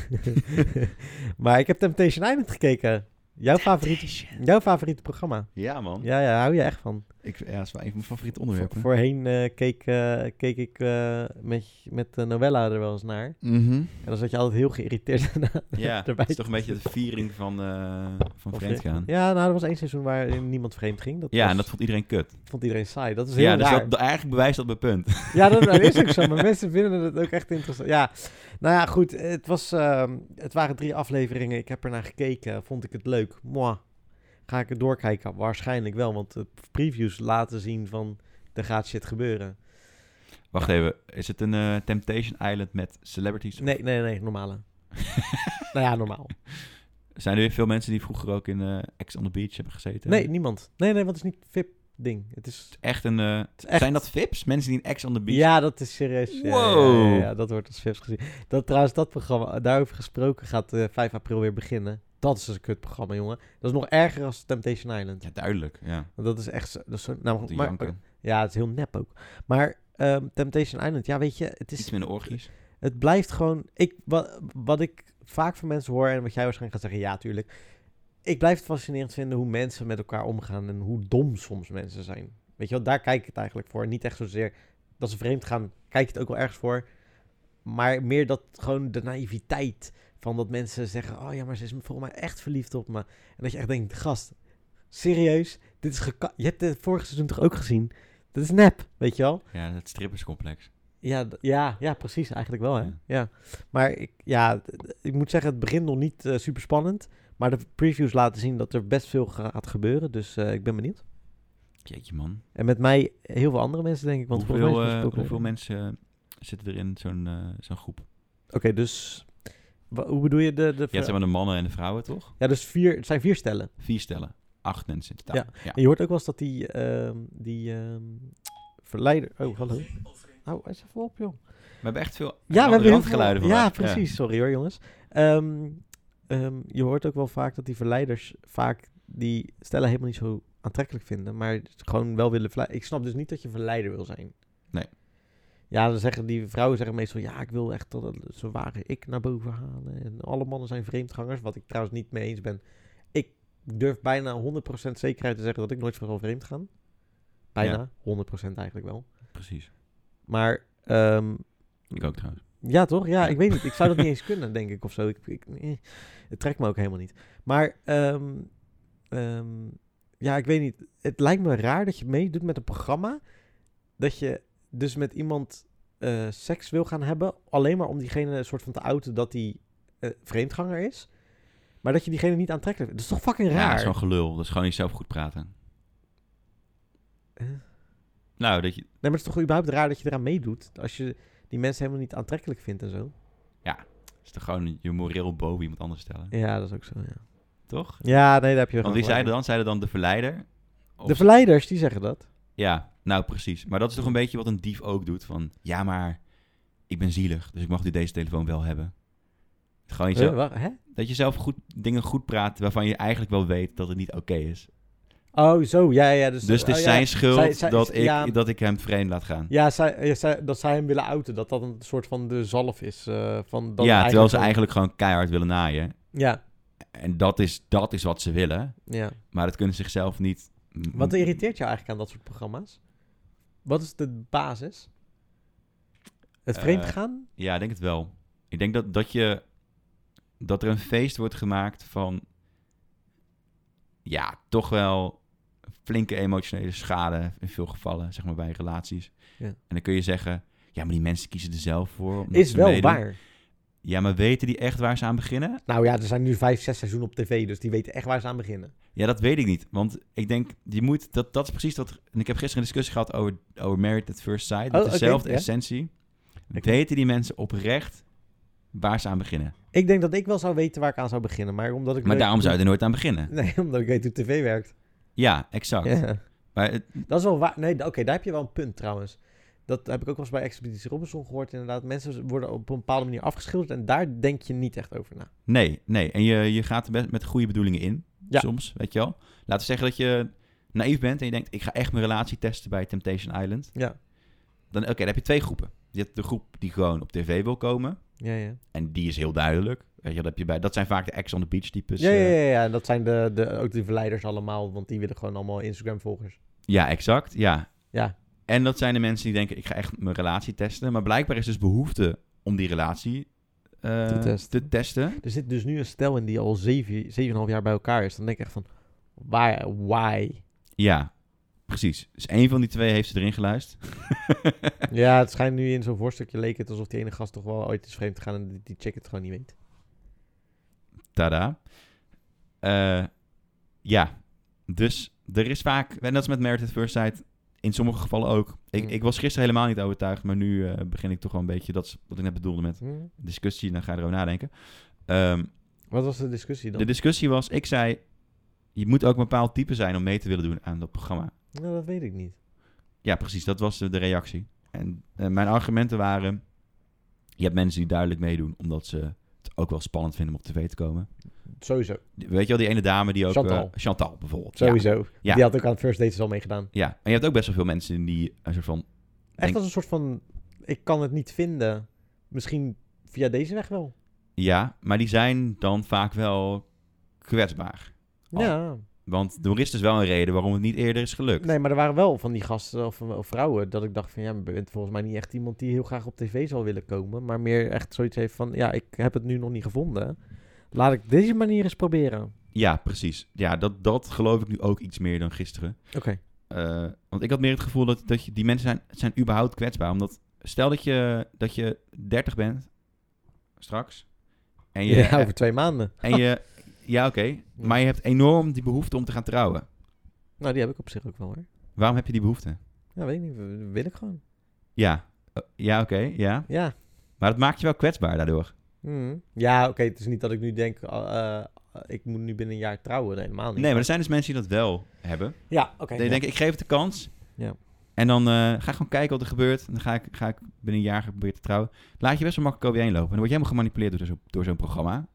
maar ik heb Temptation Island gekeken. Jouw, favoriete, jouw favoriete programma. Ja, man. Ja, ja, hou je echt van. Ik, ja, dat is wel een van mijn favoriete Vo- onderwerpen. voorheen eh, keek, eh, keek ik eh, met, met eh, Novella er wel eens naar. Mhm. En dan zat je altijd heel geïrriteerd daarna Ja, erbij. dat is toch een beetje de viering van, eh van Of- vreemd gaan. Ja, Ja, nou, er was één seizoen waarin niemand vreemd ging. Dat was- en dat vond iedereen kut. vond iedereen saai. Dat is heel Ja, dus raar. dat, dat- eigenlijk bewijst dat mijn punt. Ja, dat, dat is ook zo. Maar mensen vinden het ook echt interessant. Ja, nou ja, goed. Het, was, ehm, het waren drie afleveringen. Ik heb er naar gekeken. Vond ik het leuk. Moi. Ga ik het doorkijken? Waarschijnlijk wel, want de previews laten zien van... Er gaat shit gebeuren. Wacht even, is het een eh, Temptation Island met celebrities? Nee, nee, nee, normale. nou ja, normaal. Zijn er weer veel mensen die vroeger ook in eh Ex on the Beach hebben gezeten? Nee, niemand. Nee, nee, want het is niet VIP-ding. Het is... Echt een, eh, echt- Zijn dat vips? Mensen die in Ex on the Beach... Ja, dat is serieus. Ja, ja, Ja, Wow. ja, dat wordt als VIPs gezien. Dat, trouwens, dat programma, daarover gesproken, gaat eh 5 april weer beginnen. Dat is dus een kutprogramma, jongen. Dat is nog erger als Temptation Island. Ja, duidelijk. Ja, Want dat is echt zo... Dat is zo nou, te maar- janken. ja, het is heel nep ook. Maar ehm, Temptation Island, ja, weet je, het Iets is... minder orgies. Het blijft gewoon... Ik, wat, wat ik vaak van mensen hoor en wat jij waarschijnlijk gaat zeggen, ja, tuurlijk. Ik blijf het fascinerend vinden hoe mensen met elkaar omgaan en hoe dom soms mensen zijn. Weet je wel, daar kijk ik het eigenlijk voor. Niet echt zozeer dat ze vreemd gaan, kijk je het ook wel ergens voor. Maar meer dat gewoon de naïviteit van dat mensen zeggen, oh ja, maar ze is volgens mij echt verliefd op me. En dat je echt denkt, gast, serieus? Dit is geka- je hebt het vorige seizoen toch ook gezien? Dat is nep, weet je wel? Ja, het stripperscomplex. Ja, d- ja, ja, precies. Eigenlijk wel, hè? Ja. Ja. Maar ik, ja, d- d- ik moet zeggen, het begint nog niet super spannend. Maar de previews laten zien dat er best veel gaat gebeuren. Dus eh, ik ben benieuwd. Jeetje, man. En met mij heel veel andere mensen, denk ik. Want volgens mij hoeveel, is het eh, besproken. hoeveel mensen eh, zitten er in zo'n eh, zo'n groep? Oké, dus... wa- Hoe bedoel je de... de Ja, het zijn maar de mannen en de vrouwen, toch? ja, dus vier, het zijn vier stellen. Vier stellen. Acht mensen in totaal. Ja. En je hoort ook wel eens dat die... ehm, die ehm, verleider... Oh, hallo. Nou, eens even op, joh. We hebben echt veel Ja, we hebben heel veel geluiden van. Ja, precies. Sorry hoor, jongens. Ehm, ehm, je hoort ook wel vaak dat die verleiders vaak die stellen helemaal niet zo aantrekkelijk vinden, maar gewoon wel willen verleiden. Ik snap dus niet dat je verleider wil zijn. Nee. Ja, dan zeggen die vrouwen zeggen meestal, ja, ik wil echt dat het zo ware ik naar boven halen. En alle mannen zijn vreemdgangers, wat ik trouwens niet mee eens ben. Ik durf bijna 100% zekerheid te zeggen dat ik nooit zal vreemd gaan. Bijna, 100% eigenlijk wel. Precies. Maar ehm, Ik ook trouwens. ja, toch? Ja, Ja. ik weet niet. Ik zou dat niet eens kunnen, denk ik, of zo. Ik, ik, eh, het trekt me ook helemaal niet. Maar, ehm, ehm, ja, ik weet niet. Het lijkt me raar dat je meedoet met een programma. Dat je dus met iemand eh, seks wil gaan hebben. Alleen maar om diegene een soort van te outen dat hij eh, vreemdganger is. Maar dat je diegene niet aantrekkelijk vindt. Dat is toch fucking Ja, dat raar? is gewoon gelul. Dat is gewoon jezelf goed praten. Eh? Nou, dat je... Nee, maar het is toch überhaupt raar dat je eraan meedoet. Als je die mensen helemaal niet aantrekkelijk vindt en zo. is toch gewoon je moreel boven iemand anders stellen. Ja, dat is ook zo, ja. toch? Ja, nee, daar heb je Want gewoon wie gelijk zeiden dan? Zeiden dan de verleider? in. Of- De verleiders, die zeggen dat. Ja, nou precies. Maar dat is toch een beetje wat een dief ook doet. Van, ja maar, ik ben zielig, dus ik mag nu deze telefoon wel hebben. Gewoon Huh, jezelf, wacht, hè? dat je zelf goed, dingen goed praat waarvan je eigenlijk wel weet dat het niet oké is. Oh, zo, ja, ja. Dus, Dus het is oh, ja. zijn schuld Zij- zij- dat, ik, ja. dat ik hem vreemd laat gaan. Ja, zij, ja, zij- dat zij hem willen outen. Dat dat een soort van de zalf is. eh, van dan ja, terwijl ze gewoon- eigenlijk gewoon keihard willen naaien. Ja, En dat is, dat is wat ze willen, ja. maar dat kunnen ze zichzelf niet... m- Wat irriteert jou eigenlijk aan dat soort programma's? Wat is de basis? Het Eh, vreemd gaan? Ja, ik denk het wel. Ik denk dat, dat, je, dat er een feest wordt gemaakt van... Ja, toch wel flinke emotionele schade in veel gevallen, zeg maar bij relaties. Ja. En dan kun je zeggen, ja, maar die mensen kiezen er zelf voor. omdat Is ze wel meedoen. waar. Ja, maar weten die echt waar ze aan beginnen? Nou ja, er zijn nu vijf, zes seizoenen op tv, dus die weten echt waar ze aan beginnen. Ja, dat weet ik niet. Want ik denk, je moet, dat, dat is precies dat... En ik heb gisteren een discussie gehad over, over Married at First Sight. Oh, Met oké, dezelfde ja. essentie. Oké. Weten die mensen oprecht waar ze aan beginnen? Ik denk dat ik wel zou weten waar ik aan zou beginnen, maar omdat ik... Maar weet- daarom zou je er nooit aan beginnen. Nee, omdat ik weet hoe tv werkt. Ja, exact. Ja. Maar het- Dat is wel waar. Nee, d- oké, daar heb je wel een punt trouwens. Dat heb ik ook wel eens bij Expeditie Robinson gehoord. Inderdaad, mensen worden op een bepaalde manier afgeschilderd en daar denk je niet echt over na. nee, nee. En je, je gaat er met, met goede bedoelingen in. Ja. Soms, weet je wel. Laten we zeggen dat je naïef bent en je denkt... ik ga echt mijn relatie testen bij Temptation Island. Ja. Dan, oké, dan heb je twee groepen. Je hebt de groep die gewoon op tv wil komen. Ja, ja. En die is heel duidelijk. Weet je, dat, heb je bij, dat zijn vaak de ex on the beach types. ja, eh, ja, ja, ja. Dat zijn de, de, ook de verleiders allemaal, want die willen gewoon allemaal Instagram-volgers. ja, exact. Ja. Ja. En dat zijn de mensen die denken... ik ga echt mijn relatie testen. Maar blijkbaar is dus behoefte om die relatie eh, Te testen. te testen. Er zit dus nu een stel in die al zeven, zeven en een half jaar bij elkaar is. Dan denk ik echt van, why? why? Ja, precies. Dus één van die twee heeft ze erin geluisterd. Ja, het schijnt nu in zo'n voorstukje leek het alsof die ene gast toch wel ooit is vreemd te gaan en die, die check het gewoon niet weet. Tada. Eh, ja, dus er is vaak, en dat is met Merit at First Sight in sommige gevallen ook. Ik, Mm. ik was gisteren helemaal niet overtuigd, maar nu eh, begin ik toch wel een beetje, dat is wat ik net bedoelde met Hm? discussie, dan ga je erover nadenken. Ehm, Wat was de discussie dan? de discussie was, ik zei, je moet ook een bepaald type zijn om mee te willen doen aan dat programma. Nou, dat weet ik niet. Ja, precies. Dat was eh, de reactie. En eh, mijn argumenten waren... Je hebt mensen die duidelijk meedoen... omdat ze het ook wel spannend vinden om op tv te komen. Sowieso. Die- Weet je wel, die ene dame die ook... Chantal. eh, Chantal, bijvoorbeeld. Ja. Sowieso. Ja. Die had ook aan het first dates al meegedaan. Ja. En je hebt ook best wel veel mensen die een soort van... Echt Denk- als een soort van, ik kan het niet vinden. Misschien via deze weg wel. Ja, maar die zijn dan vaak wel kwetsbaar. Oh. Ja. Want er is dus wel een reden waarom het niet eerder is gelukt. Nee, maar er waren wel van die gasten of, of vrouwen dat ik dacht van, ja, je bent volgens mij niet echt iemand die heel graag op tv zal willen komen. Maar meer echt zoiets heeft van, ja, ik heb het nu nog niet gevonden. Laat ik deze manier eens proberen. Ja, precies. Ja, dat, dat geloof ik nu ook iets meer dan gisteren. Oké. Eh, want ik had meer het gevoel dat, dat je, die mensen zijn, zijn überhaupt kwetsbaar. Omdat stel dat je, dat je 30 bent straks. En je, Ja, over twee maanden. en je ja oké. Maar je hebt enorm die behoefte om te gaan trouwen. Nou, die heb ik op zich ook wel hoor. Waarom heb je die behoefte? Ja, weet ik niet. w- Wil ik gewoon. Ja, Eh, ja oké, ja. Ja. Maar dat maakt je wel kwetsbaar daardoor. Hmm. Ja, oké. het is niet dat ik nu denk, ah, eh, ik moet nu binnen een jaar trouwen. Nee, helemaal niet. Nee, maar er zijn dus mensen die dat wel hebben. Ja, oké. Die ja. denken, ik geef het de kans. Ja. En dan eh, ga ik gewoon kijken wat er gebeurt. En dan ga ik, ga ik binnen een jaar proberen te trouwen. Laat je best wel makkelijk overheen lopen. En dan word je helemaal gemanipuleerd door zo'n door zo'n programma.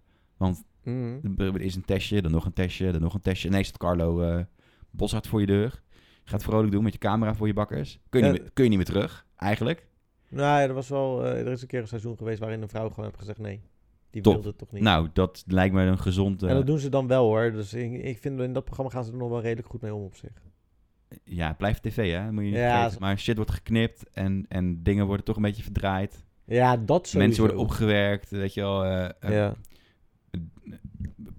Hmm. Er is een testje, dan nog een testje, dan nog een testje. Nee, staat Carlo eh Boshart voor je deur. Gaat vrolijk doen met je camera voor je bakkers. Kun je, Ja. niet, meer, kun je niet meer terug, eigenlijk. Nou ja, er, was wel, eh, er is een keer een seizoen geweest waarin een vrouw gewoon heeft gezegd nee. Die Top. wilde het toch niet. Nou, dat lijkt me een gezond... eh, en dat doen ze dan wel hoor. Dus ik, ik vind in dat programma gaan ze er nog wel redelijk goed mee om op zich. eh, Ja, het blijft tv, hè. Moet je niet Ja, vergeten. zo- Maar shit wordt geknipt en, en dingen worden toch een beetje verdraaid. Ja, dat sowieso. Mensen worden opgewerkt, weet je wel. eh, eh, Ja.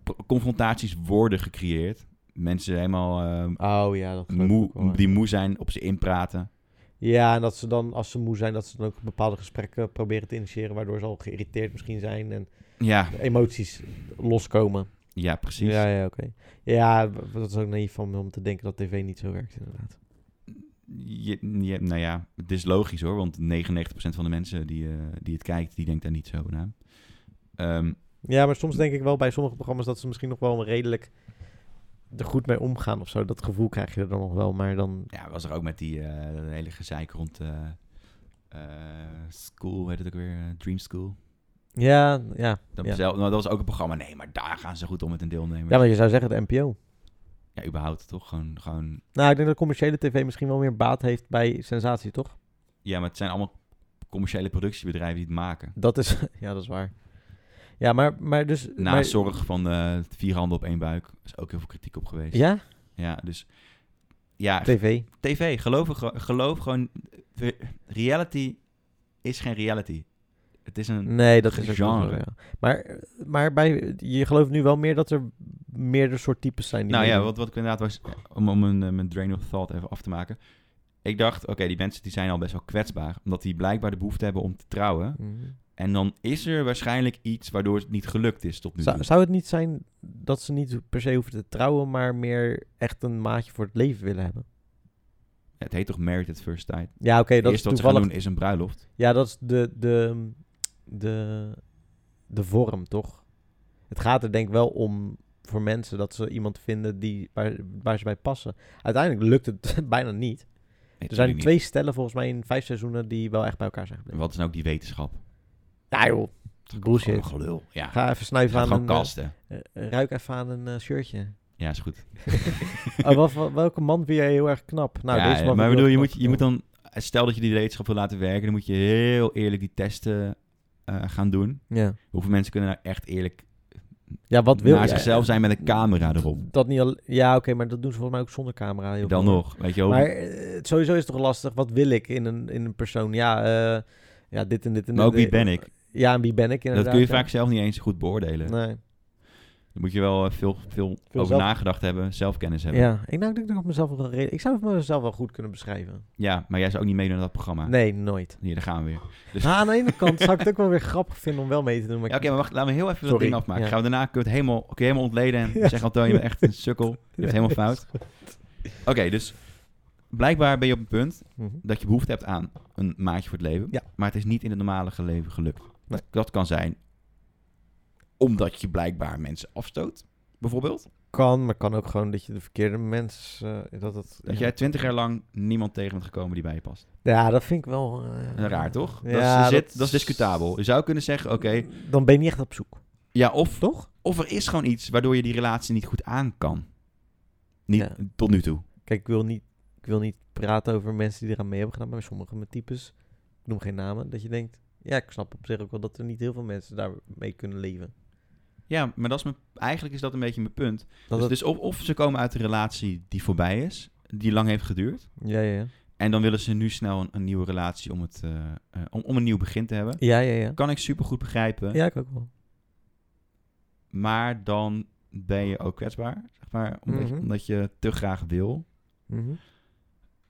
p- Confrontaties worden gecreëerd. Mensen helemaal eh, Oh ja, dat geloof ik ook wel, moe, hoor. die moe zijn op ze inpraten. Ja, en dat ze dan, als ze moe zijn, dat ze dan ook bepaalde gesprekken proberen te initiëren, waardoor ze al geïrriteerd misschien zijn en Ja, de emoties loskomen. ja precies. Ja, ja, oké. Ja, w- dat is ook naïef van me om te denken dat tv niet zo werkt inderdaad. Je, je- nou ja, het is logisch hoor, want 99% van de mensen die, eh, die het kijkt, die denkt daar niet zo over na. Ehm, Ja, maar soms denk ik wel bij sommige programma's dat ze misschien nog wel redelijk er goed mee omgaan of zo. Dat gevoel krijg je er dan nog wel, maar dan... Ja, was er ook met die eh, dat hele gezeik rond eh, eh, school, hoe heet het ook weer, eh, Dream School. Ja, ja. Dat, ja. zelf, nou, dat was ook een programma. Nee, maar daar gaan ze goed om met een deelnemer. ja, maar je zou zeggen de NPO. Ja, überhaupt toch? Gewoon, gewoon... Nou, ik denk dat commerciële tv misschien wel meer baat heeft bij sensatie, toch? Ja, maar het zijn allemaal commerciële productiebedrijven die het maken. Dat is... Ja, dat is waar. Ja, maar, maar dus... Na maar- Nou, zorg van eh, vier handen op één buik is ook heel veel kritiek op geweest. Ja? Ja, dus... Ja, TV. tv, geloof, er ge- geloof gewoon... eh, Reality is geen reality. Het is een... Nee, dat is ook wel zo, genre. ja. Maar, maar bij, je gelooft nu wel meer dat er meerdere soort types zijn. die Nou ja, meedoen. wat, wat ik inderdaad was, om, om een, eh, mijn drain of thought even af te maken. Ik dacht, oké, die mensen die zijn al best wel kwetsbaar. Omdat die blijkbaar de behoefte hebben om te trouwen. Mhm. En dan is er waarschijnlijk iets waardoor het niet gelukt is tot nu dus. toe. Zou, zou het niet zijn dat ze niet per se hoeven te trouwen, maar meer echt een maatje voor het leven willen hebben? Het heet toch Married at First Sight? Ja, oké, Het dat is eerste wat ze gaan toevallig. doen is een bruiloft. Ja, dat is de, de, de, de vorm, toch? Het gaat er denk ik wel om voor mensen dat ze iemand vinden die, waar, waar ze bij passen. Uiteindelijk lukt het bijna niet. Nee, Er zijn natuurlijk twee stellen volgens mij in vijf seizoenen die wel echt bij elkaar zijn niet. gebleven. Wat is nou ook die wetenschap? Nou joh, bullshit. Gewoon gelul. Ja, Ga even snuiven Gaat aan gewoon een... eh, kasten. eh, ruik even aan een eh, shirtje. Ja, is goed. oh, wel- wel- welke man vind jij heel erg knap? Nou, Ja, deze man maar vind ik bedoel, je heel moet, knap. je moet dan... Stel dat je die wetenschap wil laten werken, dan moet je heel eerlijk die testen eh, gaan doen. Ja, Hoeveel mensen kunnen nou echt eerlijk ja wat wil naar je? zichzelf zijn met een camera erop. Dat niet al... Ja, oké, maar dat doen ze volgens mij ook zonder camera. Heel Dan veel. nog, weet je wel. Maar Maar, eh, sowieso is het toch lastig. Wat wil ik in een, in een persoon? Ja, eh, ja, dit en dit en ook dit. wie ben ik? Ja, en wie ben ik Dat inderdaad. kun je ja. vaak zelf niet eens goed beoordelen. Nee. Daar moet je wel eh, veel, veel, over zelf- nagedacht hebben, zelfkennis hebben. Ja. Ja, ik, nou, ik denk dat ik op mezelf wel reden- Ik zou het mezelf wel goed kunnen beschrijven. maar jij zou ook niet meedoen aan dat programma. Nee, nooit. Hier, daar gaan we weer. Dus- Ah, aan de ene kant zou ik het ook wel weer grappig vinden om wel mee te doen. Maar Ja, Oké, maar wacht, laten we heel even dat Sorry, ding afmaken. ja. Gaan we daarna kun je het helemaal, kun je helemaal ontleden en Ja. zeggen, Antoon, je bent echt een sukkel. Je hebt het helemaal fout. Oké, dus blijkbaar ben je op een punt Mhm. dat je behoefte hebt aan een maatje voor het leven. Ja. Maar het is niet in het normale leven gelukt. Nee. Dat kan zijn omdat je blijkbaar mensen afstoot, bijvoorbeeld. Kan, maar kan ook gewoon dat je de verkeerde mens... eh, dat het, Dat ja. jij twintig jaar lang niemand tegen bent gekomen die bij je past. Ja, dat vind ik wel... eh, Raar, toch? Dat, Ja, is, zit- dat- dat is discutabel. Je zou kunnen zeggen, oké, Dan ben je niet echt op zoek. ja, of, Toch? of er is gewoon iets waardoor je die relatie niet goed aan kan. Niet, Ja. Tot nu toe. Kijk, ik wil niet, ik wil niet praten over mensen die eraan mee hebben gedaan, maar sommige met types, ik noem geen namen, dat je denkt, ja, ik snap op zich ook wel dat er niet heel veel mensen daarmee kunnen leven. Ja, maar dat is mijn, eigenlijk is dat een beetje mijn punt. Dat dus het- dus of, of ze komen uit een relatie die voorbij is, die lang heeft geduurd. ja, ja, ja. En dan willen ze nu snel een, een nieuwe relatie om, het, eh, eh, om, om een nieuw begin te hebben. Ja, ja, ja. Kan ik supergoed begrijpen. Ja, ik ook wel. Maar dan ben je ook kwetsbaar, zeg maar. Omdat, je, Mhm. omdat je te graag wil. Mhm.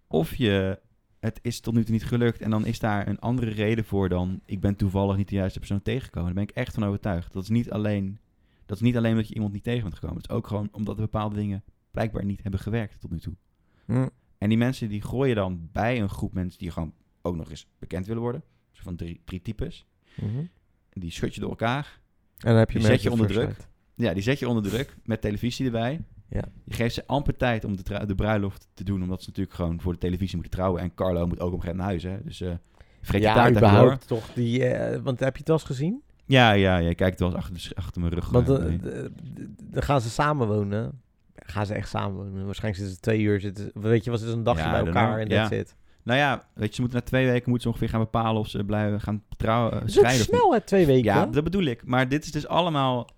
Of je, het is tot nu toe niet gelukt. En dan is daar een andere reden voor dan... ik ben toevallig niet de juiste persoon tegengekomen. Daar ben ik echt van overtuigd. Dat is niet alleen... Dat is niet alleen dat je iemand niet tegen bent gekomen. Het is ook gewoon omdat er bepaalde dingen blijkbaar niet hebben gewerkt tot nu toe. Mm. En die mensen die gooien dan bij een groep mensen die gewoon ook nog eens bekend willen worden. Zo van drie, drie types. Mhm. En die schud je door elkaar. En dan heb je Die mensen zet je onder first druk. sight. Ja, die zet je onder druk met televisie erbij. Ja. Je geeft ze amper tijd om de, tru- de bruiloft te doen, omdat ze natuurlijk gewoon voor de televisie moeten trouwen. En Carlo moet ook op een gegeven moment naar huis, hè. Dus eh vergeet je Ja, taart even hoor. überhaupt toch. Die, eh, want heb je het wel eens gezien? Ja, ja, ja. Kijk, het was achter, de sch- achter mijn rug. Want eh, eh, nee. d- d- dan gaan ze samenwonen. Gaan ze echt samenwonen. Waarschijnlijk zitten ze twee uur. Zitten, ze- weet je, was het een dagje Ja, bij I don't elkaar know. en Ja. dat zit. Nou ja, weet je, ze moeten na twee weken moeten ze ongeveer gaan bepalen of ze blijven gaan trouwen, eh, Het is ook scheiden of niet. snel, hè, twee weken. Ja, dat bedoel ik. Maar dit is dus allemaal...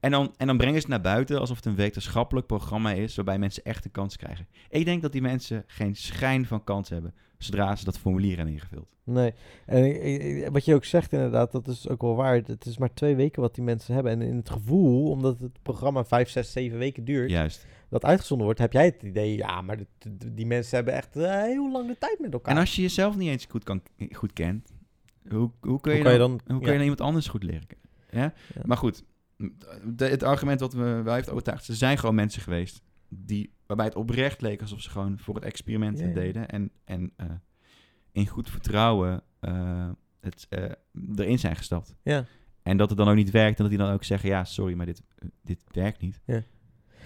En dan, en dan brengen ze het naar buiten alsof het een wetenschappelijk programma is... waarbij mensen echt een kans krijgen. Ik denk dat die mensen geen schijn van kans hebben... zodra ze dat formulier hebben ingevuld. Nee, en ik- ik- ik- wat je ook zegt inderdaad, dat is ook wel waar. Het is maar twee weken wat die mensen hebben. En in het gevoel, omdat het programma vijf, zes, zeven weken duurt, Juist. dat uitgezonden wordt, heb jij het idee, ja, maar dit- dit- die mensen hebben echt eh, heel lang de tijd met elkaar. En als je jezelf niet eens goed, kan, goed kent... Hoe, hoe kun je, hoe kan je dan, dan... hoe kun je dan iemand anders goed leren kennen? Ja? Ja. Maar goed, de- het argument wat me wel heeft overtuigd... ze zijn gewoon mensen geweest... Die, waarbij het oprecht leek alsof ze gewoon voor het experiment Ja, het ja. deden... en, en eh, in goed vertrouwen eh, het, eh, erin zijn gestapt. ja. ja. En dat het dan ook niet werkt en dat die dan ook zeggen, ja, sorry, maar dit, eh, dit werkt niet. Ja.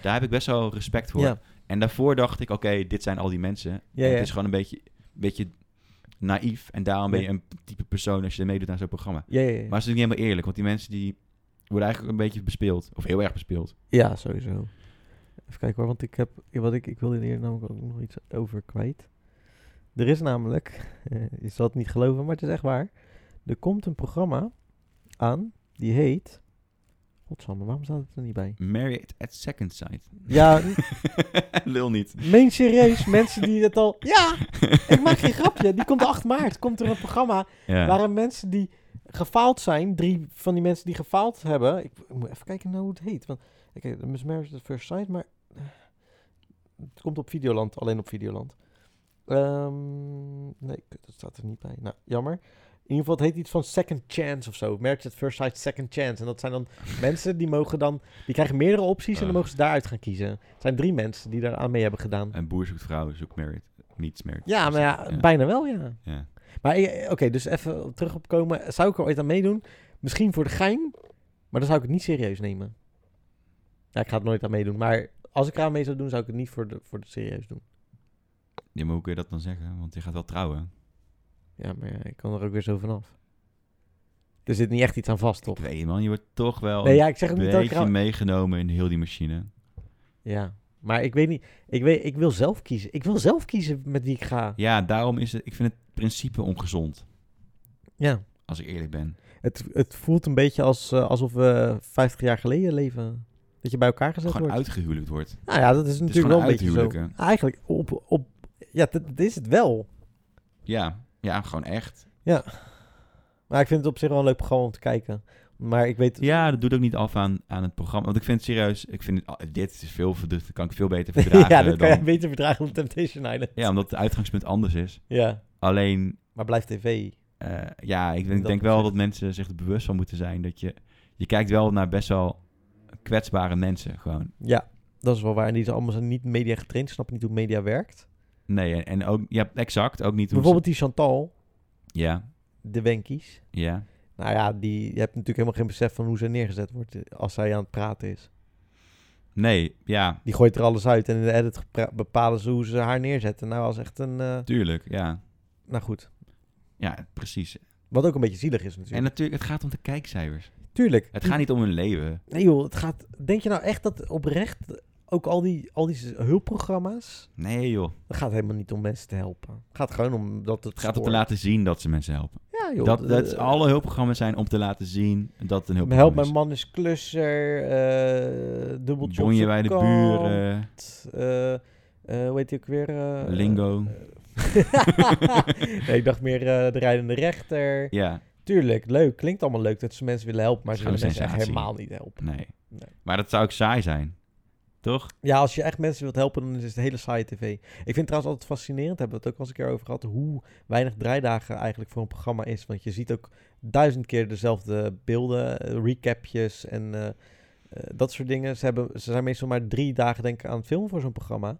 Daar heb ik best wel respect voor. Ja. En daarvoor dacht ik, oké, dit zijn al die mensen. Ja, En ja. Het is gewoon een beetje, beetje naïef en daarom ben je een type persoon als je meedoet aan zo'n programma. Ja, ja, ja. Maar het is natuurlijk niet helemaal eerlijk, want die mensen die worden eigenlijk een beetje bespeeld. Of heel erg bespeeld. ja, sowieso. Even kijken hoor, want ik heb... ja, Wat ik, ik wilde hier namelijk ook nog iets over kwijt. Er is namelijk... eh, je zal het niet geloven, maar het is echt waar. Er komt een programma aan, die heet... Godsamme, waarom staat het er niet bij? Married at Second Sight. Ja, Lul niet. Meen serieus, mensen die het al... Ja, ik maak geen grapje. Die komt 8 maart, komt er een programma... Ja. waarin mensen die gefaald zijn... drie van die mensen die gefaald hebben... Ik, ik moet even kijken naar hoe het heet. Want, oké, de Mismarriage at First Sight, maar... eh, Het komt op Videoland, alleen op Videoland. Ehm, nee, kut, dat staat er niet bij. Nou, jammer. In ieder geval, het heet iets van Second Chance of zo. Marriage at First Sight Second Chance. En dat zijn dan mensen die mogen dan... Die krijgen meerdere opties en dan Ah. mogen ze daaruit gaan kiezen. Het zijn drie mensen die daar aan mee hebben gedaan. Een boer zoekt vrouw, zoekt married. Meets married. Ja, maar ja, Ja. bijna wel, ja. Ja. Maar eh, oké, dus even terug opkomen. Zou ik er ooit aan meedoen? Misschien voor de gein, maar dan zou ik het niet serieus nemen. Ja, ik ga het nooit aan meedoen. Maar als ik eraan mee zou doen, zou ik het niet voor de, voor de serieus doen. Ja, maar hoe kun je dat dan zeggen? Want je gaat wel trouwen. Ja, maar ja, ik kan er ook weer zo vanaf. Er zit niet echt iets aan vast, toch? Ik weet je, man, je wordt toch wel Nee, ja, ik zeg ook een niet dat beetje ik eraan... meegenomen in heel die machine. Ja, maar ik weet niet... Ik, weet, ik wil zelf kiezen. Ik wil zelf kiezen met wie ik ga. Ja, daarom is het, ik vind het principe ongezond, Ja, als ik eerlijk ben. het, het voelt een beetje als, eh, alsof we 50 jaar geleden leven. Dat je bij elkaar gezet Gewoon wordt. uitgehuwelijkt wordt. Nou ja, dat is Het is natuurlijk gewoon wel een beetje zo. uithuwelijken. Eigenlijk op, op ja, dat, dat is het wel. Ja, ja, gewoon echt. Maar ik vind het op zich wel een leuk programma om te kijken. Maar ik weet, Ja, dat doet ook niet af aan, aan het programma. Want ik vind het serieus, ik vind het, ah, dit is veel, verd- dat kan ik veel beter verdragen. ja, dat kan dan- je beter verdragen dan Temptation Island. ja, omdat het uitgangspunt anders is. Ja, Alleen, maar blijft tv. Eh, ja, ik denk, Dat denk wel opzicht. dat mensen zich er bewust van moeten zijn. Dat je, je kijkt wel naar best wel kwetsbare mensen gewoon. Ja, dat is wel waar. En die zijn allemaal zijn niet media getraind, snappen niet hoe media werkt. Nee, en, en ook, ja, exact. Ook niet hoe ze- Bijvoorbeeld die Chantal, Ja, de Wenkies. ja. Nou ja, die je hebt natuurlijk helemaal geen besef van hoe zij neergezet wordt eh, als zij aan het praten is. Nee, ja, Die gooit er alles uit en in de edit gepra- bepalen ze hoe ze haar neerzetten. Nou, als echt een... eh, tuurlijk, ja. nou goed, Ja, precies. wat ook een beetje zielig is natuurlijk. En natuurlijk, het gaat om de kijkcijfers. Tuurlijk. Het gaat niet om hun leven. Nee joh, het gaat... Denk je nou echt dat oprecht ook al die, al die s- hulpprogramma's... Nee joh, Het gaat helemaal niet om mensen te helpen. Het gaat gewoon om dat het... het gaat om te spoor- laten zien dat ze mensen helpen. Ja joh. dat, dat eh, alle hulpprogramma's zijn om te laten zien dat het een Help hulpprogramma mijn is. man is klusser. eh dubbeltje op Bonje z'n bij de kant, buren, eh, eh, hoe heet die ook weer? eh, lingo. nee, ik dacht meer eh, de rijdende rechter. Ja, Tuurlijk, leuk. Klinkt allemaal leuk dat ze mensen willen helpen, maar ze Gewoon willen mensen echt sensatie. helemaal niet helpen. nee. Nee. Maar dat zou ook saai zijn. Toch? Ja, als je echt mensen wilt helpen, dan is het hele saaie tv. Ik vind het trouwens altijd fascinerend, hebben we het ook al eens een keer over gehad, hoe weinig draaidagen eigenlijk voor een programma is. Want je ziet ook duizend keer dezelfde beelden, eh, recapjes en eh, eh, dat soort dingen. Ze, hebben, ze zijn meestal maar drie dagen denk ik aan het filmen voor zo'n programma.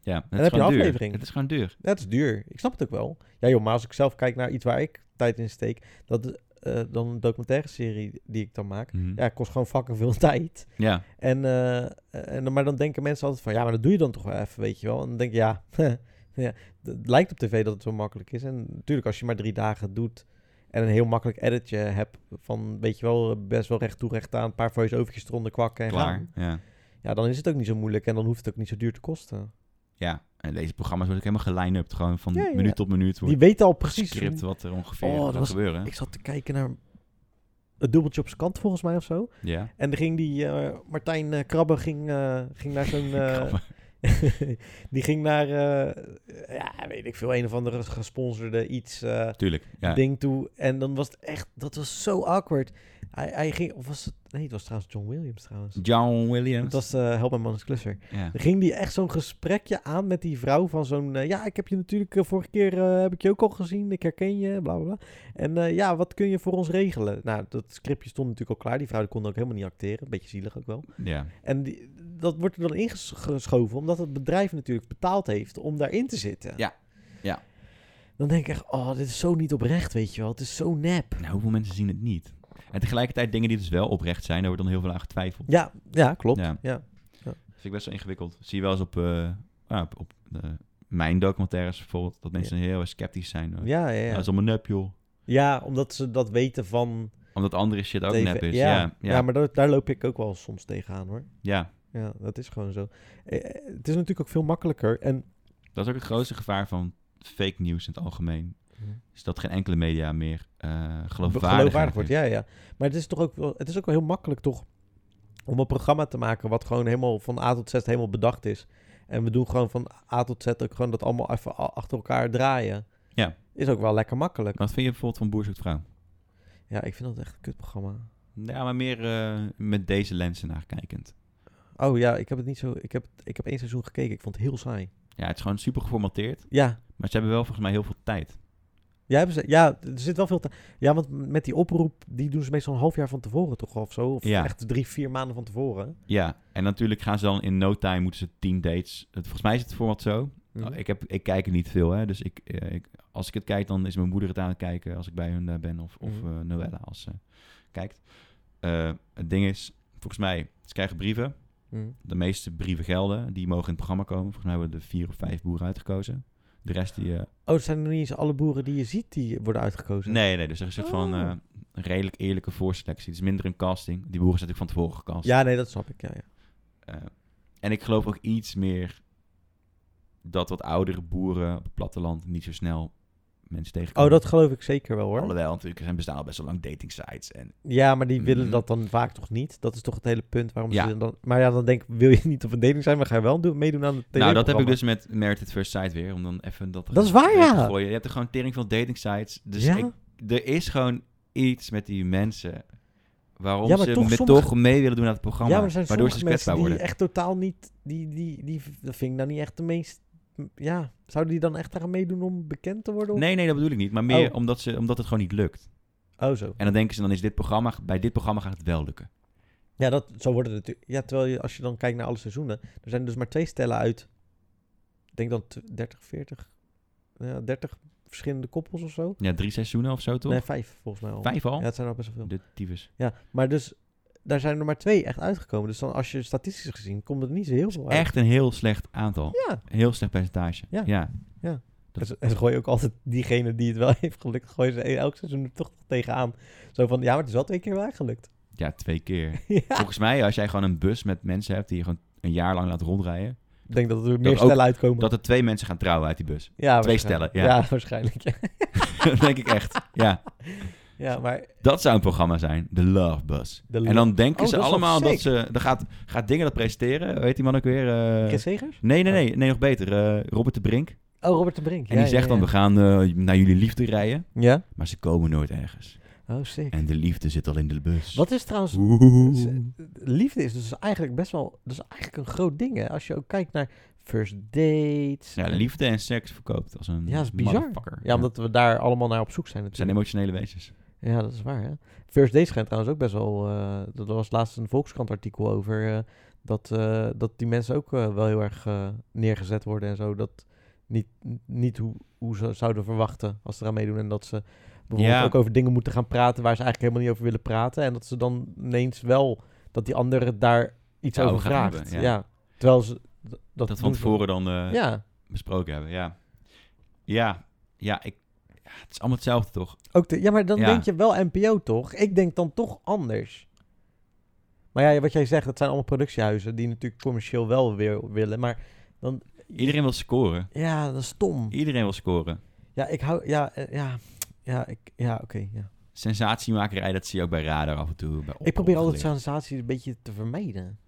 Ja, het heb is je gewoon een duur. aflevering. Het is gewoon duur. Dat is duur, ik snap het ook wel. Ja joh, maar als ik zelf kijk naar iets waar ik tijd in steek, dat, is, eh, dan een documentaire serie die ik dan maak, Mhm. ja, kost gewoon fucking veel tijd. Ja. En, eh, en, dan- maar dan denken mensen altijd van, ja, maar dat doe je dan toch wel even, weet je wel. En dan denk je, ja, ja het lijkt op tv dat het zo makkelijk is. En natuurlijk, als je maar drie dagen doet en een heel makkelijk editje hebt van, weet je wel, best wel recht toe, recht aan, een paar voice-overtjes eronder kwakken en klaar. gaan. Ja. Ja, dan is het ook niet zo moeilijk en dan hoeft het ook niet zo duur te kosten. ja, en deze programma's worden ook helemaal geline-upt. Gewoon van Ja, ja, ja. minuut tot minuut Die wordt weten al precies... script hoe- wat er ongeveer Oh, dat gaat was- gebeuren. Ik zat te kijken naar het dubbeltje op zijn kant, volgens mij, of zo. Ja. En er ging die eh, Martijn eh, Krabbe ging, eh, ging naar zo'n... eh, die ging naar, eh, ja, weet ik veel, een of andere gesponsorde iets eh, Tuurlijk. Ja. ding toe. En dan was het echt, dat was zo awkward. Hij, hij ging, of was het, nee, het was trouwens John Williams trouwens. John Williams. Het was eh, Help My Man is Klusser. ja. Dan ging die echt zo'n gesprekje aan met die vrouw van zo'n... eh, ja, ik heb je natuurlijk eh, vorige keer eh, heb ik je ook al gezien. Ik herken je, bla, bla, bla. En eh, ja, wat kun je voor ons regelen? Nou, dat scriptje stond natuurlijk al klaar. Die vrouw die kon ook helemaal niet acteren. Een beetje zielig ook wel. ja. En die- dat wordt er dan ingeschoven, omdat het bedrijf natuurlijk betaald heeft om daarin te zitten. Ja, ja. Dan denk ik echt, oh, dit is zo niet oprecht, weet je wel. Het is zo nep. Nou, hoeveel mensen zien het niet? En tegelijkertijd dingen die dus wel oprecht zijn, daar wordt dan heel veel aan getwijfeld. Ja, ja klopt. Ja. ja. Dat vind ik best wel ingewikkeld. Zie je wel eens op, eh, ah, op, op eh, mijn documentaires bijvoorbeeld, dat mensen heel erg sceptisch zijn. eh, Ja, ja, Dat ja. is allemaal nep, joh. ja, omdat ze dat weten van... Omdat andere shit ook TV nep is. Ja, Ja, ja, ja. maar daar, daar loop ik ook wel soms tegenaan hoor. Ja, dat is gewoon zo. Eh, eh, Het is natuurlijk ook veel makkelijker. En Dat is ook het grootste gevaar van fake nieuws in het algemeen. Is dat geen enkele media meer eh geloofwaardig, geloofwaardig wordt. wordt. Ja, ja. Maar het is toch ook wel, het is ook wel heel makkelijk toch om een programma te maken wat gewoon helemaal van A tot Z helemaal bedacht is. En we doen gewoon van A tot Z ook gewoon dat allemaal even a- achter elkaar draaien. Ja. Is ook wel lekker makkelijk. Wat vind je bijvoorbeeld van Boer zoekt vrouw? Nou, Ja, ik vind dat echt een kutprogramma. Ja, maar meer eh, met deze lenzen naar kijkend. Oh ja, ik heb het niet zo. Ik heb, ik heb één seizoen gekeken. Ik vond het heel saai. Ja, het is gewoon super geformateerd. Ja. Maar ze hebben wel volgens mij heel veel tijd. Ja, hebben ze, ja, er zit wel veel te- Ja, want met die oproep, die doen ze meestal een half jaar van tevoren toch of zo? Of Ja. echt drie, vier maanden van tevoren. Ja, en natuurlijk gaan ze dan in no time moeten ze tien dates. Het, volgens mij is het format zo. Hm, Nou, ik, heb, ik kijk er niet veel, hè. Dus ik, eh, ik, als ik het kijk, dan is mijn moeder het aan het kijken als ik bij hun eh, ben. Of, of Mhm. eh, Noella als ze kijkt. Eh, het ding is, volgens mij, ze krijgen brieven. Mhm. De meeste brieven gelden. Die mogen in het programma komen. Volgens mij hebben er vier of vijf boeren uitgekozen. De rest die... eh, Oh, het zijn er niet eens alle boeren die je ziet die worden uitgekozen? nee, nee, dus er is een soort van Oh. eh, een redelijk eerlijke voorselectie. Het is minder een casting. Die boeren zijn natuurlijk van tevoren gecast. Ja, nee, dat snap ik. Ja, ja. Eh, en ik geloof ook iets meer dat wat oudere boeren op het platteland niet zo snel mensen Oh, tegenkomen. dat geloof ik zeker wel hoor. Alhoewel, natuurlijk er zijn bestaan al best wel lang dating sites. En Ja, maar die willen Mhm. dat dan vaak toch niet? Dat is toch het hele punt waarom Ja. ze dan... Maar ja, dan denk ik, wil je niet op een dating zijn, maar ga je wel doen- meedoen aan het nou, dat heb ik tv-programma? dus met Merit at First Sight weer. Om dan even dat, Dat is waar, erin te ja. gooien. Je hebt er gewoon tering veel dating sites. Dus Ja? ik, er is gewoon iets met die mensen. Waarom Ja, maar ze toch met sommige- toch mee willen doen aan het programma. Ja, maar er zijn waardoor sommige ze mensen kwetsbaar die worden. echt totaal niet... Die, die, die, dat vind ik nou niet echt de meest... Ja, zouden die dan echt daar aan meedoen om bekend te worden? of- Nee, nee, dat bedoel ik niet. Maar meer Oh. omdat, ze, omdat het gewoon niet lukt. Oh, zo. En dan denken ze, dan is dit programma, bij dit programma gaat het wel lukken. Ja, dat, zo worden het natuurlijk... Ja, terwijl je, als je dan kijkt naar alle seizoenen... Er zijn dus maar twee stellen uit... Ik denk dan t- 30, 40... Ja, 30 verschillende koppels of zo. Ja, drie seizoenen of zo toch? Nee, vijf volgens mij al. Vijf al? Ja, het zijn al best wel veel. De tyfus. Ja, maar dus daar zijn er maar twee echt uitgekomen. Dus dan als je statistisch gezien komt er niet zo heel veel uit. Echt een heel slecht aantal. Ja. Een heel slecht percentage. Ja. ja. En ze- En ze gooien ook altijd diegene die het wel heeft gelukt, gooien ze e- elk seizoen er toch tegenaan. Zo van, ja, maar het is wel twee keer wel gelukt. Ja, twee keer. ja. Volgens mij, als jij gewoon een bus met mensen hebt die je gewoon een jaar lang laat rondrijden, Ik denk dat er meer ook- stellen uitkomen. dat er twee mensen gaan trouwen uit die bus. ja, twee waarschijnlijk. stellen, ja. waarschijnlijk. Ja. dat denk ik echt. Ja, ja, maar dat zou een programma zijn. De Love Bus. De En dan denken Oh, ze dat is wel allemaal dat sick. ze... Dan gaat, gaat Dingen dat presenteren. Hoe heet die man ook weer? Eh, Chris Segers? nee, nee, nee. Nee, nog beter. eh, Robert de Brink. En Oh, Robert de Brink. die Ja, zegt ja, dan, ja. we gaan eh, naar jullie liefde rijden. Ja? Maar ze komen nooit ergens. Oh, sick. En de liefde zit al in de bus. Wat is trouwens... Oeh. Liefde is dus eigenlijk best wel... Dat is eigenlijk een groot ding, hè. Als je ook kijkt naar first dates... Ja, liefde en seks verkoopt als een Ja, dat is bizar. motherfucker. Ja, omdat we daar allemaal naar op zoek zijn We zijn natuurlijk. emotionele wezens. Ja, dat is waar. Hè? First Dates schijnt trouwens ook best wel. eh er was laatst een Volkskrant artikel over. eh, dat, eh, dat die mensen ook eh, wel heel erg eh, neergezet worden en zo. Dat niet, niet hoe, hoe ze zouden verwachten als ze eraan meedoen. En dat ze bijvoorbeeld Ja. ook over dingen moeten gaan praten waar ze eigenlijk helemaal niet over willen praten. En dat ze dan ineens wel. dat die andere daar iets Ja, over over gaan vraagt. ja. hebben, ja. Terwijl ze. d- Dat, Dat, we doen van ze- tevoren dan eh, Ja, besproken hebben, ja. Ja, ja, ik, ja, het is allemaal hetzelfde toch? Ook de- ja, maar dan Ja. denk je wel NPO toch? Ik denk dan toch anders. Maar ja, wat jij zegt, dat zijn allemaal productiehuizen die natuurlijk commercieel wel weer willen. Maar dan. Iedereen wil scoren. Ja, dat is stom. Iedereen wil scoren. Ja, ik hou. Ja, eh, ja. Ja, ik, ja oké. ja. Sensatiemakerij, dat zie je ook bij radar af en toe. Bij op- Ik probeer altijd opgelicht. sensaties een beetje te vermijden. Omdat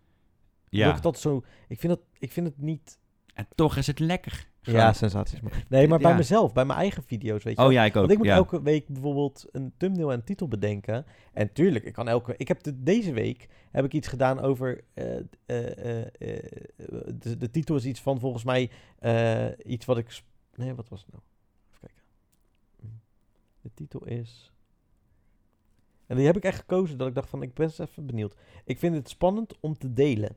Ja, Ik, dat zo, ik, vind dat, ik vind het niet. en toch is het lekker. Ja, Gewoon- sensaties. Maar, nee, maar bij Ja. mezelf, bij mijn eigen video's, weet je. Oh ja, ik ook. Want ik moet ja. elke week bijvoorbeeld een thumbnail en titel bedenken. En tuurlijk, ik kan elke Ik heb de- deze week heb ik iets gedaan over. eh, eh, eh, eh, de, de titel is iets van volgens mij eh, iets wat ik. sp- Nee, wat was het nou? Even kijken. Hm. De titel is. En die heb ik echt gekozen dat ik dacht van ik ben eens even benieuwd. Ik vind het spannend om te delen.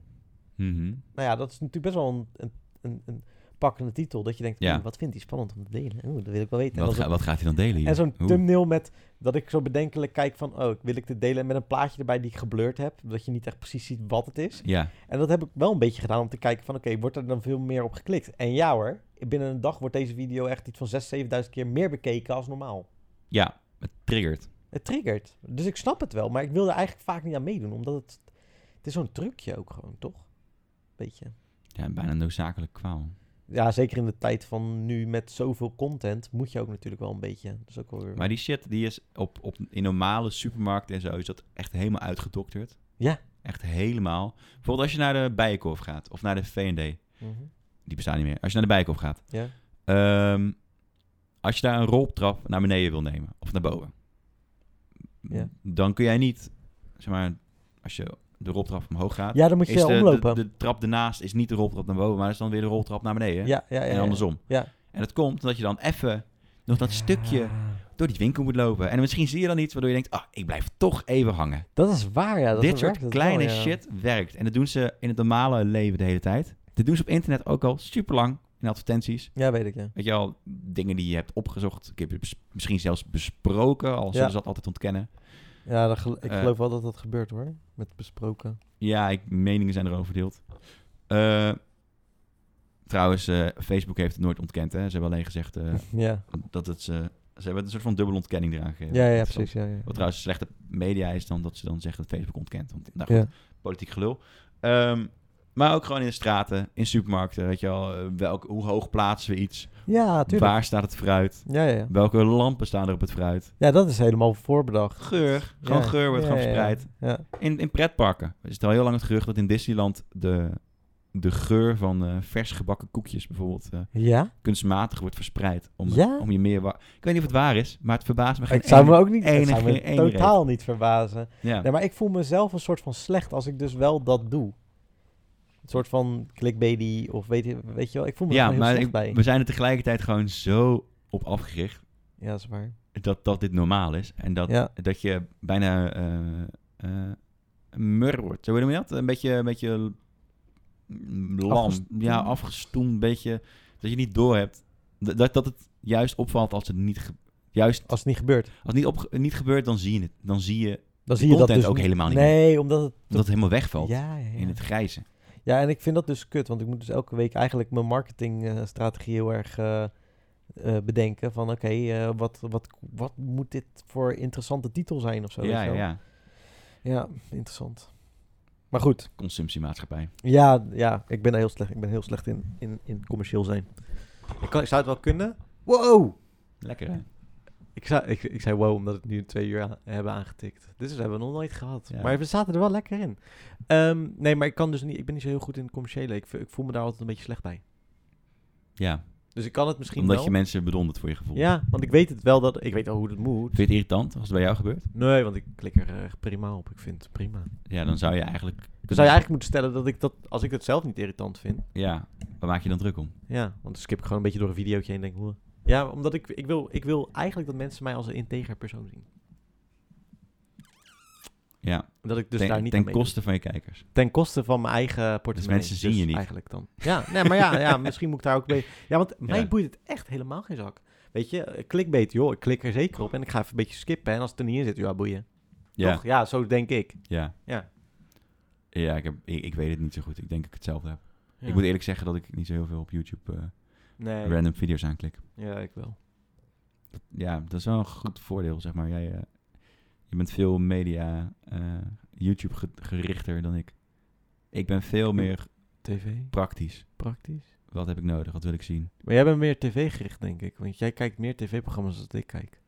Mhm. Nou ja, dat is natuurlijk best wel een, een, een, een pakkende titel. Dat je denkt, Ja. "Oeh, wat vindt hij spannend om te delen? Oeh, dat wil ik wel weten. En Wat, dan ga- wat gaat hij dan delen hier? En zo'n Oeh. thumbnail met dat ik zo bedenkelijk kijk van, oh, wil ik dit delen met een plaatje erbij die ik geblurred heb, dat je niet echt precies ziet wat het is. Ja, En dat heb ik wel een beetje gedaan om te kijken van, oké, wordt er dan veel meer op geklikt? En ja hoor, binnen een dag wordt deze video echt iets van 6.000, 7.000 keer meer bekeken als normaal. ja, het triggert. Het triggert. Dus ik snap het wel, maar ik wil er eigenlijk vaak niet aan meedoen, omdat het, het is zo'n trucje ook gewoon, toch? Beetje. Ja, bijna noodzakelijk kwaal. Ja, zeker in de tijd van nu met zoveel content moet je ook natuurlijk wel een beetje. Dus ook wel weer... Maar die shit, die is op, op, in normale supermarkten en zo, is dat echt helemaal uitgedokterd. Ja. Echt helemaal. Bijvoorbeeld als je naar de Bijenkorf gaat, of naar de V&D. Mhm. Die bestaan niet meer. Als je naar de Bijenkorf gaat. Ja. Ehm, als je daar een roltrap naar beneden wil nemen, of naar boven. Ja. Dan kun jij niet, zeg maar, als je de roltrap omhoog gaat. ja, dan moet je is wel de, de, omlopen. de trap daarnaast is niet de roltrap naar boven, maar is dan weer de roltrap naar beneden. ja, ja, ja, en ja. andersom. Ja. En dat komt omdat je dan even nog dat Ja. stukje door die winkel moet lopen. En misschien zie je dan iets waardoor je denkt, ah, ik blijf toch even hangen. Dat is waar, ja. Dat Dit soort werkt het wel, kleine ja. shit werkt. En dat doen ze in het normale leven de hele tijd. Dit doen ze op internet ook al super lang in advertenties. Ja, weet ik, ja. Weet je al, dingen die je hebt opgezocht. Ik heb je bes- misschien zelfs besproken, al zullen Ja. ze dat altijd ontkennen. Ja, dat gel- ik Eh. geloof wel dat dat gebeurt, hoor. Met besproken. Ja, ik, meningen zijn erover verdeeld. Eh, trouwens, eh, Facebook heeft het nooit ontkend. Hè? Ze hebben alleen gezegd eh, ja. dat het ze... Ze hebben een soort van dubbele ontkenning eraan gegeven. Ja, ja, Dat is precies, ja, ja. Wat trouwens slechte media is dan dat ze dan zeggen dat Facebook ontkent. Want nou goed, Ja. politiek gelul. Ehm, maar ook gewoon in de straten, in supermarkten, weet je wel. eh, Welk, hoe hoog plaatsen we iets? ja, tuurlijk. Waar staat het fruit? Ja, ja, ja. Welke lampen staan er op het fruit? Ja, dat is helemaal voorbedacht. Geur, gewoon Ja. geur wordt Ja, gewoon ja, ja. verspreid. Ja. In, in pretparken is het al heel lang het gerucht dat in Disneyland de, de geur van eh, vers gebakken koekjes bijvoorbeeld eh, Ja? kunstmatig wordt verspreid. Om, Ja? om je meer... wa- Ik weet niet of het waar is, maar het verbaast me geen Ik zou ene- me ook niet... ene- Het zou me geen ene totaal niet verbazen. Ja. Nee, maar ik voel mezelf een soort van slecht als ik dus wel dat doe. Een soort van clickbaity of weet je, weet je wel. Ik voel me er Ja, gewoon heel maar slecht ik- bij. we zijn er tegelijkertijd gewoon zo op afgericht Ja, dat is waar. dat, dat dit normaal is. En dat, Ja. dat je bijna eh eh, mur wordt. Zo noem je dat? Een beetje, een beetje mm, lam. Afgest- ja, afgestoemd. Een beetje dat je niet doorhebt. Dat, dat, dat het juist opvalt als het niet, ge- juist, Als het niet gebeurt, als het niet, op, niet gebeurt, dan zie je het. Dan zie je dan De zie je dat content dus ook helemaal niet Nee, omdat het... dat het helemaal wegvalt ja, ja, ja. in het grijze. Ja, en ik vind dat dus kut, want ik moet dus elke week eigenlijk mijn marketingstrategie heel erg eh, eh, bedenken. Van oké, eh, wat, wat, wat moet dit voor interessante titel zijn of zo? ja, weet je ja, wel? ja. ja, interessant. Maar goed, Consumptiemaatschappij. ja, ja ik ben er heel slecht, ik ben heel slecht in, in, in commercieel zijn. Ik, kan, ik zou het wel kunnen. Wow! Lekker hè? Ik, zou, ik, ik zei wow, omdat we het nu twee uur a- hebben aangetikt. Dit is- hebben we nog nooit gehad. Ja. Maar we zaten er wel lekker in. Ehm, nee, maar ik kan dus niet, ik ben niet zo heel goed in het commerciële. Ik, vo- ik voel me daar altijd een beetje slecht bij. Ja, Dus ik kan het misschien omdat wel. je mensen bedondert voor je gevoel. ja, want ik weet het wel dat ik weet al hoe dat moet. Vind je het irritant als het bij jou gebeurt? Nee, want ik klik er eh, prima op. Ik vind het prima. Ja, dan zou je eigenlijk... Dan zou je eigenlijk moeten stellen dat ik dat als ik dat zelf niet irritant vind. Ja, waar maak je dan druk om? Ja, want dan skip ik gewoon een beetje door een videootje heen en denk hoe. Ja, omdat ik, ik, wil, ik wil eigenlijk dat mensen mij als een integer persoon zien. Ja, Dat ik dus ten, daar niet aan ten mee koste van je kijkers. doe. ten koste van mijn eigen portemonnee. Dus Dus mensen zien je niet. Eigenlijk dan. Ja, nee, maar ja, ja, misschien moet ik daar ook mee. Ja, want mij Ja. boeit het echt helemaal geen zak. Weet je, eh, clickbait, joh. Ik klik er zeker op en ik ga even een beetje skippen. En als het er niet in zit, ja, boeien. Ja, Toch? Ja, zo denk ik. ja. Ja. Ja, ik, heb, ik, ik weet het niet zo goed. Ik denk dat ik hetzelfde heb. Ja. Ik moet eerlijk zeggen dat ik niet zo heel veel op YouTube eh, Nee, random video's aanklik. ja, ik wel. Ja, dat is wel een goed voordeel, zeg maar. Jij, eh, je bent veel media, eh, YouTube ge- gerichter dan ik. Ik ben Hm. veel meer TV, praktisch. praktisch. Wat heb ik nodig? Wat wil ik zien? Maar jij bent meer tv-gericht, denk ik. Want jij kijkt meer tv-programma's dan ik kijk.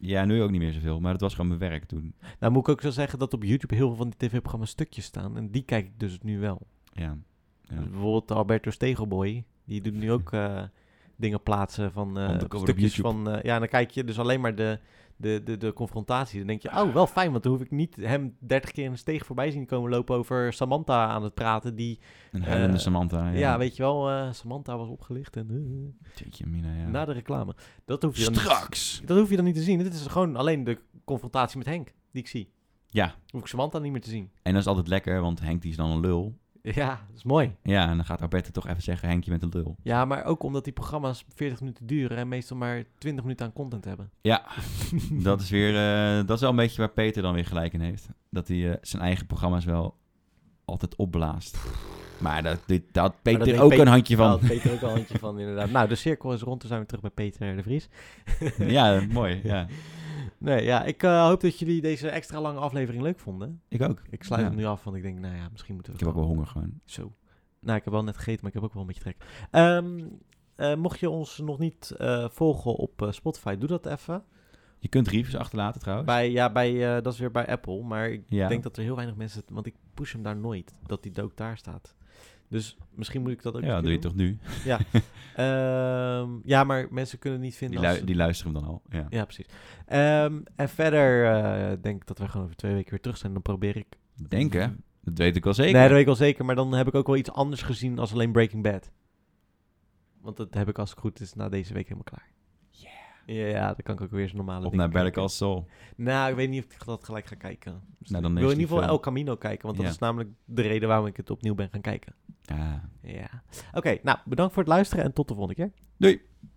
Ja, nu ook niet meer zoveel, maar dat was gewoon mijn werk toen. Nou moet ik ook zo zeggen dat op YouTube heel veel van die tv-programma's stukjes staan. En die kijk ik dus nu wel. Ja, Ja. Dus bijvoorbeeld Alberto Stegelboy. Die doet nu ook eh, dingen plaatsen van eh, Undercover op stukjes YouTube. van... eh, ja, en dan kijk je dus alleen maar de, de, de, de confrontatie. Dan denk je, oh, wel fijn. Want dan hoef ik niet hem dertig keer in een steeg voorbij zien komen lopen... over Samantha aan het praten. Die, een huilende Eh, Samantha. ja, Ah, Ja, weet je wel, eh, Samantha was opgelicht en... eh, Jeetje, mina, ja. Na de reclame. Dat hoef je dan Straks! Niet, dat hoef je dan niet te zien. Dit is gewoon alleen de confrontatie met Henk die ik zie. Ja, Hoef ik Samantha niet meer te zien. En dat is altijd lekker, want Henk die is dan een lul. Ja, dat is mooi. Ja, en dan gaat Alberta toch even zeggen, Henk, je bent een lul. Ja, maar ook omdat die programma's 40 minuten duren en meestal maar 20 minuten aan content hebben. Ja, dat is weer, eh, dat is wel een beetje waar Peter dan weer gelijk in heeft. Dat hij eh, zijn eigen programma's wel altijd opblaast. Maar dat, dit, dat had Peter deed ook Peter een handje Daar van. had Nou, Peter ook al eentje van, inderdaad. Nou, de cirkel is rond, dan zijn we terug bij Peter de Vries. ja, mooi. Ja. Nee, ja, ik eh, hoop dat jullie deze extra lange aflevering leuk vonden. Ik ook. Ik sluit Ja. hem nu af, want ik denk, nou ja, misschien moeten we... Ik heb ook wel honger gewoon. Zo. Nou, ik heb wel net gegeten, maar ik heb ook wel een beetje trek. Ehm, eh, mocht je ons nog niet eh, volgen op eh, Spotify, doe dat even. Je kunt reviews achterlaten trouwens. Bij, ja, bij, eh, dat is weer bij Apple, maar ik Ja. denk dat er heel weinig mensen... het- Want ik push hem daar nooit, dat die dood daar staat. Dus misschien moet ik dat ook ja, een doe keer je toch nu. doen. Ehm, ja, maar mensen kunnen het niet Die, vinden lui- als... die luisteren hem dan al. Ja. Ja, precies. Ehm, en verder eh, denk ik dat we gewoon over twee weken weer terug zijn. Dan probeer ik... Denk hè? Dat weet ik wel zeker. Nee, dat weet ik wel zeker. Maar dan heb ik ook wel iets anders gezien als alleen Breaking Bad. Want dat heb ik als het goed is na deze week helemaal klaar. Ja, Ja, dan kan ik ook weer zo'n normale Op dingen naar Better kijken. Call Saul. Nou, ik weet niet of ik dat gelijk ga kijken. Dus Nou, dan ik is wil in die ieder geval film. El Camino kijken. Want dat Ja. is namelijk de reden waarom ik het opnieuw ben gaan kijken. Ah. Ja. Oké, nou, bedankt voor het luisteren en tot de volgende keer. Doei.